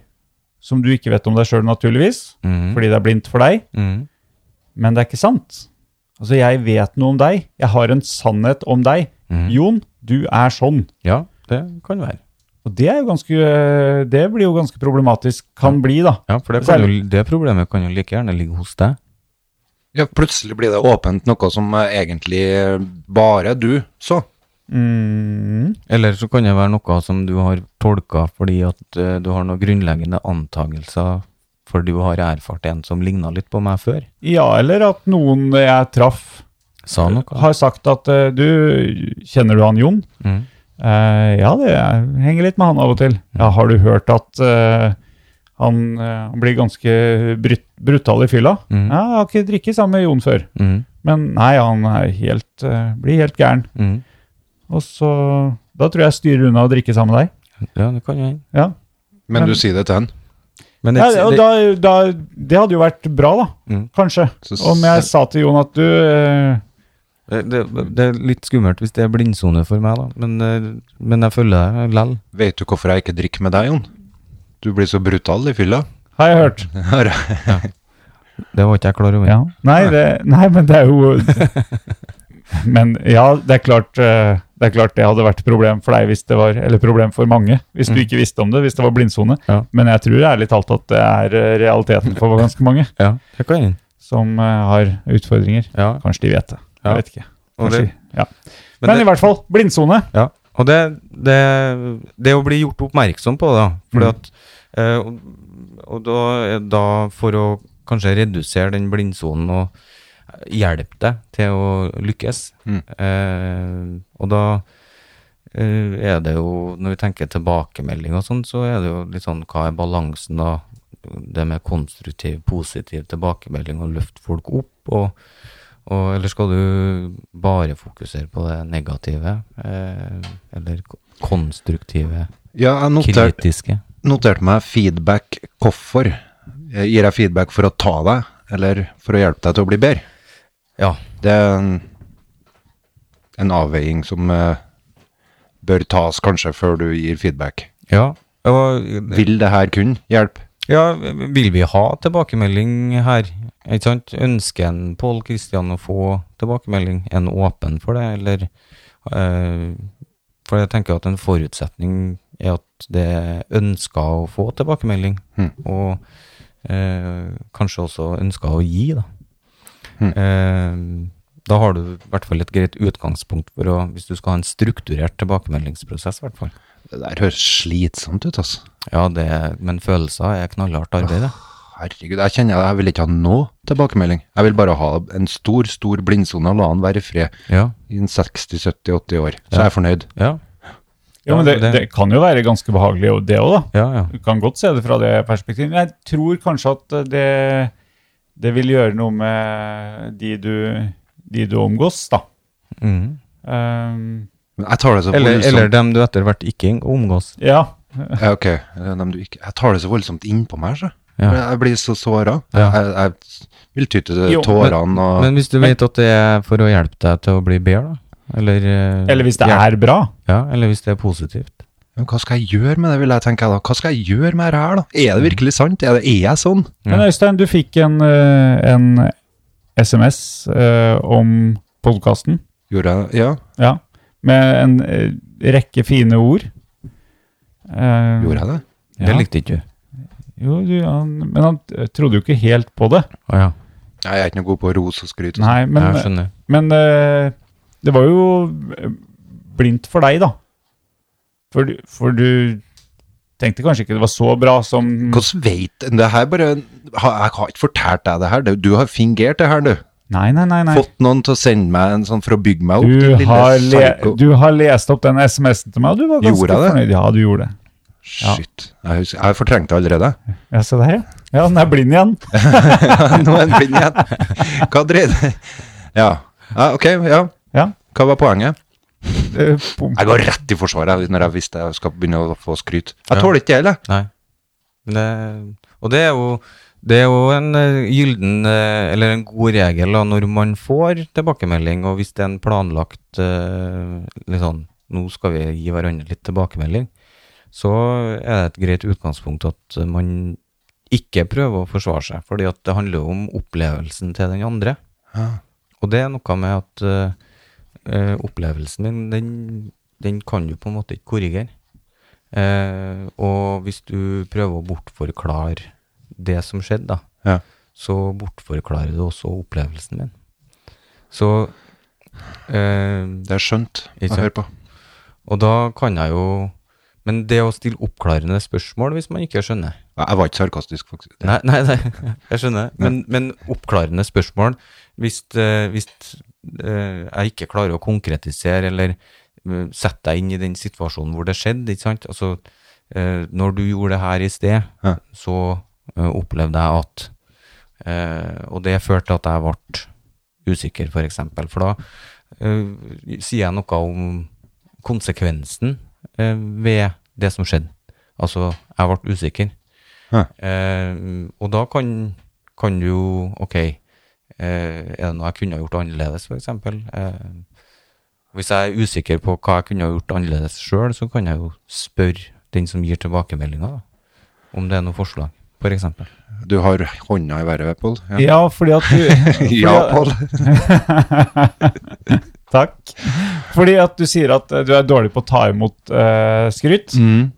Speaker 4: som du ikke vet om deg sjøl, naturligvis,
Speaker 5: Mhm.
Speaker 4: fordi det er blindt for deg,
Speaker 5: Mhm.
Speaker 4: men det er ikke sant. Altså, jeg vet noe om deg. Jeg har en sannhet om deg.
Speaker 5: Mhm.
Speaker 4: Jon, du er sånn.
Speaker 5: Ja, det kan være.
Speaker 4: Og det, er jo ganske, det blir jo ganske problematisk. Kan bli, da.
Speaker 5: Ja, for det,
Speaker 4: Selv-
Speaker 5: kan jo, det problemet kan jo like gjerne ligge hos deg.
Speaker 2: Ja, plutselig blir det åpent noe som eh, egentlig eh, bare du så.
Speaker 4: Mm.
Speaker 5: Eller så kan det være noe som du har tolka fordi at eh, du har noen grunnleggende antagelser for du har erfart en som ligna litt på meg før.
Speaker 4: Ja, eller at noen jeg traff,
Speaker 5: Sa noe.
Speaker 4: har sagt at eh, du Kjenner du han Jon?
Speaker 5: Mhm.
Speaker 4: Eh, ja, det er- henger litt med han av
Speaker 5: Mm.
Speaker 4: og til. Ja, har du hørt at eh, han, eh, han blir ganske brut brutal i fylla?
Speaker 5: Mhm.
Speaker 4: Ja, jeg har ikke drikket sammen med Jon før.
Speaker 5: Mhm.
Speaker 4: Men nei, han er helt, eh, blir helt gæren.
Speaker 5: Mhm.
Speaker 4: Og så Da tror jeg jeg styrer unna å drikke sammen med deg.
Speaker 5: Ja, det kan jo hende.
Speaker 4: Ja.
Speaker 2: Men du sier det til han.
Speaker 5: Men
Speaker 4: Ja,
Speaker 5: det-
Speaker 4: og
Speaker 5: det-
Speaker 4: da, da, det hadde jo vært bra, da.
Speaker 5: Mhm.
Speaker 4: Kanskje.
Speaker 2: Så
Speaker 4: Om jeg
Speaker 2: s-
Speaker 4: sa til Jon at du eh,
Speaker 5: Det, det, det er litt skummelt hvis det er blindsone for meg, da. Men, eh, men jeg følger deg lell.
Speaker 2: Vet du hvorfor jeg ikke drikker med deg, Jon? Du blir så brutal i fylla.
Speaker 4: Har jeg hørt?
Speaker 5: Det var ikke jeg klar over.
Speaker 4: Ja. Nei, det, nei, men det er jo Men ja, det er klart eh, det er klart det hadde vært problem for deg hvis det var, eller problem for mange, hvis du ikke visste om det, hvis det var blindsone.
Speaker 5: Ja.
Speaker 4: Men jeg tror ærlig talt at det er eh, realiteten for ganske mange
Speaker 5: Ja, det kan hende.
Speaker 4: som eh, har utfordringer.
Speaker 5: Ja.
Speaker 4: Kanskje de vet det.
Speaker 5: Ja.
Speaker 4: Jeg vet ikke.
Speaker 5: Og
Speaker 4: Kanskje,
Speaker 5: det-
Speaker 4: ja.
Speaker 5: men
Speaker 4: men,
Speaker 5: det-
Speaker 4: i hvert fall, blindsone.
Speaker 5: Ja, og det, det, det å bli gjort oppmerksom på det, da, fordi
Speaker 4: Mm.
Speaker 5: at, eh, og, og da, da for å kanskje redusere den blindsonen og hjelpe deg til å lykkes,
Speaker 2: Mm.
Speaker 5: eh, og da eh, er det jo, når vi tenker tilbakemelding og sånn, så er det jo litt sånn, hva er balansen da, det med konstruktiv, positiv tilbakemelding og løfte folk opp, og, og, eller skal du bare fokusere på det negative, eh, eller ko- konstruktive,
Speaker 2: Ja, jeg noterte
Speaker 5: kritiske?
Speaker 2: noterte meg feedback hvorfor. Jeg gir jeg feedback for å ta deg, eller for å hjelpe deg til å bli bedre?
Speaker 5: Ja,
Speaker 2: Det er en, en avveiing som eh, bør tas kanskje før du gir feedback.
Speaker 5: ja, og,
Speaker 2: Vil det her kun hjelpe?
Speaker 5: ja, vil vi ha tilbakemelding her? Ikke sant? Ønsker en Pål Kristian å få tilbakemelding? Er han åpen for det, eller? Eh, for jeg tenker at en forutsetning er at det ønsker å få tilbakemelding,
Speaker 2: Mm.
Speaker 5: og eh, kanskje også ønsker å gi, da.
Speaker 2: Mm.
Speaker 5: Eh, da har du i hvert fall et greit utgangspunkt for å, hvis du skal ha en strukturert tilbakemeldingsprosess, i hvert fall.
Speaker 2: Det der høres slitsomt ut, altså.
Speaker 5: Ja, det, men følelser er knallhardt arbeid, det.
Speaker 2: Herregud, jeg kjenner jeg vil ikke ha noe tilbakemelding. Jeg vil bare ha en stor, stor blindsone og la han være i fred
Speaker 5: Ja,
Speaker 2: i en 60-70-80 år. Så er jeg fornøyd.
Speaker 5: ja,
Speaker 4: Ja, men det,
Speaker 5: det-
Speaker 4: det kan jo være ganske behagelig, og det òg, da.
Speaker 5: ja. ja.
Speaker 4: Du kan godt se det fra det perspektivet. Men jeg tror kanskje at eh, det, det vil gjøre noe med de du, de du omgås, da.
Speaker 5: Mhm.
Speaker 4: Ehm,
Speaker 2: Men jeg tar det så
Speaker 5: Eller,
Speaker 2: voldsomt
Speaker 5: eller dem du etter hvert ikke omgås.
Speaker 4: ja.
Speaker 2: Ja, ok. Eh, dem du ikke- Jeg tar det så voldsomt innpå meg, så.
Speaker 5: Ja.
Speaker 2: Jeg- Jeg blir så såra.
Speaker 5: Ja.
Speaker 2: Jeg, jeg vil ty til
Speaker 4: Jo, men-
Speaker 2: tårene og
Speaker 5: Men hvis du vet at det er for å hjelpe deg til å bli bedre, da? Eller, eh,
Speaker 4: Eller hvis det
Speaker 5: hjelp-
Speaker 4: er bra.
Speaker 5: Ja, eller hvis det er positivt.
Speaker 2: Men hva skal jeg gjøre med det, vil jeg tenke da. Hva skal jeg gjøre med det her, da? Er det virkelig sant? Er, det, er jeg sånn?
Speaker 5: Ja.
Speaker 4: Men Øystein, du fikk en, eh, en SMS eh, om podkasten.
Speaker 2: Gjorde jeg Ja,
Speaker 4: Ja. Med en eh, rekke fine ord. Eh,
Speaker 2: gjorde jeg det?
Speaker 5: Det
Speaker 4: Ja.
Speaker 5: likte ikke du.
Speaker 4: Jo, du, han, men han eh, trodde jo ikke helt på det.
Speaker 5: Å ja.
Speaker 2: Nei, Jeg er ikke noe god på ros og skryt. og sånt.
Speaker 4: Nei, men,
Speaker 5: jeg skjønner.
Speaker 4: Men eh, det var jo eh, blindt for deg, da. For, du- for du tenkte kanskje ikke det var så bra som
Speaker 2: Hvordan veit en det her? Bare, ha- jeg har ikke fortalt deg det her. det- Du har fingert det her, du.
Speaker 4: Nei, nei, nei. nei.
Speaker 2: Fått noen til å sende meg en sånn for å bygge meg opp. din
Speaker 4: Du
Speaker 2: lille
Speaker 4: har, le
Speaker 2: psyko.
Speaker 4: du har lest opp den SMS-en til meg, og du var ganske
Speaker 2: Gjorde jeg det?
Speaker 4: fornøyd. Ja, du gjorde det. ja.
Speaker 2: Shit. Jeg, husker, jeg har fortrengt det allerede.
Speaker 4: Ja, se der, ja. Ja, den er blind igjen.
Speaker 2: Nå er den blind igjen. Hva dreier det Ja. ja. Ok, ja.
Speaker 4: Ja.
Speaker 2: Hva var poenget?
Speaker 4: Eh, pum.
Speaker 2: Jeg går rett i forsvaret jeg, når jeg visste jeg skal begynne å få skryt. Jeg
Speaker 5: Ja.
Speaker 2: tåler ikke det, heller.
Speaker 5: Nei. Det, og det er jo det er jo en eh, gylden, eh, eller en god regel da, når man får tilbakemelding, og hvis det er en planlagt eh, litt sånn, nå skal vi gi hverandre litt tilbakemelding, så er det et greit utgangspunkt at man ikke prøver å forsvare seg, fordi at det handler jo om opplevelsen til den andre. Og det er noe med at eh, eh, opplevelsen din, den, den kan du på en måte ikke korrigere. Eh, og hvis du prøver å bortforklare det som skjedde, da,
Speaker 2: Ja.
Speaker 5: så bortforklarer du også opplevelsen min. Så eh,
Speaker 2: Det er skjønt å
Speaker 5: Ikke sant?
Speaker 2: høre på.
Speaker 5: Og da kan jeg jo Men det å stille oppklarende spørsmål hvis man ikke skjønner
Speaker 2: Ja, Jeg var ikke sarkastisk, faktisk.
Speaker 5: Nei, nei, nei jeg skjønner. Men, men oppklarende spørsmål hvis, eh, hvis eh, jeg ikke klarer å konkretisere eller eh, sette deg inn i den situasjonen hvor det skjedde, ikke sant? Altså, eh, når du gjorde det her i sted,
Speaker 2: Ja.
Speaker 5: så eh, opplevde jeg at eh, Og det førte til at jeg ble usikker, f.eks. For, eksempel. for da eh, sier jeg noe om konsekvensen eh, ved det som skjedde. Altså, jeg ble usikker. Eh, og da kan, kan du jo Ok, eh, er det noe jeg kunne ha gjort annerledes, f.eks.? Eh, hvis jeg er usikker på hva jeg kunne ha gjort annerledes sjøl, så kan jeg jo spørre den som gir tilbakemeldinga, om det er noe forslag, f.eks. eksempel
Speaker 2: Du har hånda i været, Pål. Ja,
Speaker 4: Ja, fordi at du
Speaker 2: ja Pål.
Speaker 4: Takk. Fordi at du sier at eh, du er dårlig på å ta imot eh, skryt.
Speaker 2: Mm,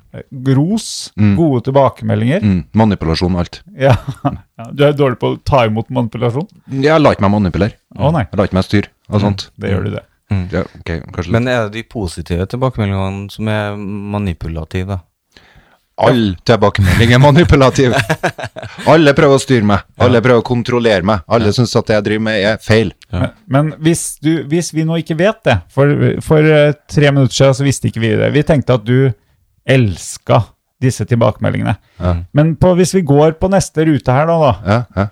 Speaker 4: Ros.
Speaker 2: Mm.
Speaker 4: Gode tilbakemeldinger.
Speaker 2: mm, manipulasjon og alt.
Speaker 4: Ja. ja, Du er dårlig på å ta imot manipulasjon.
Speaker 2: Jeg lar ikke meg manipulere.
Speaker 4: Å nei, Mm,
Speaker 2: Jeg lar ikke meg styre og sånt.
Speaker 4: det gjør du det.
Speaker 2: Ja, ok, kanskje litt.
Speaker 5: Men er det de positive tilbakemeldingene som er manipulative, da?
Speaker 2: All tilbakemelding er manipulativ. Alle prøver å styre meg. Alle prøver å kontrollere meg. Alle syns at det jeg driver med, er feil.
Speaker 4: Men, men hvis, du, hvis vi nå ikke vet det For, for eh, tre minutter siden så visste ikke vi det. Vi tenkte at du elska disse tilbakemeldingene. Men på, hvis vi går på neste rute her, da, da
Speaker 2: Ja, ja,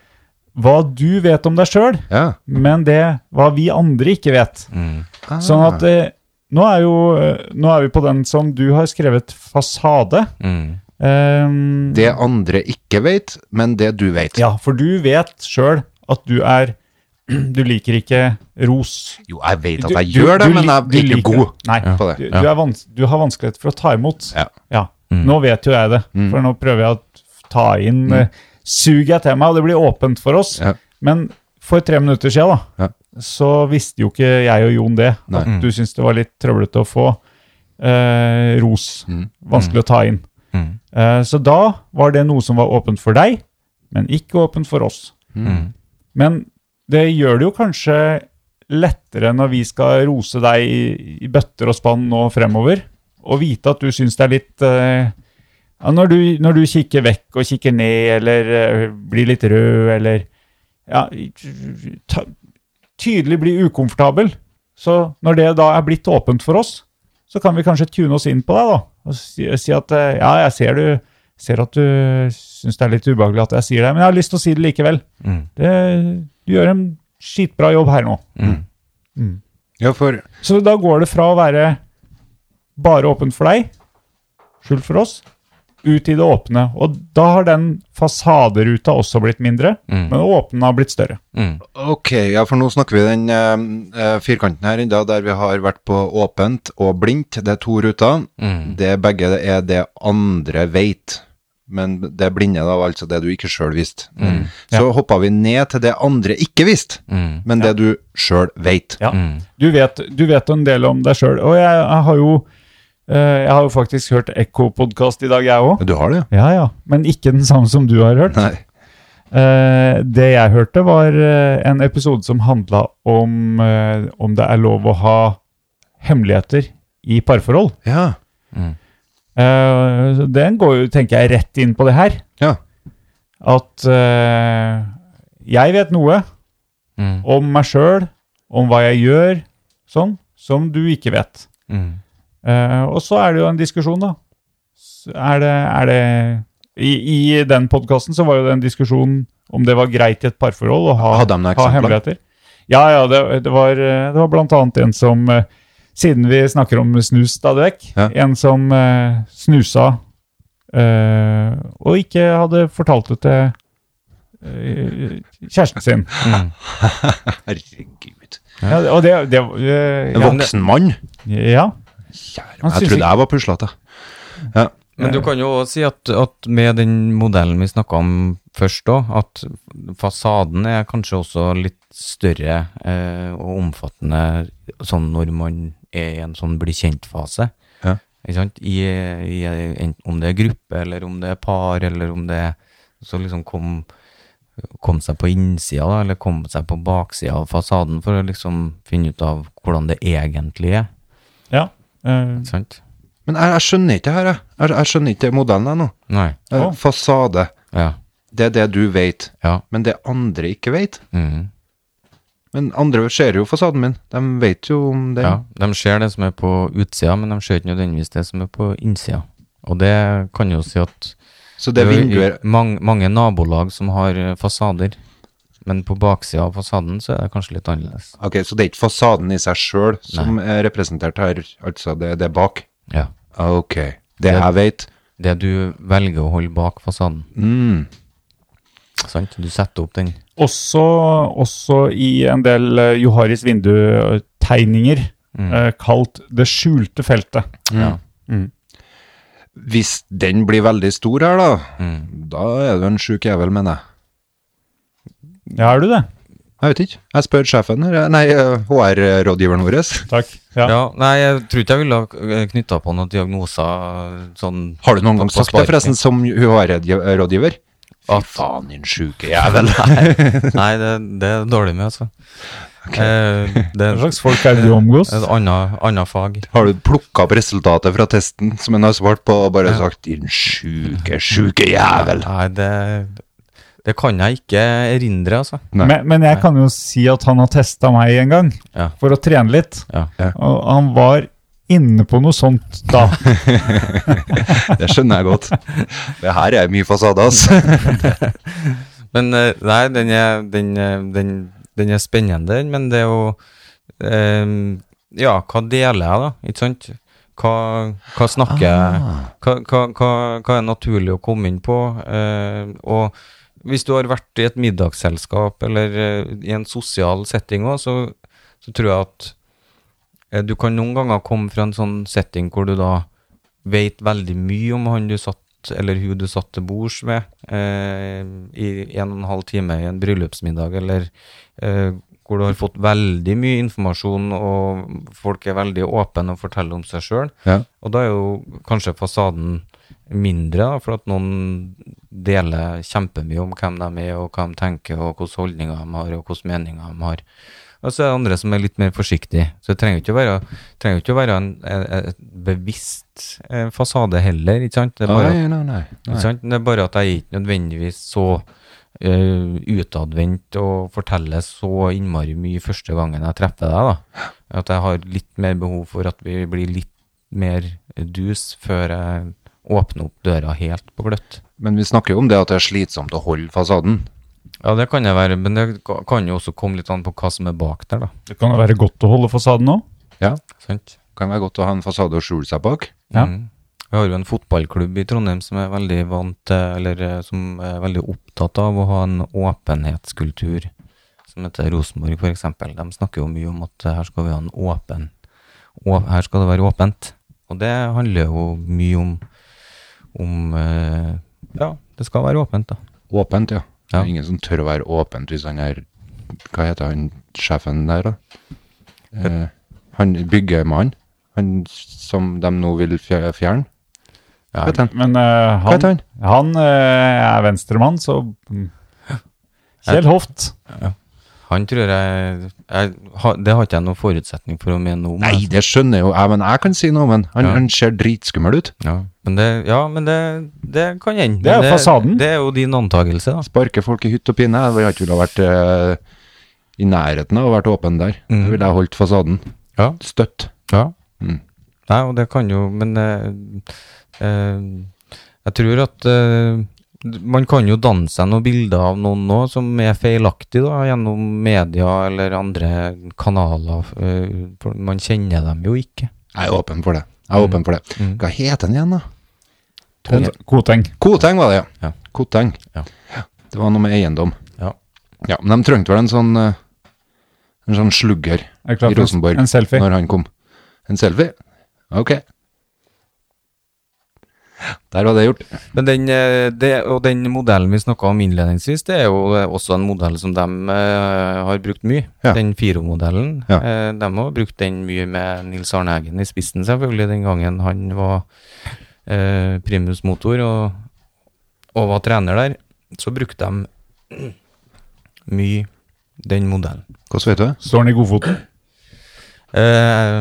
Speaker 4: Hva du vet om deg sjøl,
Speaker 2: ja.
Speaker 4: men det hva vi andre ikke vet.
Speaker 5: Mm.
Speaker 2: Ah.
Speaker 4: Sånn at eh, nå, er jo, eh, nå er vi på den som du har skrevet fasade.
Speaker 5: Mm.
Speaker 4: Ehm,
Speaker 2: Det andre ikke vet, men det du vet.
Speaker 4: Ja, for du vet sjøl at du er Du liker ikke ros.
Speaker 2: Jo, jeg vet
Speaker 4: Du-
Speaker 2: at jeg
Speaker 4: du-
Speaker 2: gjør det,
Speaker 4: du
Speaker 2: men
Speaker 4: lik-
Speaker 2: jeg
Speaker 4: du
Speaker 2: er ikke
Speaker 4: liker det.
Speaker 2: god
Speaker 4: Nei,
Speaker 2: på
Speaker 4: du,
Speaker 2: det.
Speaker 4: du, er vans du har vanskelighet for å ta imot.
Speaker 2: Ja. Mm.
Speaker 4: Nå vet jo jeg det, for nå prøver jeg å ta inn eh, Suger jeg til meg, og det blir åpent for oss.
Speaker 2: Ja.
Speaker 4: Men for tre minutter siden, da, så visste jo ikke jeg og Jon det. At
Speaker 2: Mm.
Speaker 4: du syntes det var litt trøblete å få eh, ros.
Speaker 2: Mm.
Speaker 4: Vanskelig å ta inn.
Speaker 5: Mm.
Speaker 4: Eh, så da var det noe som var åpent for deg, men ikke åpent for oss.
Speaker 5: Mm.
Speaker 4: Men det gjør det jo kanskje lettere når vi skal rose deg i, i bøtter og spann nå fremover, og vite at du syns det er litt eh, ja, når, du, når du kikker vekk og kikker ned, eller eh, blir litt rød, eller ja, ta, tydelig blir ukomfortabel, så når det da er blitt åpent for oss, så kan vi kanskje tune oss inn på deg da, og si, si at eh, ja, jeg ser, du, ser at du syns det er litt ubehagelig at jeg sier det, men jeg har lyst til å si det likevel.
Speaker 5: Mm.
Speaker 4: Det, du gjør en skitbra jobb her nå.
Speaker 2: Ja, for
Speaker 4: Så da går det fra å være bare åpent for deg, skjult for oss, ut i det åpne. Og da har den fasaderuta også blitt mindre, men det åpne har blitt større.
Speaker 5: Mm.
Speaker 2: Ok, ja, for nå snakker vi den eh, eh, firkanten her enda, der vi har vært på åpent og blindt. Det er to ruter.
Speaker 4: Mm.
Speaker 2: Det begge er det andre veit. Men det blinde, da, var altså det du ikke sjøl visste.
Speaker 4: Mm.
Speaker 2: Mm. Så hoppa vi ned til det andre ikke visste, men det du sjøl veit.
Speaker 4: Mm. Ja. Du, vet, du vet en del om deg sjøl, og jeg, jeg har jo eh, jeg har jo faktisk hørt Ekko-podkast i dag, jeg òg.
Speaker 2: Du har det,
Speaker 4: Ja, ja. Men ikke den samme som du har hørt.
Speaker 2: Nei.
Speaker 4: Eh, det jeg hørte, var eh, en episode som handla om eh, om det er lov å ha hemmeligheter i parforhold.
Speaker 2: Ja.
Speaker 4: Eh, så den går jo, tenker jeg, rett inn på det her.
Speaker 2: ja.
Speaker 4: At eh, jeg vet noe
Speaker 5: Mm.
Speaker 4: om meg sjøl, om hva jeg gjør, sånn, som du ikke vet.
Speaker 5: Mm.
Speaker 4: Eh, og så er det jo en diskusjon, da. S- Er det, er det I, I den podkasten så var jo det en diskusjon om det var greit i et parforhold å ha,
Speaker 2: Hadde de noen
Speaker 4: ha
Speaker 2: eksempler?
Speaker 4: hemmeligheter. Ja, ja, det, det, var, eh, det var blant annet en som eh, Siden vi snakker om snus stadig vekk,
Speaker 2: Ja.
Speaker 4: en som eh, snusa eh, og ikke hadde fortalt det til eh, kjæresten sin.
Speaker 5: Mm.
Speaker 2: Herregud.
Speaker 4: Ja, og det, det eh,
Speaker 2: En
Speaker 4: ja,
Speaker 2: voksen mann?
Speaker 4: Ja.
Speaker 2: Kjære meg,
Speaker 4: Han
Speaker 2: jeg
Speaker 4: synes
Speaker 2: trodde jeg var puslete.
Speaker 5: Men du kan jo også si at, at med den modellen vi snakka om først òg, at fasaden er kanskje også litt større eh, og omfattende sånn når man er i en sånn bli kjent-fase.
Speaker 2: Ja.
Speaker 5: Ikke sant? I, i, en- om det er gruppe, eller om det er par, eller om det er Så liksom kom, kom seg på innsida, da, eller kom seg på baksida av fasaden for å liksom finne ut av hvordan det egentlig er.
Speaker 4: ja eh,
Speaker 5: Ikke sant?
Speaker 2: Men jeg, jeg skjønner ikke det her, jeg. jeg. Jeg skjønner ikke modellen jeg nå.
Speaker 5: Nei.
Speaker 2: Eh,
Speaker 4: Å.
Speaker 2: Fasade.
Speaker 5: Ja.
Speaker 2: Det er det du vet.
Speaker 5: Ja.
Speaker 2: Men det andre ikke vet
Speaker 5: mhm.
Speaker 2: Men andre ser jo fasaden min. De vet jo om det.
Speaker 5: Ja, de ser det som er på utsida, men de ser ikke nødvendigvis det som er på innsida. Og det kan jo si at
Speaker 2: Så det
Speaker 5: er jo i-
Speaker 2: vinduer
Speaker 5: mang- mange nabolag som har eh, fasader, men på baksida av fasaden så er det kanskje litt annerledes.
Speaker 2: Ok, så det er ikke fasaden i seg sjøl som er representert her, altså det, det er bak?
Speaker 5: Ja.
Speaker 2: Ok. Det jeg vet
Speaker 5: Det du velger å holde bak fasaden.
Speaker 2: mm.
Speaker 5: Sant? Du setter opp den.
Speaker 4: Også, også i en del eh, Joharis vindutegninger,
Speaker 2: Mm.
Speaker 4: eh, kalt det skjulte feltet.
Speaker 5: Ja.
Speaker 2: Hvis den blir veldig stor her, da,
Speaker 5: Mm.
Speaker 2: da er du en sjuk jævel, mener jeg.
Speaker 4: Ja, er du det?
Speaker 2: Jeg vet ikke. Jeg spør sjefen her, nei, eh, HR-rådgiveren vår.
Speaker 4: Takk. Ja.
Speaker 5: ja. Nei, jeg tror ikke jeg ville ha knytta på noen diagnoser sånn
Speaker 2: Har du noen gang
Speaker 5: på
Speaker 2: sagt det,
Speaker 5: sparket.
Speaker 2: forresten, som HR-rådgiver? Fy faen, din sjuke jævel.
Speaker 5: Nei, det, det er dårlig med, altså. Eh, det
Speaker 4: Hva
Speaker 5: er
Speaker 4: slags folk er det du omgås?
Speaker 5: et annet annet fag.
Speaker 2: Har du plukka opp resultatet fra testen som en har svart på, og bare sagt 'din sjuke, sjuke jævel'?
Speaker 5: Nei, det, det kan jeg ikke erindre, altså.
Speaker 2: Nei.
Speaker 4: Men, men jeg kan jo si at han har testa meg en gang,
Speaker 5: Ja.
Speaker 4: for å trene litt.
Speaker 5: Ja.
Speaker 4: Og han var inne på noe sånt da.
Speaker 2: Det skjønner jeg godt. Det her er mye fasade, ass.
Speaker 5: Men eh, nei, den er, den, eh, den, den er spennende, den, men det er jo eh, Ja, hva deler jeg, da? Ikke sant? Hva, hva snakker jeg hva, hva, hva, hva er naturlig å komme inn på? Eh, og hvis du har vært i et middagsselskap eller eh, i en sosial setting òg, så, så tror jeg at eh, du kan noen ganger komme fra en sånn setting hvor du da vet veldig mye om han du satt eller hun du satt til bords med eh, i en og en halv time i en bryllupsmiddag, eller eh, hvor du har fått veldig mye informasjon, og folk er veldig åpne og forteller om seg sjøl.
Speaker 2: Ja.
Speaker 5: Og da er jo kanskje fasaden mindre, da, for at noen deler kjempemye om hvem de er, og hva de tenker, og hvilke holdninger de har, og hvilke meninger de har. Og så er det andre som er litt mer forsiktige. Så det trenger jo ikke å være, trenger jo ikke å være en, en, en bevisst eh, fasade heller, ikke sant? Det er bare at
Speaker 2: Nei, nei, nei.
Speaker 5: ikke sant? Det er bare at jeg er ikke nødvendigvis så eh, utadvendt og forteller så innmari mye første gangen jeg treffer deg. da. At jeg har litt mer behov for at vi blir litt mer dus før jeg åpner opp døra helt på gløtt.
Speaker 2: Men vi snakker jo om det at det er slitsomt å holde fasaden.
Speaker 5: Ja, det kan jeg være, men det ka- kan jo også komme litt an på hva som er bak der, da.
Speaker 4: Det kan jo være godt å holde fasaden òg.
Speaker 2: Ja.
Speaker 5: Sant?
Speaker 2: Kan være godt å ha en fasade å skjule seg bak.
Speaker 4: Ja.
Speaker 5: Mm. Vi har jo en fotballklubb i Trondheim som er veldig vant til, eller eh, som er veldig opptatt av å ha en åpenhetskultur, som heter Rosenborg f.eks. De snakker jo mye om at eh, her skal vi ha en åpen å- Her skal det være åpent. Og det handler jo mye om, om eh, Ja, det skal være åpent, da.
Speaker 2: Åpent, ja. Det
Speaker 5: Ja.
Speaker 2: er ingen som tør å være åpent hvis han er Hva heter han sjefen der, da? Eh, han byggemann. Han som de nå vil fje- fjerne.
Speaker 5: Ja,
Speaker 2: Hva heter han?
Speaker 4: Men eh,
Speaker 2: Hva heter
Speaker 4: han,
Speaker 2: han?
Speaker 4: han eh, er venstremann, så mm. Kjell Hoft.
Speaker 5: Han tror jeg, jeg har- Det har ikke jeg noen forutsetning for å mene noe om.
Speaker 2: Nei, det skjønner jo jeg, men jeg kan si noe om han. Han,
Speaker 5: Ja.
Speaker 2: han ser dritskummel ut.
Speaker 5: Ja, men det, ja, men det, det kan hende.
Speaker 4: Det er
Speaker 5: Men
Speaker 4: fasaden.
Speaker 5: Det er jo din antagelse, da.
Speaker 2: Sparker folk i hytt og pinne. Jeg ville ikke ville ha vært eh, i nærheten av å vært åpen der. Da ville jeg holdt fasaden
Speaker 5: Ja.
Speaker 2: støtt.
Speaker 5: Ja.
Speaker 2: Mm.
Speaker 5: Nei, og det kan jo Men eh, eh, jeg tror at eh, man kan jo danne seg noen bilder av noen nå som er feilaktige, da, gjennom media eller andre kanaler. eh, for man kjenner dem jo ikke.
Speaker 2: Mhm. Jeg er åpen for det. Jeg er åpen for det. Hva heter han igjen, da?
Speaker 4: Koteng. Koteng.
Speaker 2: Koteng var det, ja.
Speaker 5: Ja.
Speaker 2: Koteng.
Speaker 5: Ja.
Speaker 2: Det var noe med eiendom.
Speaker 5: Ja.
Speaker 2: Ja, men de trengte vel en sånn, eh, en sånn slugger
Speaker 4: Er det klart
Speaker 2: i Rosenborg
Speaker 4: En selfie.
Speaker 2: når han kom. En selfie? Ok. Der var det gjort.
Speaker 5: Men den, eh, det, og den modellen vi snakka om innledningsvis, det er jo eh, også en modell som de eh, har brukt mye.
Speaker 2: Ja.
Speaker 5: Den Firo-modellen.
Speaker 2: Ja.
Speaker 5: Eh, de har brukt den mye med Nils Arne Eggen i spissen, selvfølgelig, den gangen han var eh, primus motor og, og var trener der. Så brukte de mye den modellen.
Speaker 2: Hvordan vet du det?
Speaker 4: Står han i godfoten?
Speaker 5: Eh,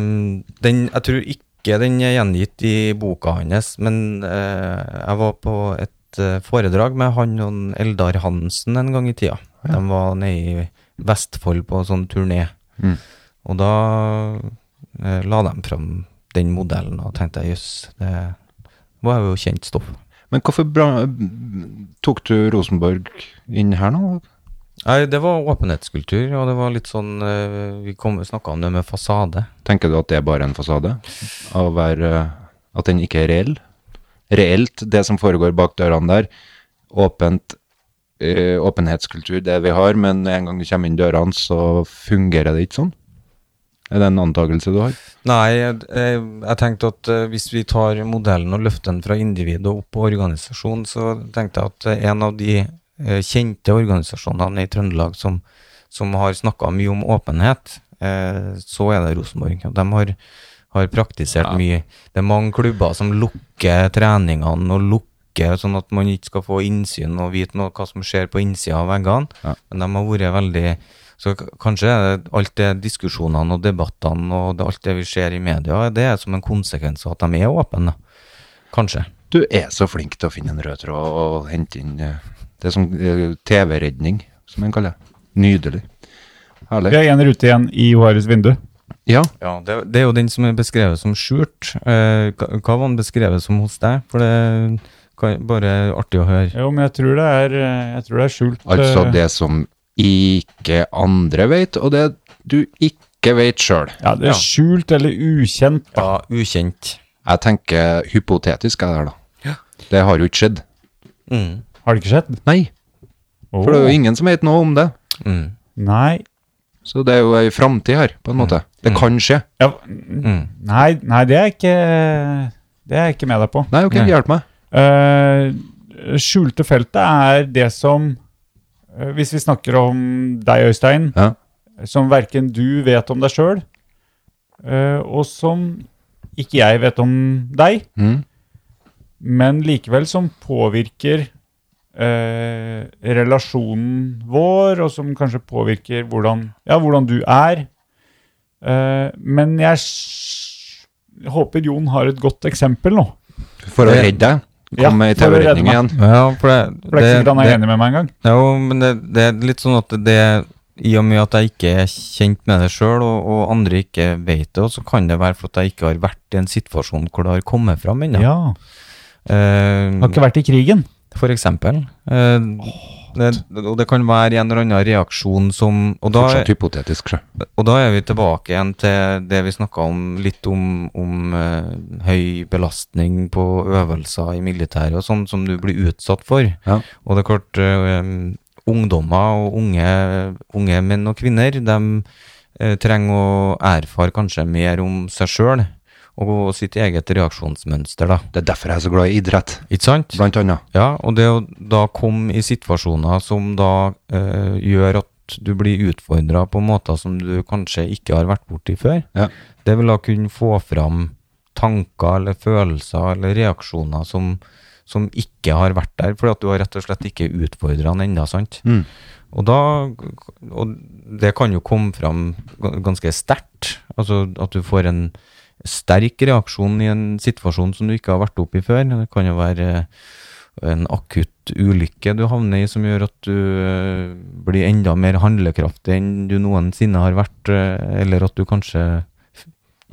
Speaker 5: den, jeg tror ikke den er gjengitt i boka hans, men eh, jeg var på et eh, foredrag med han og en Eldar Hansen en gang i tida. De var nede i Vestfold på sånn turné.
Speaker 2: Mm.
Speaker 5: Og da eh, la de fram den modellen, og tenkte jeg jøss, det var jo kjent stoff.
Speaker 2: Men hvorfor bra, tok du Rosenborg inn her nå?
Speaker 5: Nei, det var åpenhetskultur, og det var litt sånn eh, Vi snakka om det med fasade.
Speaker 2: Tenker du at det er bare en fasade? Av å være, eh, at den ikke er reell? Reelt, det som foregår bak dørene der, åpent, eh, åpenhetskultur, det vi har, men en gang du kommer inn dørene, så fungerer det ikke sånn? Er det en antakelse du har?
Speaker 5: Nei, jeg, jeg, jeg tenkte at eh, hvis vi tar modellen og løfter den fra individet og opp på organisasjon, så tenkte jeg at eh, en av de eh, kjente organisasjonene i Trøndelag som, som har snakka mye om åpenhet, eh, så er det Rosenborg. Og de har, har praktisert mye. Det er mange klubber som lukker treningene og lukker sånn at man ikke skal få innsyn og vite noe, hva som skjer på innsida av veggene.
Speaker 2: Ja.
Speaker 5: Men de har vært veldig så k- kanskje er det alt det diskusjonene og debattene og det, alt det vi ser i media, det er som en konsekvens av at de er åpne. Kanskje.
Speaker 2: Du er så flink til å finne en rød tråd og hente inn eh, det som eh, TV-redning, som en kaller det. Nydelig.
Speaker 4: Vi
Speaker 2: Herlig.
Speaker 4: har én rute igjen i Johares vindu.
Speaker 2: Ja,
Speaker 5: Ja, det, det er jo den som er beskrevet som skjult. Eh, hva hva var den beskrevet som hos deg? For det er bare artig å høre.
Speaker 4: Jo, men jeg tror det er, eh, jeg tror det er skjult.
Speaker 2: altså
Speaker 4: eh,
Speaker 2: det som ikke andre vet, og det du ikke vet sjøl.
Speaker 4: Ja, det
Speaker 5: Ja.
Speaker 4: er skjult eller ukjent. da.
Speaker 5: Ja, ukjent.
Speaker 2: Jeg tenker hypotetisk er det her, da. Det har jo ikke skjedd.
Speaker 5: Mm.
Speaker 4: Har det ikke skjedd?
Speaker 2: Nei,
Speaker 4: Oh.
Speaker 2: for det er jo ingen som vet noe om det.
Speaker 5: Mm.
Speaker 4: Nei.
Speaker 2: Så det er jo ei framtid her, på en måte. Det kan skje.
Speaker 4: Ja, n-
Speaker 5: Mm.
Speaker 4: nei, nei, det er ikke Det er jeg ikke med deg på.
Speaker 2: Nei, ok,
Speaker 5: Nei.
Speaker 2: hjelp meg.
Speaker 4: Eh, skjulte feltet er det som eh, Hvis vi snakker om deg, Øystein,
Speaker 2: Ja.
Speaker 4: som verken du vet om deg sjøl, og som ikke jeg vet om deg,
Speaker 2: Mm.
Speaker 4: men likevel som påvirker eh, relasjonen vår, og som kanskje påvirker hvordan, ja, hvordan du er. Eh, men jeg s- håper Jon har et godt eksempel nå.
Speaker 2: For å
Speaker 5: Det-
Speaker 2: redde deg.
Speaker 4: Ja,
Speaker 2: Kom med ei
Speaker 4: for å redde
Speaker 2: TV-redning
Speaker 4: meg.
Speaker 2: igjen.
Speaker 5: Ja, for det,
Speaker 4: For det er ikke sikkert han er enig med meg engang.
Speaker 5: Jo, men det, det er litt sånn at det I og med at jeg ikke er kjent med det sjøl, og, og andre ikke vet det, så kan det være for at jeg ikke har vært i en situasjon hvor det har kommet fram ennå.
Speaker 4: Ja. Han
Speaker 5: Eh,
Speaker 4: har ikke vært i krigen.
Speaker 5: for eksempel. Eh, det, og det kan være en eller annen reaksjon som og da,
Speaker 2: Fortsatt hypotetisk, sjø.
Speaker 5: og da er vi tilbake igjen til det vi snakka om litt om, om eh, høy belastning på øvelser i militæret og sånn, som du blir utsatt for.
Speaker 2: Ja.
Speaker 5: Og det er klart, eh, ungdommer og unge, unge menn og kvinner, de eh, trenger å erfare kanskje mer om seg sjøl og sitt eget reaksjonsmønster, da.
Speaker 2: Det er derfor jeg er så glad i idrett,
Speaker 5: Ikke sant?
Speaker 2: blant annet.
Speaker 5: Ja, og det å da komme i situasjoner som da eh, gjør at du blir utfordra på måter som du kanskje ikke har vært borti før,
Speaker 2: Ja.
Speaker 5: det vil da kunne få fram tanker eller følelser eller reaksjoner som, som ikke har vært der, fordi at du har rett og slett ikke utfordra den ennå, sant?
Speaker 2: Mm.
Speaker 5: Og, da, og det kan jo komme fram ga- ganske sterkt. Altså at du får en sterk reaksjon i en situasjon som du ikke har vært oppe i før. Det kan jo være eh, en akutt ulykke du havner i som gjør at du eh, blir enda mer handlekraftig enn du noensinne har vært, eh, eller at du kanskje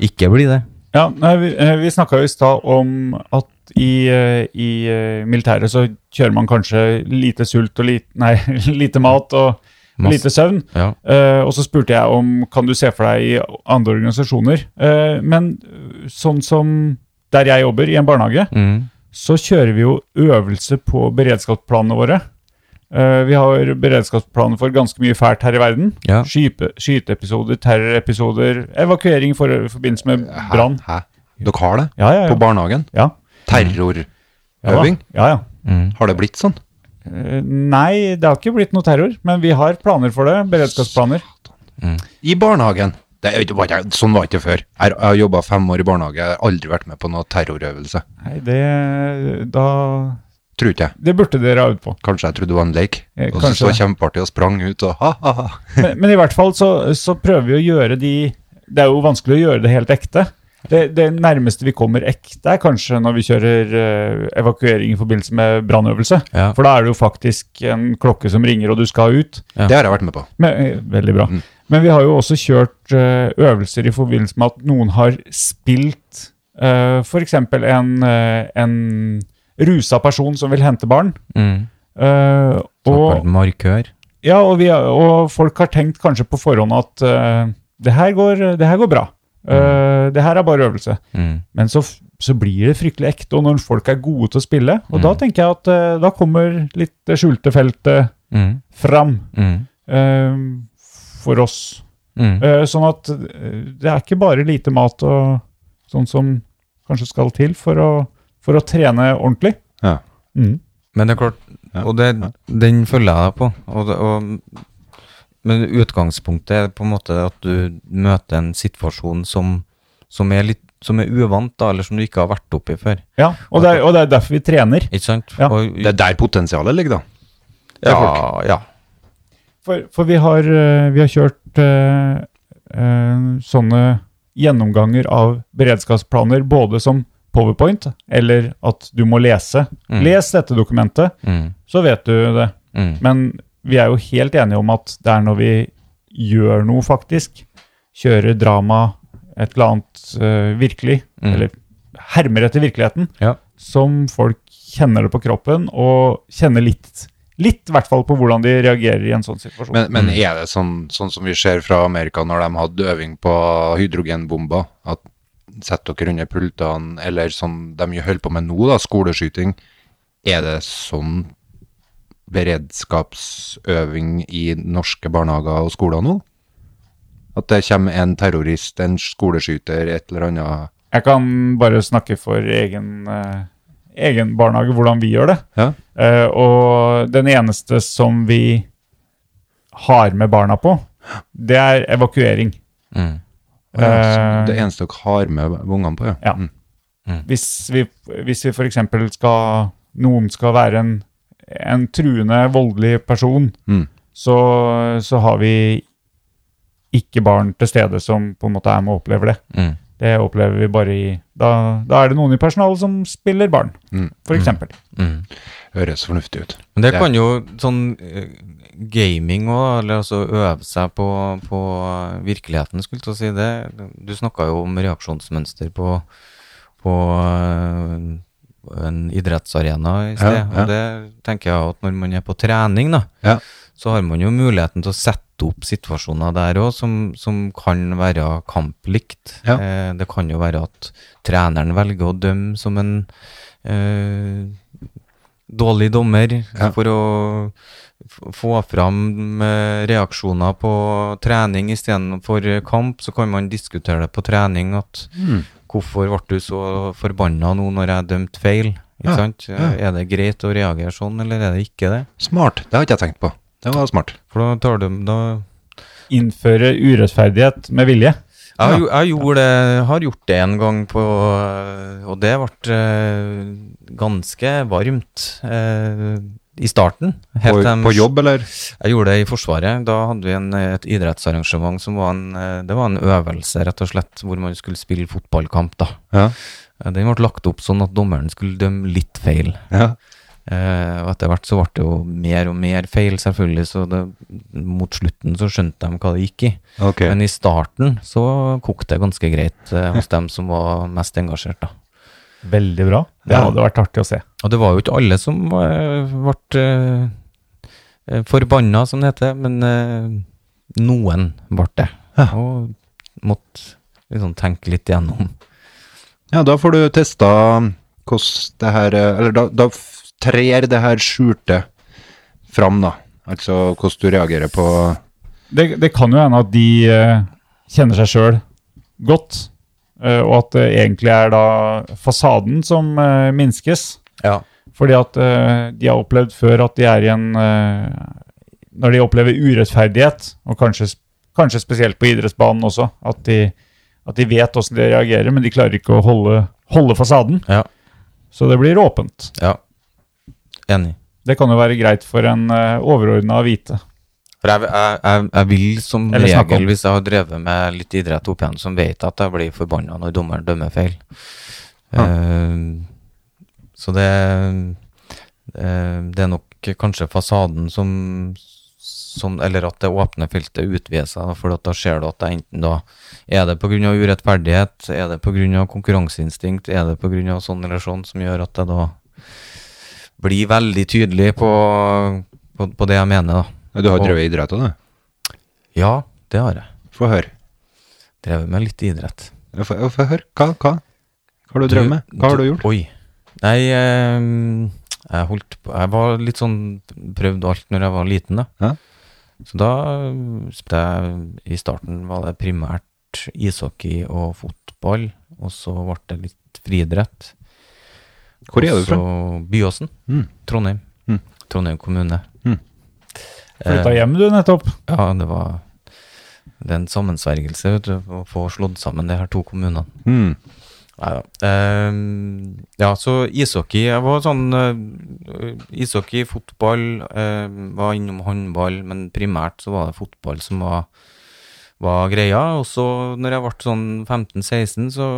Speaker 5: ikke blir det.
Speaker 4: Ja, nei, Vi, eh, vi snakka jo i stad om at i, eh, i eh, militæret så kjører man kanskje lite sult og lite, nei, lite mat og
Speaker 5: Masse-
Speaker 4: lite søvn.
Speaker 5: Ja.
Speaker 4: Eh, og så spurte jeg om kan du se for deg i andre organisasjoner. Eh, men eh, sånn som der jeg jobber, i en barnehage,
Speaker 5: Mm.
Speaker 4: så kjører vi jo øvelse på beredskapsplanene våre. Eh, vi har beredskapsplaner for ganske mye fælt her i verden.
Speaker 5: Ja.
Speaker 4: Skype, skyteepisoder, terrorepisoder, evakuering for, i forbindelse med brann.
Speaker 2: Hæ? Dere har det?
Speaker 4: Ja, ja, ja.
Speaker 2: På barnehagen?
Speaker 4: Ja. Ja, da.
Speaker 2: Terrorøving?
Speaker 4: ja, ja.
Speaker 5: Mm.
Speaker 2: Har det blitt sånn?
Speaker 4: Eh, Nei, det har ikke blitt noe terror, men vi har planer for det. Beredskapsplaner.
Speaker 2: I barnehagen? Det, er jo ikke bare- sånn var det ikke før. Jeg jeg har jobba fem år i barnehage, jeg har aldri vært med på noe terrorøvelse.
Speaker 4: Nei, det Da
Speaker 2: Tror ikke jeg.
Speaker 4: Det burde dere ha øvd på.
Speaker 2: Kanskje jeg trodde det var en lek.
Speaker 4: Eh,
Speaker 2: Og så
Speaker 4: kanskje
Speaker 2: så
Speaker 4: det.
Speaker 2: jeg kjempeartig og sprang ut og ha, ha, ha.
Speaker 4: Men, men i hvert fall så, så prøver vi å gjøre de Det er jo vanskelig å gjøre det helt ekte. Det, det nærmeste vi kommer ekte, er kanskje når vi kjører eh, evakuering i forbindelse med brannøvelse.
Speaker 5: Ja.
Speaker 4: For da er det jo faktisk en klokke som ringer, og du skal ut.
Speaker 5: Ja.
Speaker 2: Det har jeg vært med på.
Speaker 4: Men, eh, veldig bra. Men vi har jo også kjørt eh, øvelser i forbindelse med at noen har spilt uh, f.eks. en, eh, en rusa person som vil hente barn.
Speaker 5: Mm.
Speaker 4: eh, og,
Speaker 5: Såkalt markør.
Speaker 4: ja, og, vi, og folk har tenkt kanskje på forhånd at eh, det, her går, det her går bra. Eh, det her er bare øvelse.
Speaker 5: Mm.
Speaker 4: Men så, f- så blir det fryktelig ekte, og når folk er gode til å spille, og da tenker jeg at eh, da kommer litt det skjulte feltet
Speaker 5: Mm.
Speaker 4: fram
Speaker 5: Mm.
Speaker 4: eh, for oss.
Speaker 5: Mm.
Speaker 4: Eh, sånn at eh, det er ikke bare lite mat og sånn som kanskje skal til for å, for å trene ordentlig.
Speaker 2: Ja.
Speaker 4: Mm.
Speaker 5: Men det er klart,
Speaker 2: Ja,
Speaker 5: og det, den følger jeg deg på. Og, det- og, men utgangspunktet er på en måte at du møter en situasjon som, som er litt som er uvant, da, eller som du ikke har vært oppi før.
Speaker 4: Ja, og det, er, og det er derfor vi trener.
Speaker 5: Ikke sant?
Speaker 4: Ja.
Speaker 5: Og,
Speaker 2: Det er der potensialet ligger, da.
Speaker 5: ja, ja.
Speaker 4: For, for vi, har, eh, vi har kjørt eh, eh, sånne gjennomganger av beredskapsplaner, både som powerpoint, eller at du må lese.
Speaker 5: Mm.
Speaker 4: Les dette dokumentet,
Speaker 5: Mm,
Speaker 4: så vet du det.
Speaker 5: mm,
Speaker 4: Men vi er jo helt enige om at det er når vi gjør noe faktisk, kjører drama, et eller annet eh, virkelig,
Speaker 5: Mm.
Speaker 4: eller hermer etter virkeligheten,
Speaker 5: ja.
Speaker 4: som folk kjenner det på kroppen, og kjenner litt, litt i hvert fall på hvordan de reagerer i en sånn situasjon.
Speaker 2: Men, men er det sånn, sånn som vi ser fra Amerika når de hadde øving på hydrogenbomber, at sett dere under pultene, eller som de jo holder på med nå, da, skoleskyting, er det sånn beredskapsøving i norske barnehager og skoler nå? At det kommer en terrorist, en skoleskyter, et eller annet
Speaker 4: Jeg kan bare snakke for egen, eh, egen barnehage, hvordan vi gjør det.
Speaker 2: Ja.
Speaker 4: Eh, og den eneste som vi har med barna på, det er evakuering.
Speaker 5: Mm.
Speaker 4: Eh,
Speaker 2: Det eneste dere har med ungene på,
Speaker 4: Ja.
Speaker 2: Mm.
Speaker 4: Hvis vi, hvis vi for eksempel skal, noen skal være en, en truende, voldelig person,
Speaker 2: Mm.
Speaker 4: så, så har vi ikke barn til stede som på en måte er med og opplever det.
Speaker 5: Mm.
Speaker 4: Det opplever vi bare i Da, da er det noen i personalet som spiller barn,
Speaker 2: Mm.
Speaker 4: for eksempel.
Speaker 5: Mm.
Speaker 2: Høres fornuftig ut.
Speaker 5: Men det
Speaker 2: Ja.
Speaker 5: kan jo sånn eh, gaming òg, eller altså øve seg på, på virkeligheten, skulle jeg til å si det. Du snakka jo om reaksjonsmønster på, på eh, en idrettsarena i sted.
Speaker 2: Ja, ja.
Speaker 5: Og det tenker jeg at når man er på trening, da,
Speaker 2: Ja.
Speaker 5: så har man jo muligheten til å sette opp situasjoner der òg som, som kan være kamplikt.
Speaker 2: Ja.
Speaker 5: Eh, det kan jo være at treneren velger å dømme som en eh, dårlig dommer
Speaker 2: Ja.
Speaker 5: for å f- få fram eh, reaksjoner på trening istedenfor kamp. Så kan man diskutere det på trening at
Speaker 2: Mm.
Speaker 5: hvorfor ble du så forbanna nå når jeg dømte feil? Ikke
Speaker 2: Ja,
Speaker 5: sant? Er det greit å reagere sånn, eller er det ikke det?
Speaker 2: Smart. Det har ikke jeg tenkt på. Det var smart.
Speaker 5: For da tar du da
Speaker 4: Innføre urettferdighet med vilje.
Speaker 5: jeg, har jo- jeg gjorde det, har gjort det en gang på øh, Og det ble øh, ganske varmt øh, i starten.
Speaker 2: På,
Speaker 5: Helt til-
Speaker 2: på jobb, eller?
Speaker 5: Jeg gjorde det i Forsvaret. Da hadde vi en, eh, et idrettsarrangement som var en, eh, det var en øvelse, rett og slett, hvor man skulle spille fotballkamp. da.
Speaker 2: Ja.
Speaker 5: Eh, Den ble lagt opp sånn at dommeren skulle dømme litt feil.
Speaker 2: ja.
Speaker 5: Eh, og etter hvert så ble det jo mer og mer feil, selvfølgelig, så det, mot slutten så skjønte de hva det gikk i.
Speaker 2: Ok.
Speaker 5: Men i starten så kokte det ganske greit eh, hos dem som var mest engasjert, da.
Speaker 4: Veldig bra. Det
Speaker 5: Ja.
Speaker 4: hadde vært artig å se.
Speaker 5: Og det var jo ikke alle som eh, ble eh, forbanna, som det heter, men eh, noen ble det.
Speaker 2: Ja.
Speaker 5: Og måtte liksom tenke litt gjennom.
Speaker 2: Ja, da får du testa um, hvordan det her eh, Eller da, da f- trer det her skjulte fram, da. Altså hvordan du reagerer på
Speaker 4: Det, det kan jo hende at de eh, kjenner seg sjøl godt, eh, og at det egentlig er da fasaden som eh, minskes.
Speaker 5: Ja.
Speaker 4: Fordi at eh, de har opplevd før at de er i en eh, Når de opplever urettferdighet, og kanskje, kanskje spesielt på idrettsbanen også, at de, at de vet åssen de reagerer, men de klarer ikke å holde, holde fasaden.
Speaker 5: Ja.
Speaker 4: Så det blir åpent.
Speaker 5: ja. Enig.
Speaker 4: Det kan jo være greit for en uh, overordna å vite.
Speaker 5: For jeg, jeg, jeg, jeg vil som
Speaker 4: Eller snakke om.
Speaker 5: regel, hvis jeg har drevet med litt idrett opp igjen, som vet at jeg blir forbanna når dommeren dømmer feil. Eh, så det eh, Det er nok kanskje fasaden som, som Eller at det åpne feltet utvider seg, for at da ser du at det enten da Er det pga. urettferdighet, er det pga. konkurranseinstinkt, er det pga. sånn eller sånn som gjør at jeg da blir veldig tydelig på, på, på det jeg mener, da.
Speaker 2: Du har
Speaker 5: Og-
Speaker 2: drevet idrett òg, du?
Speaker 5: ja, det har jeg.
Speaker 2: Få høre.
Speaker 5: Drevet med litt idrett.
Speaker 2: Ja, Få få høre. Hva, hva? hva har du drevet med? Hva har du gjort?
Speaker 5: Oi. Nei, eh, jeg holdt på Jeg var litt sånn prøvd alt når jeg var liten, da.
Speaker 2: Ja.
Speaker 5: Så da eh, spilte jeg I starten var det primært ishockey og fotball, og så ble det litt friidrett.
Speaker 2: Hvor er du fra?
Speaker 5: Og så Byåsen.
Speaker 2: Mm.
Speaker 5: Trondheim.
Speaker 2: Mm.
Speaker 5: Trondheim kommune. Eh,
Speaker 2: Mm.
Speaker 4: Flytta hjem du nettopp.
Speaker 5: Ja, det var Det er en sammensvergelse, vet du, å få slått sammen de her to kommunene.
Speaker 2: Mm.
Speaker 5: Neida. Ehm, ja, så ishockey Jeg var sånn eh, Ishockey, fotball, eh, var innom håndball, men primært så var det fotball som var, var greia. Og så når jeg ble sånn 15-16, så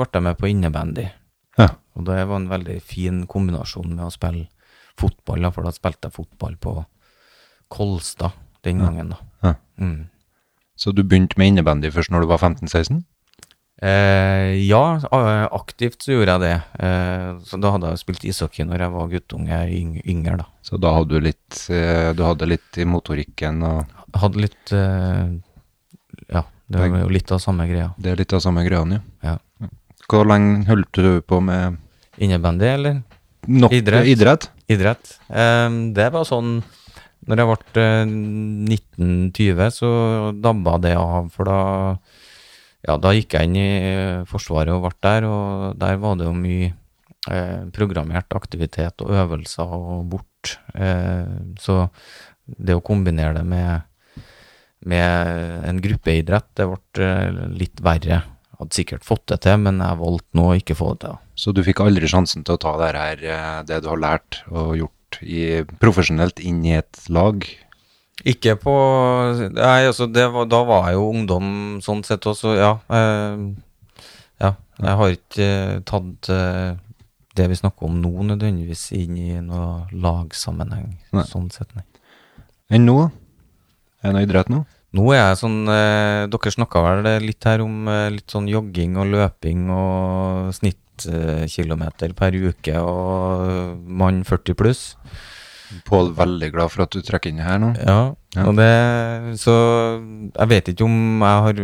Speaker 5: ble jeg med på innebandy.
Speaker 2: Ja.
Speaker 5: Og det var en veldig fin kombinasjon med å spille fotball, da, for da spilte jeg fotball på Kolstad den gangen, da.
Speaker 2: Ja.
Speaker 5: Mm.
Speaker 2: Så du begynte med innebandy først når du var 15-16?
Speaker 5: Eh, ja, a- aktivt så gjorde jeg det. Eh, så da hadde jeg jo spilt ishockey når jeg var guttunge, yng yngre da.
Speaker 2: Så da hadde du litt, eh, du hadde litt i motorikken, og
Speaker 5: Hadde litt eh, Ja, det var jo litt av samme greia.
Speaker 2: det er litt av samme greiene, ja.
Speaker 5: Ja.
Speaker 2: Hvor lenge holdt du på med
Speaker 5: Innebandy, eller?
Speaker 2: nok
Speaker 5: Idrett.
Speaker 2: idrett?
Speaker 5: Idrett. Eh, det var sånn Når jeg ble eh, 19-20, så dabba det av, for da Ja, da gikk jeg inn i eh, Forsvaret og ble der, og der var det jo mye eh, programmert aktivitet og øvelser og bort. Eh, så det å kombinere det med, med en gruppeidrett, det ble eh, litt verre. Hadde sikkert fått det til, men jeg valgte nå å ikke få det til.
Speaker 2: Så du fikk aldri sjansen til å ta det her, eh, det du har lært og gjort i, profesjonelt inn i et lag?
Speaker 5: Ikke på Nei, altså, det var, da var jeg jo ungdom sånn sett også, ja. Eh, ja. Jeg har ikke eh, tatt eh, det vi snakker om nå, nødvendigvis inn i noe lagsammenheng.
Speaker 2: Nei.
Speaker 5: Sånn sett, nei.
Speaker 2: Enn nå? Er det noe idrett nå?
Speaker 5: Nå er jeg sånn eh, Dere snakka vel litt her om eh, litt sånn jogging og løping og snittkilometer per uke og eh, mann 40 pluss.
Speaker 2: Pål, veldig glad for at du trekker inn det her nå.
Speaker 5: Ja,
Speaker 2: Ja.
Speaker 5: og det Så jeg vet ikke om jeg har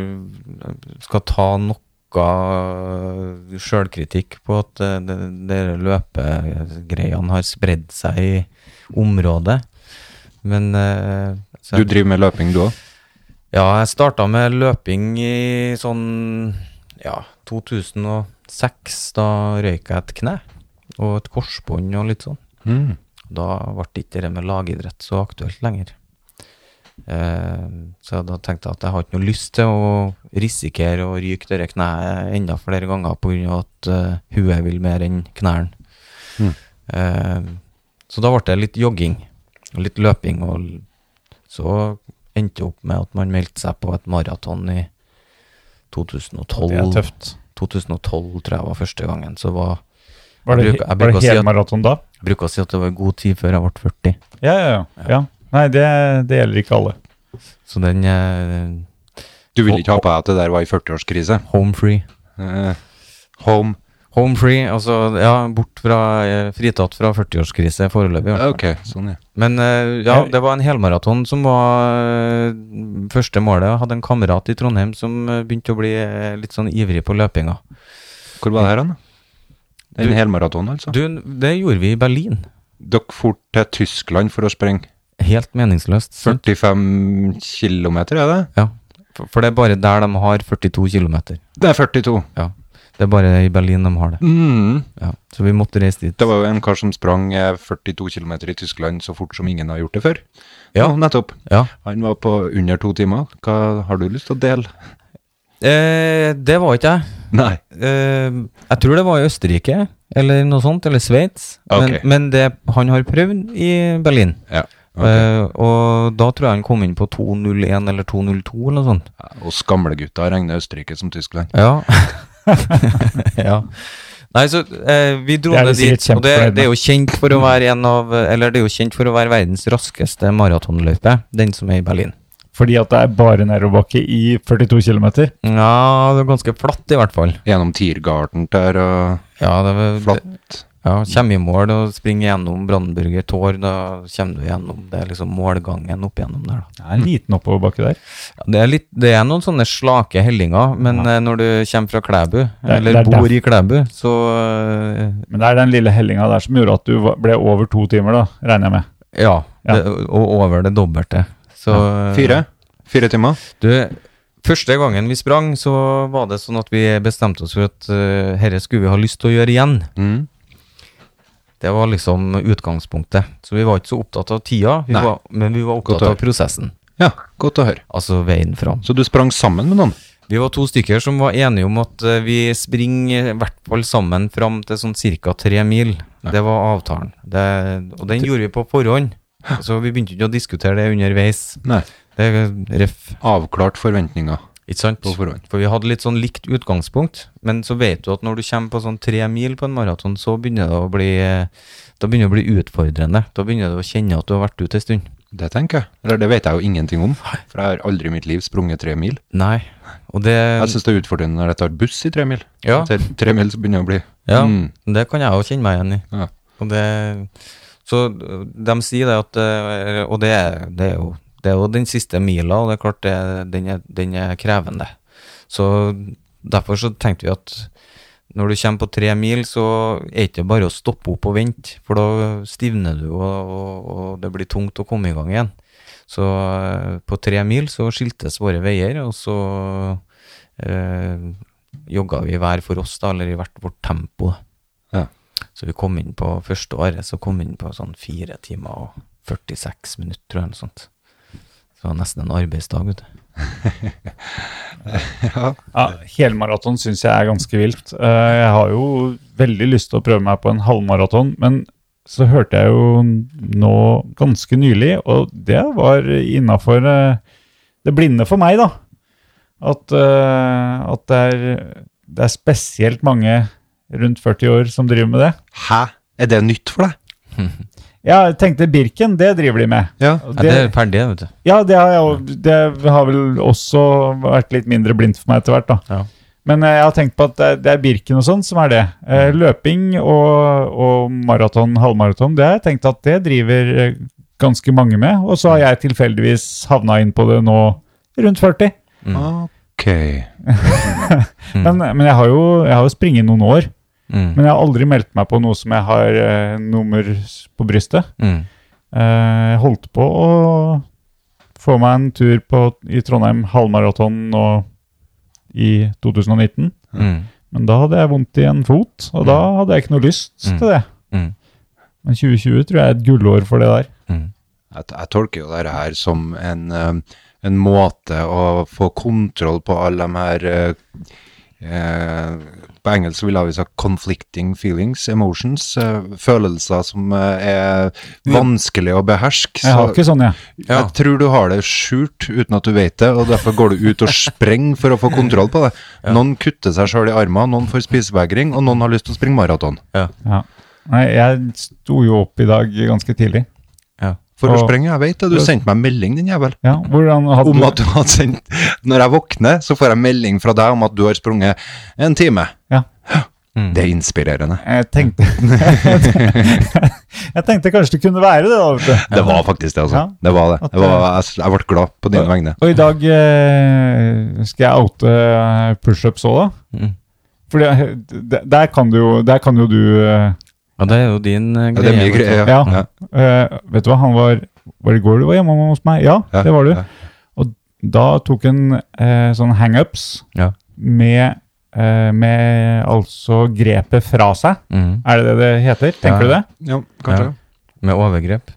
Speaker 5: skal ta noe eh, sjølkritikk på at eh, det, det løpegreiene har spredd seg i området. Men eh, så
Speaker 2: Du
Speaker 5: jeg-
Speaker 2: driver med løping du òg?
Speaker 5: ja, jeg starta med løping i sånn ja, 2006. Da røyka jeg et kne og et korsbånd og litt sånn. Da ble ikke det med lagidrett så aktuelt lenger. Eh, så da tenkte jeg at jeg har ikke noe lyst til å risikere å ryke det kneet enda flere ganger pga. at eh, huet vil mer enn knærne.
Speaker 4: Mm.
Speaker 5: Eh, så da ble det litt jogging og litt løping, og l- så endte jeg opp med at man meldte seg på et maraton i 2012.
Speaker 4: Det er tøft.
Speaker 5: 2012 tror jeg var første gangen. Så var,
Speaker 4: Var det,
Speaker 5: Jeg bruker- jeg
Speaker 4: var
Speaker 5: bruker å
Speaker 4: det
Speaker 5: si at-
Speaker 4: helmaraton da?
Speaker 5: jeg bruker å si at det var god tid før jeg ble 40.
Speaker 4: Ja, ja, ja. ja. Nei, det, det gjelder ikke alle.
Speaker 5: Så den eh,
Speaker 2: Du ville ikke ha på deg at det der var i 40-årskrise?
Speaker 5: Home free.
Speaker 2: Eh, home
Speaker 5: Home free, altså ja, bort fra eh, Fritatt fra 40-årskrise foreløpig. ja.
Speaker 2: Ok, sånn, ja.
Speaker 5: Men eh, ja, det var en helmaraton som var eh, første målet. Jeg hadde en kamerat i Trondheim som eh, begynte å bli eh, litt sånn ivrig på løpinga.
Speaker 2: Hvor var det her, da? Den helmaratonen, altså.
Speaker 5: Du, det gjorde vi i Berlin.
Speaker 2: Dere for til Tyskland for å sprenge.
Speaker 5: Helt meningsløst. sant?
Speaker 2: 45 km, er det?
Speaker 5: Ja. For, for det er bare der de har 42 km.
Speaker 2: Det er 42.
Speaker 5: Ja. Det er bare i Berlin de har det.
Speaker 2: Mm.
Speaker 5: Ja. Så vi måtte reise dit.
Speaker 2: Det var jo en kar som sprang eh, 42 km i Tyskland så fort som ingen har gjort det før.
Speaker 5: Ja.
Speaker 2: nettopp.
Speaker 5: Ja.
Speaker 2: Han var på under to timer. Hva har du lyst til å dele?
Speaker 5: Eh, det var ikke jeg.
Speaker 2: Nei.
Speaker 5: Eh, jeg tror det var i Østerrike, eller noe sånt, eller Sveits.
Speaker 2: Ok.
Speaker 5: Men, men det han har prøvd i Berlin.
Speaker 2: Ja.
Speaker 5: Eh, og da tror jeg han kom inn på 201 eller 202 eller noe sånt.
Speaker 2: Og skamlegutta regner Østerrike som Tyskland.
Speaker 5: Ja. ja. Nei, så eh, vi dro
Speaker 4: Det er
Speaker 5: ned
Speaker 4: vi sikkert
Speaker 5: dit, og det,
Speaker 4: kjempefornøyd med.
Speaker 5: det er jo kjent for å være en av Eller det er jo kjent for å være verdens raskeste maratonløype, den som er i Berlin.
Speaker 4: Fordi at det er bare nedoverbakke i 42 km.
Speaker 5: Ja, det er ganske flatt i hvert fall.
Speaker 2: Gjennom Tiergarten der og
Speaker 5: Ja, det er
Speaker 2: flatt.
Speaker 5: Ja, kommer i mål og springer gjennom Brandenburger Tårn, da kommer du gjennom det er liksom målgangen opp gjennom der, da.
Speaker 4: Det er en liten oppoverbakke der.
Speaker 5: Ja, Det er, litt, det er noen sånne slake hellinger, men eh, når du kommer fra Klæbu, eller
Speaker 4: det er
Speaker 5: bor i Klæbu, så eh,
Speaker 4: Men det er den lille hellinga der som gjorde at du var- ble over to timer, da, regner jeg med.
Speaker 5: Ja.
Speaker 4: Ja.
Speaker 5: Det, og over det dobbelte. Så eh,
Speaker 2: Fire? Fire timer?
Speaker 5: Du, første gangen vi sprang, så var det sånn at vi bestemte oss for at eh, herre skulle vi ha lyst til å gjøre igjen.
Speaker 2: Mm.
Speaker 5: Det var liksom utgangspunktet. Så vi var ikke så opptatt av tida, vi
Speaker 2: Nei.
Speaker 5: var, men vi var
Speaker 2: Godt
Speaker 5: opptatt
Speaker 2: å
Speaker 5: av prosessen.
Speaker 2: Ja, godt å høre.
Speaker 5: Altså veien fram.
Speaker 2: Så du sprang sammen med noen?
Speaker 5: Vi var to stykker som var enige om at eh, vi springer i hvert fall sammen fram til sånn ca. tre mil. Det var avtalen. Det, og den gjorde vi på forhånd. Så vi begynte ikke å diskutere det underveis.
Speaker 2: Nei.
Speaker 5: Det er ref.
Speaker 2: Avklart forventninger
Speaker 5: Ikke sant?
Speaker 2: på forhånd.
Speaker 5: For vi hadde litt sånn likt utgangspunkt, men så vet du at når du kommer på sånn tre mil på en maraton, så begynner det å bli Da begynner det å bli utfordrende. Da begynner du å kjenne at du har vært ute en stund.
Speaker 2: Det tenker jeg. Eller det vet jeg jo ingenting om, for jeg har aldri i mitt liv sprunget tre mil.
Speaker 5: Nei. Altså, Og det
Speaker 2: Jeg syns det er utfordrende når jeg tar buss i tre mil.
Speaker 5: Ja.
Speaker 2: Etter tre mil så begynner jeg å bli
Speaker 5: Ja,
Speaker 2: Mm.
Speaker 5: det kan jeg jo kjenne meg igjen i.
Speaker 2: Ja.
Speaker 5: Og det, så de sier det at eh, Og det, er- det, er, jo, det er jo den siste mila, og det er klart det, den, er, den er krevende. Så derfor så tenkte vi at når du kommer på tre mil, så er det ikke bare å stoppe opp og vente, for da stivner du, og, og, og det blir tungt å komme i gang igjen. Så eh, på tre mil så skiltes våre veier, og så eh, jogga vi hver for oss, da, eller i hvert vårt tempo. da.
Speaker 2: Ja.
Speaker 5: Så vi kom inn på første året, så kom vi inn på sånn fire timer og 46 minutter, tror jeg, eller sånt. Så det var nesten en arbeidsdag, vet du.
Speaker 4: Ja, Helmaraton syns jeg er ganske vilt. Eh, Jeg har jo veldig lyst til å prøve meg på en halvmaraton, men så hørte jeg jo nå ganske nylig, og det var innafor eh, det blinde for meg, da. At, eh, at det, er, det er spesielt mange rundt 40 år som driver med det.
Speaker 2: Hæ? Er det nytt for deg?
Speaker 4: Ja, jeg tenkte Birken, det driver de med.
Speaker 2: Ja.
Speaker 4: Og
Speaker 5: Ja, det er ferdig, vet du.
Speaker 4: Ja, det har, jeg, jo- det har vel også vært litt mindre blindt for meg etter hvert. da.
Speaker 5: Ja.
Speaker 4: Men eh, jeg har tenkt på at det er, det er Birken og sånn som er det. Eh, Løping og, og maraton, halvmaraton, det har jeg tenkt at det driver eh, ganske mange med. Og så har jeg tilfeldigvis havna inn på det nå rundt 40.
Speaker 5: Mm.
Speaker 2: Ok.
Speaker 4: Men, men jeg har jo, jeg har jo springet noen år.
Speaker 5: Mm.
Speaker 4: Men jeg har aldri meldt meg på noe som jeg har eh, nummer på brystet.
Speaker 5: Mm.
Speaker 4: Eh, Jeg holdt på å få meg en tur på, i Trondheim halvmaraton nå i 2019.
Speaker 5: Mm.
Speaker 4: Men da hadde jeg vondt i en fot, og da hadde jeg ikke noe lyst
Speaker 5: Mm.
Speaker 4: til det.
Speaker 5: Mm.
Speaker 4: Men 2020 tror jeg er et gullår for det der.
Speaker 5: Mm.
Speaker 2: Jeg, jeg tolker jo dette her som en, eh, en måte å få kontroll på alle de her eh, eh, På engelsk ville vi sagt 'conflicting feelings', emotions. eh, følelser som eh, er vanskelig å beherske.
Speaker 4: Jeg har ikke sånn, jeg.
Speaker 5: Ja.
Speaker 2: Jeg tror du har det skjult uten at du vet det, og derfor går du ut og sprenger for å få kontroll på det. Noen kutter seg sjøl i armene, noen får spisevegring, og noen har lyst til å springe maraton.
Speaker 4: Ja. Nei, jeg sto jo opp i dag ganske tidlig.
Speaker 5: Ja.
Speaker 2: For å
Speaker 4: Og-
Speaker 2: sprenge, jeg vet det. Du sendte meg en melding, din jævel.
Speaker 4: Ja, hvordan hadde
Speaker 2: Om at du hadde sendt Når jeg våkner, så får jeg melding fra deg om at du har sprunget en time.
Speaker 4: Ja. Mm.
Speaker 2: Det er inspirerende.
Speaker 4: Jeg tenkte Jeg tenkte kanskje det kunne være det, da. vet du.
Speaker 2: Det var faktisk det, altså.
Speaker 4: Ja.
Speaker 2: Det var det.
Speaker 4: At,
Speaker 2: Jeg, var, jeg, jeg ble glad på dine vegne.
Speaker 4: Og i dag eh, skal jeg oute eh, pushups òg, da.
Speaker 5: Mm.
Speaker 4: For der kan du jo, der kan jo du eh,
Speaker 5: Ja, det er jo din eh,
Speaker 2: Ja, det er mye
Speaker 5: vet du.
Speaker 2: greier.
Speaker 4: Ja. eh, Vet du hva, han var Var det i går du var hjemme hos meg? Ja,
Speaker 2: Ja,
Speaker 4: det var du.
Speaker 2: ja.
Speaker 4: Og da tok han eh, sånn hangups
Speaker 5: Ja.
Speaker 4: med, eh, med altså grepet fra seg.
Speaker 5: Mhm.
Speaker 4: Er det det det heter? Tenker du det?
Speaker 2: Ja, kanskje.
Speaker 5: Med overgrep.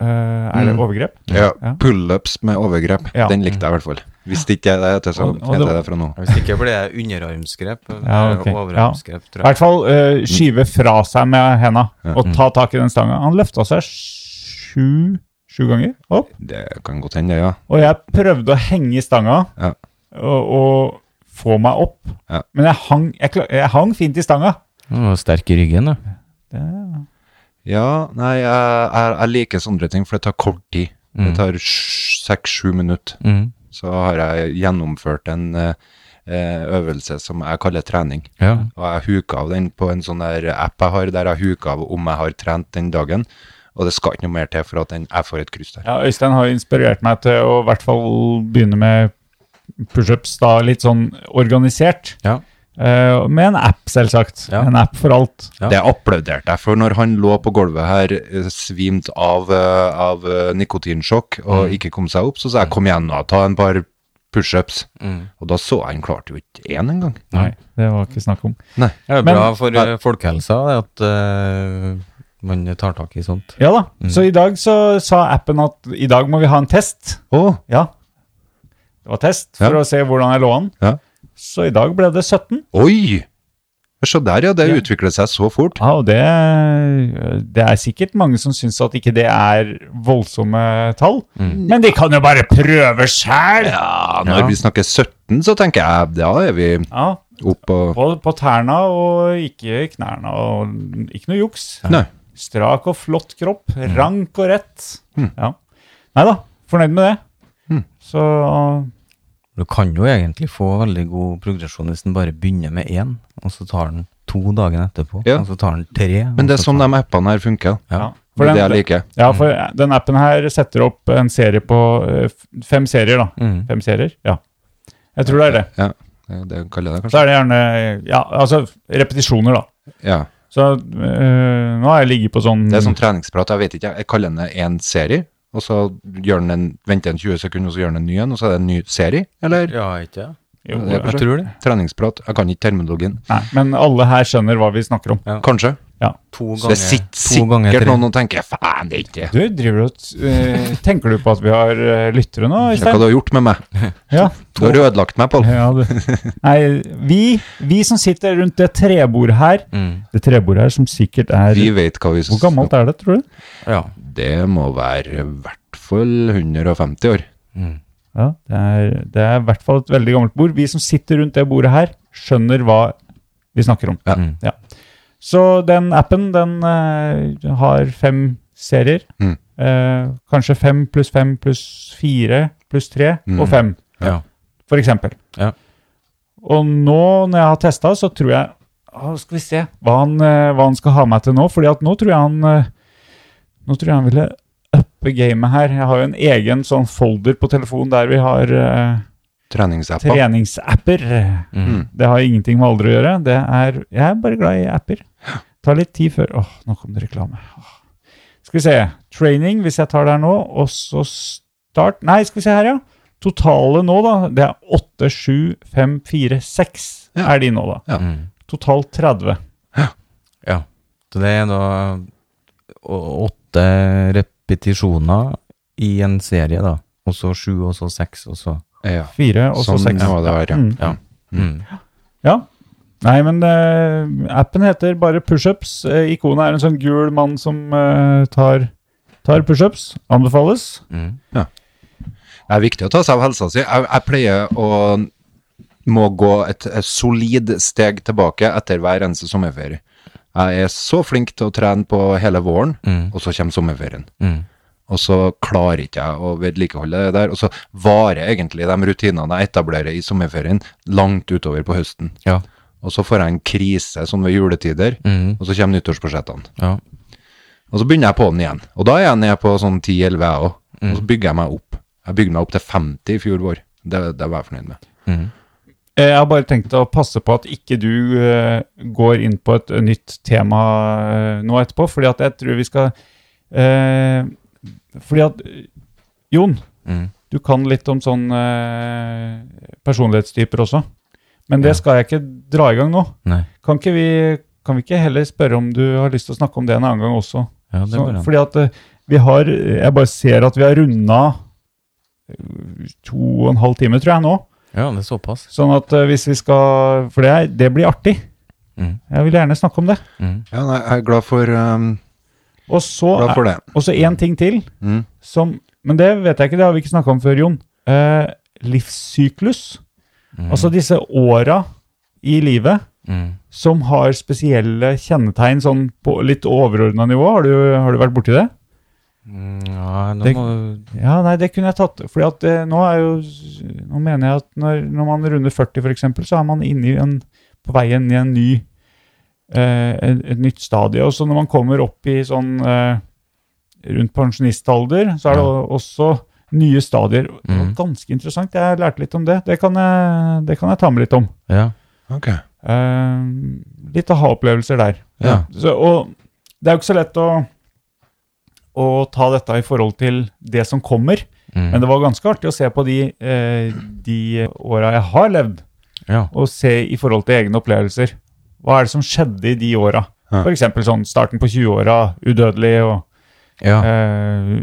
Speaker 4: Eh, er det
Speaker 2: Mm.
Speaker 4: overgrep?
Speaker 2: Ja.
Speaker 4: Ja.
Speaker 2: Pullups med overgrep.
Speaker 4: Ja.
Speaker 2: Den likte jeg i hvert fall. Hvis det ikke er det heter, så
Speaker 4: Og- og
Speaker 2: heter
Speaker 4: det-
Speaker 2: det fra nå.
Speaker 5: Hvis ikke blir det underarmsgrep. eh,
Speaker 4: Ja, ok.
Speaker 5: Overarmsgrep,
Speaker 4: I hvert fall eh, skyve fra seg med henda og
Speaker 2: Mm.
Speaker 4: ta tak i den stanga. Han løfta seg sju, sju ganger opp,
Speaker 2: Det kan godt hende, ja.
Speaker 4: og jeg prøvde å henge i stanga
Speaker 2: Ja.
Speaker 4: og, og få meg opp.
Speaker 2: Ja.
Speaker 4: Men jeg hang, jeg, kla- jeg hang fint i stanga.
Speaker 5: Han var sterk i ryggen, da.
Speaker 2: Ja, nei, jeg, jeg, jeg liker sånne ting, for det tar kort tid. Det tar sj- seks-sju minutter.
Speaker 5: Mhm.
Speaker 2: Så har jeg gjennomført en eh, eh, øvelse som jeg kaller trening.
Speaker 5: Ja.
Speaker 2: Og jeg huker av den på en sånn der app jeg har, der jeg huker av om jeg har trent den dagen. Og det skal ikke noe mer til for at den, jeg får et kryss der.
Speaker 4: Ja, Øystein har inspirert meg til å i hvert fall begynne med pushups da, litt sånn organisert.
Speaker 5: Ja.
Speaker 4: Eh, med en app, selvsagt.
Speaker 5: Ja.
Speaker 4: En app for alt.
Speaker 5: Ja.
Speaker 2: Det applauderte jeg, for når han lå på gulvet her eh, svimt av, eh, av eh, nikotinsjokk og ikke kom seg opp, så sa jeg kom igjen nå, ta en par pushups.
Speaker 5: Mm.
Speaker 2: Og da så jeg han klarte jo ikke én engang.
Speaker 4: Nei, det var ikke snakk om.
Speaker 2: Nei.
Speaker 5: Det er
Speaker 4: Men-
Speaker 5: bra for eh, folkehelsa det at eh, man tar tak i sånt.
Speaker 4: Ja da.
Speaker 2: Mm.
Speaker 4: Så i dag så sa appen at i dag må vi ha en test.
Speaker 2: Å,
Speaker 4: Ja. Det var test for
Speaker 2: Ja.
Speaker 4: å se hvordan jeg lå an.
Speaker 2: Ja.
Speaker 4: Så i dag ble det 17.
Speaker 2: oi! Se der, ja. Det utvikler seg så fort.
Speaker 4: Ja, og det, det er sikkert mange som syns at ikke det er voldsomme tall. Men de kan jo bare prøve sjæl!
Speaker 2: Mm. Ja, når
Speaker 5: Ja.
Speaker 2: vi snakker 17, så tenker jeg da er vi
Speaker 4: Ja,
Speaker 2: opp og
Speaker 4: på, på tærne og ikke i knærne. Og ikke noe juks.
Speaker 2: Nei. Mm.
Speaker 4: Strak og flott kropp. Rank og rett. Ja. Nei da, fornøyd med det.
Speaker 2: Mm.
Speaker 4: Så
Speaker 5: Du kan jo egentlig få veldig god progresjon hvis den bare begynner med én, og så tar den to dagen etterpå,
Speaker 2: Ja.
Speaker 5: og så tar den tre.
Speaker 2: Men det er
Speaker 5: og så
Speaker 2: sånn
Speaker 5: tar
Speaker 2: de appene her funker.
Speaker 5: Ja.
Speaker 4: ja.
Speaker 2: Det er Mm. det jeg liker.
Speaker 4: Ja, for den appen her setter opp en serie på eh, f- Fem serier, da.
Speaker 5: Mm.
Speaker 4: Fem serier, ja. Jeg tror det er det.
Speaker 2: Ja, det, det kaller jeg det kanskje.
Speaker 4: Så er det gjerne Ja, altså repetisjoner, da.
Speaker 2: Ja.
Speaker 4: Så eh, nå har jeg ligget på sånn
Speaker 2: Det er sånn treningsprat, jeg vet ikke, jeg kaller den en serie, og så gjør den en, venter den 20 sekunder, og så gjør den en ny en, og så er det en ny serie, eller?
Speaker 5: Ja, ikke det?
Speaker 4: jo,
Speaker 2: det er
Speaker 5: Jeg tror det.
Speaker 2: Treningsprat, jeg kan ikke terminologien.
Speaker 4: Nei, Men alle her skjønner hva vi snakker om.
Speaker 2: Kanskje?
Speaker 5: To ganger,
Speaker 2: Så det sitter
Speaker 5: to ganger
Speaker 2: sikkert
Speaker 5: tre.
Speaker 2: noen og tenker, faen, det er ikke det.
Speaker 4: Du driver og t- eh, Tenker du på at vi har eh, lyttere
Speaker 2: Det
Speaker 4: nå,
Speaker 2: er hva
Speaker 4: Øystein?
Speaker 2: du har gjort med meg.
Speaker 4: Ja.
Speaker 2: Du har ødelagt meg, Pål.
Speaker 4: Ja, det. Nei, vi, vi som sitter rundt det trebordet her
Speaker 5: Mm.
Speaker 4: Det trebordet her som sikkert er
Speaker 2: Vi vet hva vi
Speaker 4: Hvor gammelt er det, tror du?
Speaker 5: Ja.
Speaker 2: Det må være i hvert fall 150 år.
Speaker 4: Ja, det er, det er i hvert fall et veldig gammelt bord. Vi som sitter rundt det bordet her, skjønner hva vi snakker om.
Speaker 2: Ja.
Speaker 5: Mm.
Speaker 4: Så den appen, den eh, har fem serier.
Speaker 2: Mm.
Speaker 4: Eh, kanskje fem pluss fem pluss fire pluss tre
Speaker 2: Mm.
Speaker 4: og fem.
Speaker 5: ja.
Speaker 4: for eksempel.
Speaker 5: Ja.
Speaker 4: Og nå når jeg har testa, så tror jeg å, Skal vi se hva han, eh, hva han skal ha meg til nå. Fordi at nå tror jeg han eh, Nå tror jeg han ville uppe gamet her. Jeg har jo en egen sånn folder på telefonen der vi har eh,
Speaker 2: Treningsappa.
Speaker 4: treningsapper.
Speaker 5: Mm.
Speaker 4: Det har ingenting med alder å gjøre. Det er, jeg er bare glad i apper. Tar litt tid før Åh, nå kom det reklame. Åh. Skal vi se. Training, hvis jeg tar der nå, og så start Nei, skal vi se her, ja. Totale nå, da. Det er 8, 7, 5, 4, 6
Speaker 2: Ja.
Speaker 4: er de nå, da.
Speaker 2: Ja.
Speaker 5: Mm.
Speaker 4: Totalt 30.
Speaker 5: ja. Så det er da å- åtte repetisjoner i en serie, da. Og så sju, og så seks, og så
Speaker 2: Ja.
Speaker 4: 4 og så
Speaker 2: Sånn
Speaker 4: 6.
Speaker 2: må det være, ja.
Speaker 4: Mm.
Speaker 5: Ja. Mm.
Speaker 4: Ja. Nei, men eh, appen heter bare pushups. Uh, ikonet er en sånn gul mann som eh, tar, tar pushups. Anbefales.
Speaker 5: Mm.
Speaker 2: Det er viktig å ta seg av helsa si. Jeg, jeg pleier å må gå et, et solid steg tilbake etter hver eneste sommerferie. Jeg er så flink til å trene på hele våren,
Speaker 5: Mm.
Speaker 2: og så kommer sommerferien.
Speaker 5: Mm.
Speaker 2: Og så klarer ikke jeg å vedlikeholde det der. Og så varer egentlig de rutinene jeg etablerer i sommerferien, langt utover på høsten.
Speaker 5: Ja.
Speaker 2: Og så får jeg en krise sånn ved juletider,
Speaker 5: Mm.
Speaker 2: og så kommer nyttårsbudsjettene.
Speaker 5: ja.
Speaker 2: Og så begynner jeg på den igjen. Og da er jeg nede på sånn 10-11 jeg òg.
Speaker 5: Mm.
Speaker 2: Og så bygger jeg meg opp. Jeg bygde meg opp til 50 i fjor vår. Det, det var jeg fornøyd med.
Speaker 4: Eh, Jeg har bare tenkt å passe på at ikke du eh, går inn på et nytt tema eh, nå etterpå, fordi at jeg tror vi skal eh, Fordi at eh, Jon,
Speaker 5: Mm.
Speaker 4: du kan litt om sånn eh, personlighetstyper også. Men det
Speaker 5: Ja.
Speaker 4: skal jeg ikke dra i gang nå.
Speaker 5: Nei.
Speaker 4: Kan, ikke vi, kan vi ikke heller spørre om du har lyst til å snakke om det en annen gang også?
Speaker 5: Ja, det
Speaker 4: Så,
Speaker 5: går an.
Speaker 4: fordi at eh, vi har Jeg bare ser at vi har runda eh, to og en halv time, tror jeg, nå.
Speaker 5: Ja, det er såpass.
Speaker 4: Sånn at eh, hvis vi skal For det, er- det blir artig.
Speaker 5: Mm.
Speaker 4: Jeg vil gjerne snakke om det.
Speaker 5: Mm.
Speaker 2: Ja, nei, jeg er glad for, um,
Speaker 4: Og så
Speaker 2: glad
Speaker 4: er-
Speaker 2: for det.
Speaker 4: og så én ting til
Speaker 2: Mm.
Speaker 4: som Men det vet jeg ikke, det har vi ikke snakka om før, Jon. Eh, livssyklus.
Speaker 5: Mm.
Speaker 4: Altså disse åra i livet
Speaker 5: mm.
Speaker 4: som har spesielle kjennetegn sånn på litt overordna nivå. Har du, har du vært borti det?
Speaker 5: Mm, Ja, nå
Speaker 4: Det-
Speaker 5: må
Speaker 4: Ja, nei, det kunne jeg tatt. Fordi at eh, nå er jo Nå mener jeg at når, når man runder 40 f.eks., så er man inne i en, på vei inn i en ny eh, et, et nytt stadie. Og så når man kommer opp i sånn eh, rundt pensjonistalder, så er det
Speaker 5: Ja.
Speaker 4: o- også nye stadier. Det var
Speaker 5: Mhm.
Speaker 4: Ganske interessant. Jeg lærte litt om det. Det kan jeg, det kan jeg ta med litt om.
Speaker 5: Ja.
Speaker 2: Ok.
Speaker 4: Eh, litt aha-opplevelser der.
Speaker 5: Ja.
Speaker 4: Så, og det er jo ikke så lett å, å ta dette i forhold til det som kommer.
Speaker 5: Mm.
Speaker 4: Men det var ganske artig å se på de, eh, de åra jeg har levd,
Speaker 5: ja.
Speaker 4: og se i forhold til egne opplevelser. Hva er det som skjedde i de åra?
Speaker 2: Ja.
Speaker 4: For eksempel sånn starten på 20-åra, udødelig, og
Speaker 5: Ja.
Speaker 4: eh,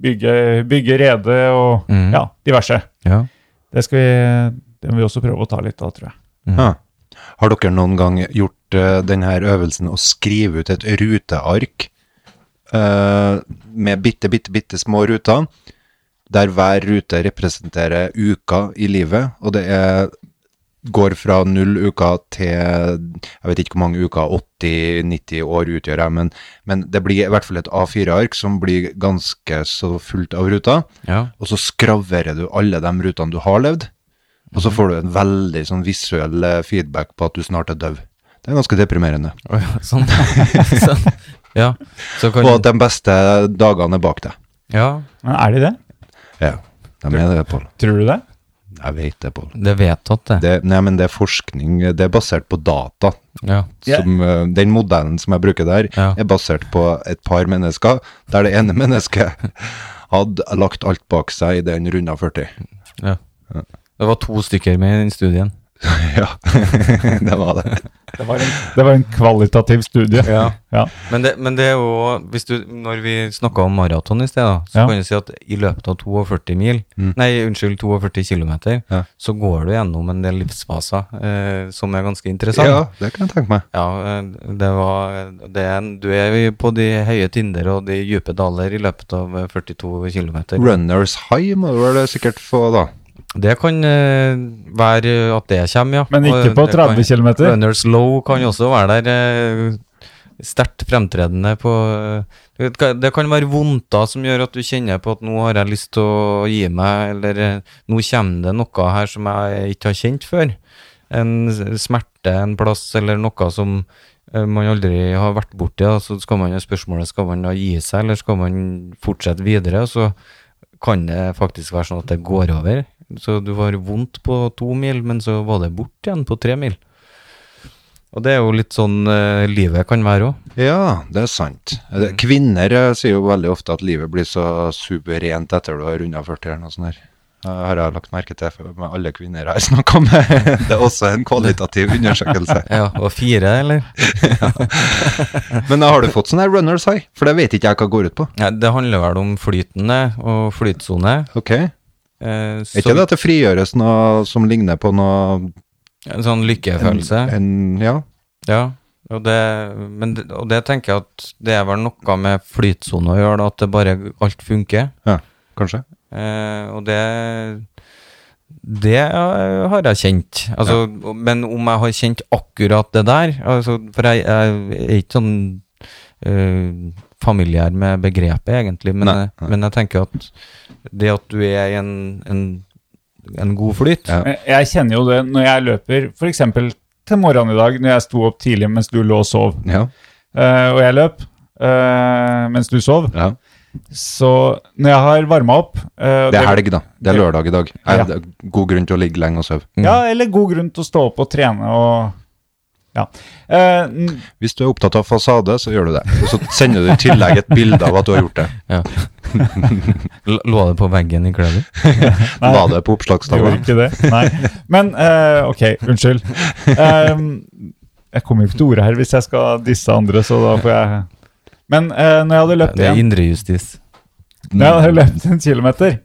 Speaker 4: bygge, bygge rede og
Speaker 5: Mm.
Speaker 4: ja, diverse.
Speaker 5: ja.
Speaker 4: Det skal vi, det må vi også prøve å ta litt av, tror jeg.
Speaker 2: Ja. Har dere noen gang gjort eh, denne øvelsen å skrive ut et ruteark eh, med bitte, bitte, bitte små ruter, der hver rute representerer uka i livet, og det er, går fra null uker til Jeg vet ikke hvor mange uker 80-90 år utgjør jeg, men, men det blir i hvert fall et A4-ark som blir ganske så fullt av ruter
Speaker 5: ja.
Speaker 2: og så skraverer du alle de rutene du har levd, og så får du en veldig sånn visuell eh, feedback på at du snart er døv. Det er ganske deprimerende.
Speaker 5: Å, ja, Sånn. sånn. Ja. Så kan
Speaker 2: Og at de beste dagene er bak deg.
Speaker 5: Ja,
Speaker 4: Men er de det?
Speaker 2: Ja, de er det, Pål.
Speaker 4: Tror du det?
Speaker 2: Jeg vet det, Pål.
Speaker 5: det er vedtatt, det.
Speaker 2: Det, nei, men det er forskning. Det er basert på data.
Speaker 5: Ja.
Speaker 2: Som, eh, den modellen som jeg bruker der,
Speaker 5: Ja.
Speaker 2: er basert på et par mennesker, der det ene mennesket hadde lagt alt bak seg i den runda 40.
Speaker 5: ja. Det var to stykker med i den studien.
Speaker 2: Ja, det var det.
Speaker 4: Det var en, det var en kvalitativ studie.
Speaker 5: Ja.
Speaker 4: Ja.
Speaker 5: Men det, men det er jo hvis du, Når vi snakka om maraton i sted, da, så
Speaker 4: Ja. Mm.
Speaker 5: kan du si at i løpet av 42 mil, nei, unnskyld, 42 km,
Speaker 2: Ja.
Speaker 5: så går du gjennom en del livsfaser eh, som er ganske interessant.
Speaker 2: Ja, det kan jeg tenke meg.
Speaker 5: Ja, eh, det var det er, en- Du er jo på de høye tinder og de dype daler i løpet av eh, 42 km.
Speaker 2: Runners high må du vel sikkert få, da.
Speaker 5: Det kan eh, være at det kommer, ja.
Speaker 4: Men ikke
Speaker 5: Og
Speaker 4: på
Speaker 5: det
Speaker 4: 30
Speaker 5: kan-
Speaker 4: km.
Speaker 5: Runners low kan jo også være der eh, sterkt fremtredende på eh, det kan- Det kan være vondter som gjør at du kjenner på at nå har jeg lyst til å gi meg, eller eh, nå kommer det noe her som jeg ikke har kjent før. En s- smerte en plass, eller noe som eh, man aldri har vært borti. da. Så skal man jo spørsmålet skal man da gi seg, eller skal man fortsette videre. og Så kan det faktisk være sånn at det går over. Så du har vondt på to mil, men så var det bort igjen på tre mil. Og det er jo litt sånn eh, livet kan være òg.
Speaker 2: Ja, det er sant. Det- Kvinner eh, sier jo veldig ofte at livet blir så suverent etter du har runda 40 eller noe sånt. der. Det har jeg lagt merke til for- med alle kvinner jeg har snakka med. Det er også en kvalitativ undersøkelse.
Speaker 5: Ja, og fire, eller?
Speaker 2: Men da har du fått sånn her runners high? For det vet ikke jeg hva går ut på.
Speaker 5: Nei, det handler vel om flytende og flytsone.
Speaker 2: Ok? Er
Speaker 5: Eh,
Speaker 2: ikke det at det frigjøres noe som ligner på noe
Speaker 5: En sånn lykkefølelse.
Speaker 2: en, Ja.
Speaker 5: Ja. Og det, men, det- og det tenker jeg at det er vel noe med flytsone å gjøre, da, at det bare alt funker.
Speaker 2: ja, kanskje?
Speaker 5: Eh, og det det eh, har jeg kjent. Altså, Men om jeg har kjent akkurat det der altså, For jeg, jeg er ikke sånn eh, familiær med begrepet, egentlig. Men,
Speaker 2: Nei, nei.
Speaker 5: men jeg tenker at det at du er i en, en, en god flyt
Speaker 2: Ja.
Speaker 4: Men Jeg kjenner jo det når jeg løper, f.eks. til morgenen i dag, når jeg sto opp tidlig mens du lå og sov,
Speaker 2: Ja.
Speaker 4: Eh, og jeg løp eh, mens du sov,
Speaker 2: ja.
Speaker 4: Så når jeg har varma opp eh,
Speaker 2: Det er helg, da. Det er lørdag i dag. Er
Speaker 4: Ja.
Speaker 2: det god grunn til å ligge lenge og sove.
Speaker 4: Ja, eller god grunn til å stå opp og trene og Ja. Eh, n-
Speaker 2: Hvis du er opptatt av fasade, så gjør du det. Og så sender du i tillegg et bilde av at du har gjort det.
Speaker 5: L- Lå det på veggen i kløver?
Speaker 2: Var det på
Speaker 4: Gjorde
Speaker 2: oppslagstavla?
Speaker 4: ikke det. Nei. Men eh, ok, unnskyld. Ehm, jeg kommer jo ikke til ordet her hvis jeg skal disse andre, så da får jeg Men eh, når jeg hadde løpt
Speaker 5: Det er
Speaker 4: igjen
Speaker 5: indrejustis.
Speaker 4: Når jeg hadde løpt en kilometer,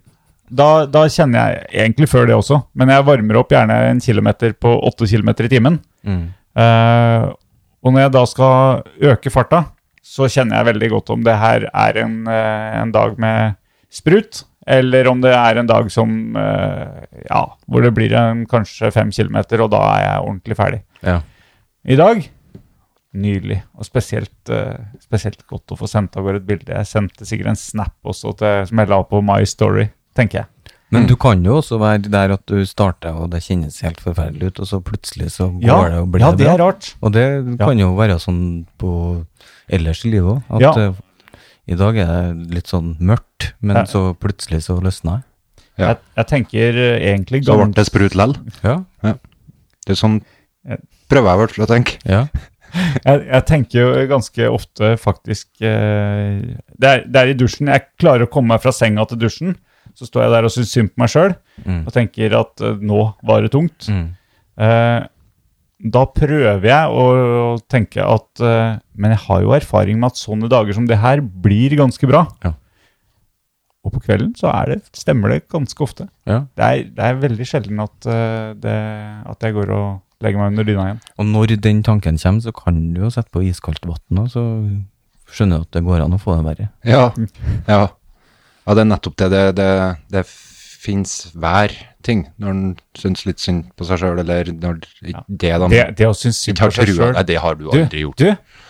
Speaker 4: da, da kjenner jeg egentlig før det også, men jeg varmer opp gjerne en kilometer på åtte kilometer i timen.
Speaker 5: Mm.
Speaker 4: Eh, og når jeg da skal øke farta, så kjenner jeg veldig godt om det her er en, eh, en dag med sprut, eller om det er en dag som eh, Ja, hvor det blir en, kanskje fem kilometer, og da er jeg ordentlig ferdig.
Speaker 5: Ja.
Speaker 4: I dag nydelig, og spesielt, eh, spesielt godt å få sendt av gårde et bilde. Jeg sendte sikkert en snap også til, som jeg la på My Story, tenker jeg.
Speaker 5: Men du kan jo også være der at du starter, og det kjennes helt forferdelig ut, og så plutselig så går
Speaker 4: Ja,
Speaker 5: det og blir
Speaker 4: ja, det er
Speaker 5: bra.
Speaker 4: rart.
Speaker 5: Og det
Speaker 4: Ja.
Speaker 5: kan jo være sånn på ellers i livet òg, at
Speaker 4: Ja.
Speaker 5: eh, i dag er det litt sånn mørkt, men
Speaker 4: Ja.
Speaker 5: så plutselig så løsner det.
Speaker 2: Ja.
Speaker 4: Jeg, jeg tenker eh, egentlig
Speaker 2: Så ble det sprut lell.
Speaker 5: Ja.
Speaker 2: Det er sånn prøver jeg i hvert fall å tenke.
Speaker 5: ja.
Speaker 4: jeg, jeg tenker jo ganske ofte faktisk eh, det, er, det er i dusjen. Jeg klarer å komme meg fra senga til dusjen. Så står jeg der og syns synd på meg sjøl
Speaker 5: Mm.
Speaker 4: og tenker at eh, nå var det tungt.
Speaker 5: Mm.
Speaker 4: Eh, da prøver jeg å, å tenke at eh, Men jeg har jo erfaring med at sånne dager som det her blir ganske bra.
Speaker 5: Ja.
Speaker 4: Og på kvelden så er det, stemmer det ganske ofte.
Speaker 5: Ja.
Speaker 4: Det er, det er veldig sjelden at, eh, det, at jeg går og legger meg under dyna igjen.
Speaker 5: Og når den tanken kommer, så kan du jo sette på iskaldt vann, og så skjønner du at det går an å få det verre.
Speaker 2: Ja. ja. Ja, det er nettopp det. Det, det, det fins hver ting når en syns litt synd på seg sjøl, eller når det
Speaker 5: Sånn.
Speaker 2: de
Speaker 4: Det, det å synes synd
Speaker 2: ikke
Speaker 4: på
Speaker 2: har
Speaker 4: seg
Speaker 2: trua
Speaker 4: sjøl
Speaker 2: Nei, det har du
Speaker 4: Du,
Speaker 2: aldri gjort.
Speaker 4: du,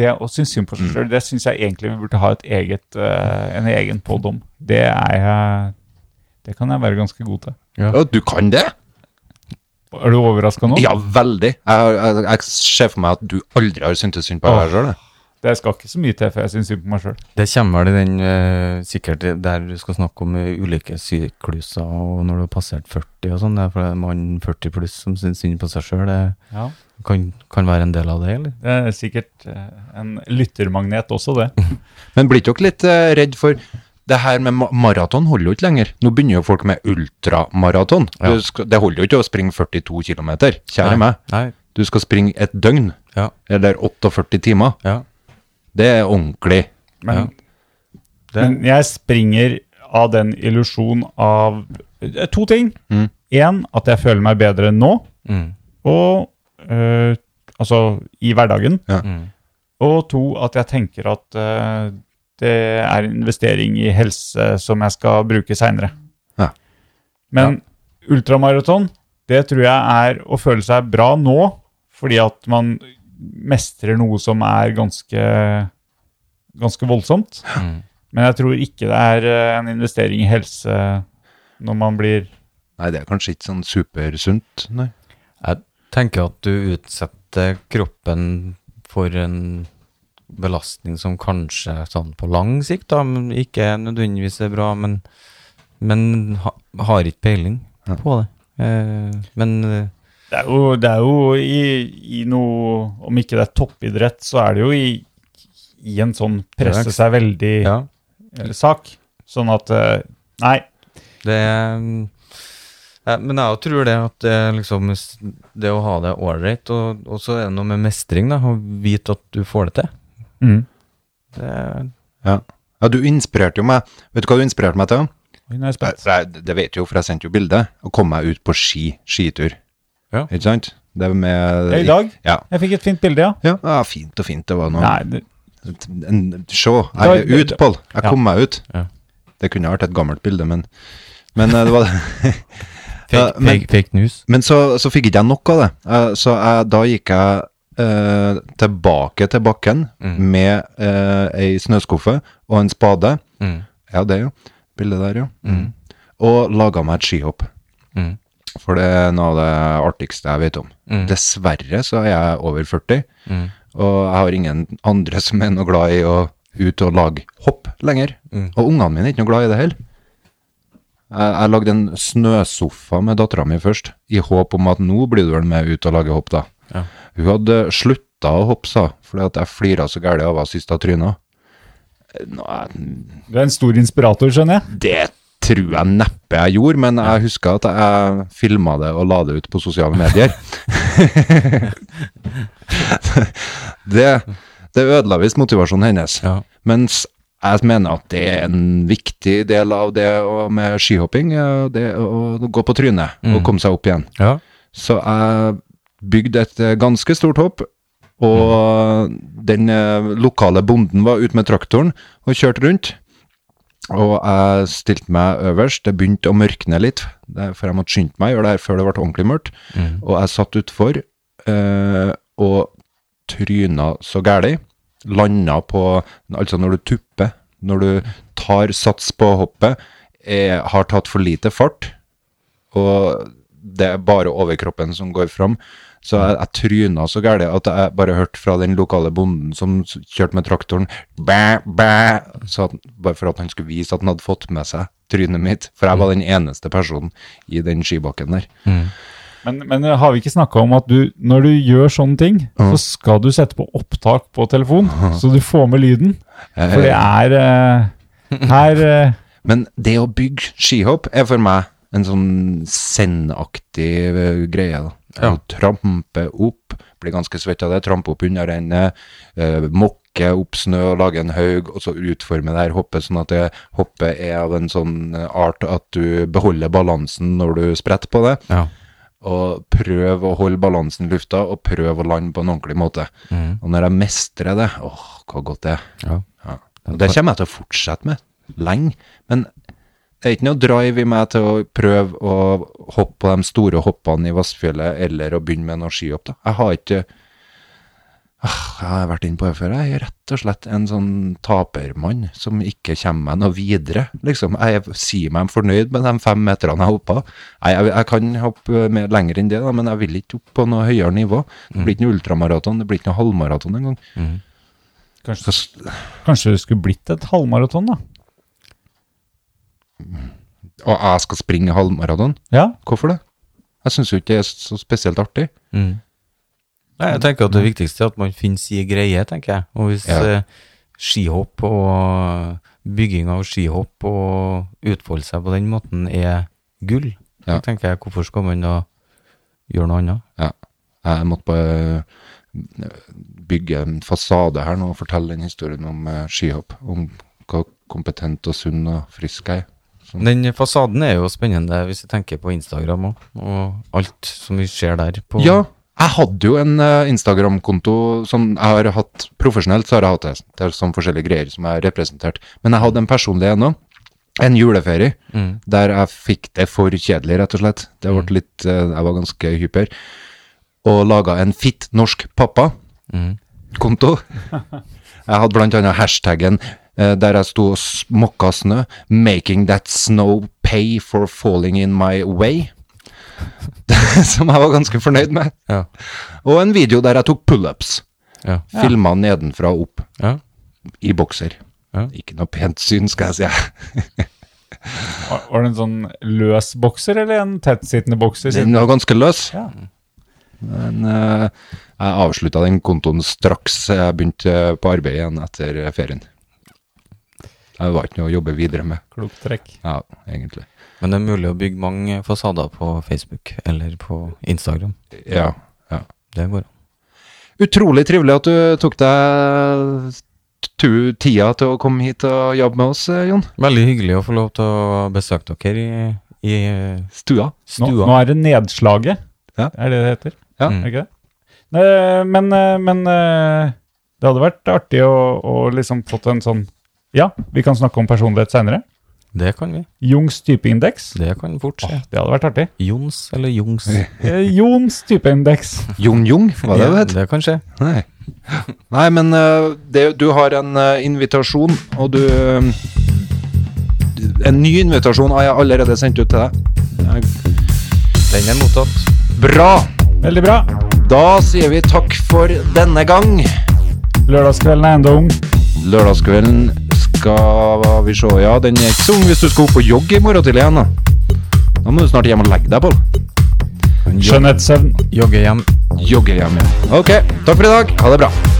Speaker 4: det å synes synd på seg sjøl, det syns jeg egentlig vi burde ha et eget, eh, en egen podd om. Det er jeg Det kan jeg være ganske god til.
Speaker 2: Ja, du kan det?
Speaker 4: Er du overraska nå?
Speaker 2: Ja, veldig. Jeg, har- jeg, jeg ser for meg at du aldri har syntes synd på deg sjøl.
Speaker 4: Det skal ikke så mye til før jeg syns synd på meg sjøl.
Speaker 5: Det kommer vel i den eh, sikkert der du skal snakke om eh, ulike sykluser og når du har passert 40 og sånn. Det er for det er mann 40 pluss som syns synd på seg sjøl. Det
Speaker 4: Ja.
Speaker 5: kan, kan være en del av det, eller?
Speaker 4: Det er sikkert eh, en lyttermagnet også, det.
Speaker 2: Men blir dere litt eh, redd for det her med ma- maraton holder jo ikke lenger. Nå begynner jo folk med ultramaraton.
Speaker 5: Ja.
Speaker 2: Du skal- Det holder jo ikke å springe 42 km,
Speaker 5: Nei.
Speaker 2: kjære meg.
Speaker 5: Nei.
Speaker 2: Du skal springe et døgn,
Speaker 5: Ja.
Speaker 2: eller 48 timer.
Speaker 5: ja.
Speaker 2: Det er ordentlig.
Speaker 4: Men,
Speaker 5: Det,
Speaker 4: men jeg springer av den illusjon av eh, to ting. Én, at jeg føler meg bedre nå,
Speaker 5: mm,
Speaker 4: og eh, altså i hverdagen.
Speaker 5: mm,
Speaker 4: Og to, at jeg tenker at eh, det er en investering i helse som jeg skal bruke seinere.
Speaker 2: Ja.
Speaker 4: Men ultramaraton, det tror jeg er å føle seg bra nå, fordi at man mestrer noe som er ganske, ganske voldsomt.
Speaker 5: mm.
Speaker 4: Men jeg tror ikke det er eh, en investering i helse når man blir
Speaker 2: Nei, det er kanskje ikke sånn supersunt, nei.
Speaker 5: Jeg tenker at du utsetter kroppen for en belastning som kanskje er sånn på lang sikt da, men ikke nødvendigvis er bra, men, men ha, har ikke peiling på det. Eh, men eh,
Speaker 4: Det er jo, det er jo i, i noe Om ikke det er toppidrett, så er det jo i, i en sånn presse seg veldig
Speaker 5: ja,
Speaker 4: eh, sak. Sånn at eh, Nei.
Speaker 5: det er mm, eh, men jeg tror det at det, er liksom, s- det å ha det ålreit, og, og så er det noe med mestring, da, å vite at du får det til.
Speaker 2: Mm.
Speaker 5: Det,
Speaker 2: Ja. ja, du inspirerte jo meg. Vet du hva du inspirerte meg til?
Speaker 4: Oi, nå er
Speaker 2: Nei,
Speaker 4: jeg spent.
Speaker 2: for jeg, det vet jeg jo, for jeg sendte jo bilde, og kom meg ut på ski, skitur.
Speaker 5: Ja.
Speaker 2: Ikke sant? Det er med...
Speaker 4: Det er I dag?
Speaker 2: Ja.
Speaker 4: Jeg fikk et fint bilde, ja.
Speaker 2: Ja, ja, fint og fint det var nå.
Speaker 4: Nei, det,
Speaker 2: En- Se, jeg er ut, Pål. Jeg kom meg ut.
Speaker 5: Ja.
Speaker 2: Det kunne ha vært et gammelt bilde, men, men eh, det var Ja,
Speaker 5: fake,
Speaker 2: men-
Speaker 5: fake, fake news.
Speaker 2: Men så, så fikk ikke jeg nok av det. Eh, Så jeg, da gikk jeg eh, tilbake til bakken
Speaker 5: Mm.
Speaker 2: med eh, ei snøskuffe og en spade.
Speaker 5: Mm.
Speaker 2: Ja, det, jo. Bildet der, jo. Og laga meg et skihopp.
Speaker 5: Mm.
Speaker 2: For det er noe av det artigste jeg vet om. Dessverre så er jeg over 40, og jeg har ingen andre som er noe glad i å ut og lage hopp. lenger. Og ungene mine er ikke noe glad i det heller. Jeg, jeg lagde en snøsofa med dattera mi først, i håp om at nå blir du vel med ut og lage hopp, da. Hun hadde slutta å hoppe, sa fordi at jeg flira så gæli av henne, syntes jeg tryna. Nå, jeg-
Speaker 4: Du er en stor inspirator, skjønner jeg.
Speaker 2: det tror jeg neppe jeg gjorde, men jeg husker at jeg filma det og la det ut på sosiale medier. det, det ødela visst motivasjonen hennes.
Speaker 5: Ja.
Speaker 2: Mens jeg mener at det er en viktig del av det å- med skihopping, eh, det å å gå på trynet og komme seg opp igjen.
Speaker 5: Ja.
Speaker 2: Så jeg bygde et eh, ganske stort hopp, og den eh, lokale bonden var ute med traktoren og kjørte rundt. Og jeg stilte meg øverst, det begynte å mørkne litt, det- for jeg måtte skynde meg å gjøre det her før det ble ordentlig mørkt. Og jeg satt utfor eh, og tryna så gæli, landa på Altså når du tupper, når du tar sats på hoppet, eh, har tatt for lite fart, og det er bare overkroppen som går fram. Så jeg, jeg tryna så gærent at jeg bare hørte fra den lokale bonden som s- kjørte med traktoren bæ, bæ, så at, Bare for at han skulle vise at han hadde fått med seg trynet mitt. For jeg var den eneste personen i den skibakken der.
Speaker 4: Men, men eh, har vi ikke snakka om at du, når du gjør sånne ting, så skal du sette på opptak på telefon, så du får med lyden? For det er eh, Her eh,
Speaker 2: Men det å bygge skihopp er for meg en sånn sendaktig eh, greie. da.
Speaker 5: Ja.
Speaker 2: Å Trampe opp, bli ganske svett av det, trampe opp under rennet, eh, mokke opp snø og lage en haug, og så utforme det her hoppet sånn at det hoppet er av en sånn eh, art at du beholder balansen når du spretter på det.
Speaker 5: Ja.
Speaker 2: Og prøv å holde balansen i lufta, og prøv å lande på en ordentlig måte. Og når jeg mestrer det, åh, hva godt det er.
Speaker 5: Mm. Ja.
Speaker 2: Ja. Og det kommer jeg til å fortsette med, lenge. Men det er ikke noe drive i meg til å prøve å hoppe på de store hoppene i Vassfjellet, eller å begynne med noe skihopp. da. Jeg har ikke Ah, Jeg har vært inne på det før. Jeg er rett og slett en sånn tapermann som ikke kommer meg noe videre. Liksom, Jeg sier meg fornøyd med de fem meterne jeg hoppa. Jeg, jeg, jeg kan hoppe mer lenger enn det, da, men jeg vil ikke opp på noe høyere nivå. Det blir ikke noe ultramaraton, det blir ikke noe halvmaraton engang.
Speaker 4: kanskje,
Speaker 2: Så
Speaker 4: kanskje det skulle blitt et halvmaraton, da?
Speaker 2: Og jeg skal springe halvmaraton?
Speaker 4: Ja.
Speaker 2: Hvorfor det? Jeg syns jo ikke det er så spesielt artig.
Speaker 5: Mm. Nei, jeg tenker at det viktigste er at man finner si greie, tenker jeg. Og hvis
Speaker 2: Ja.
Speaker 5: eh, skihopp og bygging av skihopp og utfolde seg på den måten er gull,
Speaker 2: Ja.
Speaker 5: så tenker jeg hvorfor skal man da gjøre noe annet?
Speaker 2: Ja. Jeg måtte bare eh, bygge en fasade her nå og fortelle den historien om eh, skihopp. Om hva kompetent og sunn og frisk jeg er. Som-
Speaker 5: Den fasaden er jo spennende hvis du tenker på Instagram òg, og alt som vi ser der. På,
Speaker 2: Ja, jeg hadde jo en eh, Instagram-konto som jeg har hatt profesjonelt, så har jeg hatt det. Det er sånn forskjellige greier som jeg har representert. Men jeg hadde en personlig en òg. En juleferie der jeg fikk det for kjedelig, rett og slett. Det ble litt, eh, Jeg var ganske hyper. Og laga en fitt norsk pappa-konto. Jeg hadde blant annet hashtaggen eh, der jeg sto og s- mokka snø. 'Making that snow pay for falling in my way'. som jeg var ganske fornøyd med.
Speaker 5: Ja.
Speaker 2: Og en video der jeg tok pullups.
Speaker 5: Ja.
Speaker 2: Filma nedenfra og opp
Speaker 5: Ja.
Speaker 2: i bokser.
Speaker 5: Ja.
Speaker 2: Ikke noe pent syn, skal jeg si.
Speaker 4: Var var det en sånn løs bokser, eller en tettsittende bokser?
Speaker 2: Den var ganske løs.
Speaker 4: Ja.
Speaker 2: Men eh, jeg avslutta den kontoen straks jeg begynte på arbeid igjen etter ferien. Det var ikke noe å jobbe videre med.
Speaker 4: Klokt trekk.
Speaker 2: Ja, egentlig.
Speaker 5: Men det er mulig å bygge mange fasader på Facebook eller på Instagram.
Speaker 2: Ja, ja.
Speaker 5: Det går an.
Speaker 2: Utrolig trivelig at du tok deg tu- tida til å komme hit og jobbe med oss, eh, Jon.
Speaker 5: Veldig hyggelig å få lov til å besøke dere i, i
Speaker 2: Stua.
Speaker 4: Nå,
Speaker 5: stua.
Speaker 4: nå er det nedslaget,
Speaker 2: Ja.
Speaker 4: er det det heter?
Speaker 2: Ja. Mm.
Speaker 4: Er det ikke det? Nei, Men, eh, men eh, det hadde vært artig å, å liksom fått en sånn Ja, vi kan snakke om personlighet seinere.
Speaker 5: Det kan vi.
Speaker 4: Jungs typeindeks.
Speaker 5: Det kan fort skje.
Speaker 4: Det hadde vært artig.
Speaker 5: Jons eller Jungs.
Speaker 4: Eh, Jons typeindeks.
Speaker 2: Jon Jung, var det
Speaker 5: Ja,
Speaker 2: det het?
Speaker 5: det kan skje.
Speaker 2: Nei. Nei, men eh, det, du har en eh, invitasjon, og du eh, En ny invitasjon har jeg allerede sendt ut til deg. Eh,
Speaker 5: Den er mottatt.
Speaker 2: Bra!
Speaker 4: Veldig bra.
Speaker 2: Da sier vi takk for denne gang.
Speaker 4: Lørdagskvelden er enda ung.
Speaker 2: Lørdagskvelden skal vi se Ja, den er ikke så ung hvis du skal opp og jogge i morgen tidlig igjen, da. Da må du snart hjem og legge deg, Pål.
Speaker 4: Skjønnhetssøvn.
Speaker 5: Jogge hjem.
Speaker 2: Jogge hjem igjen. Ok, takk for i dag. Ha det bra.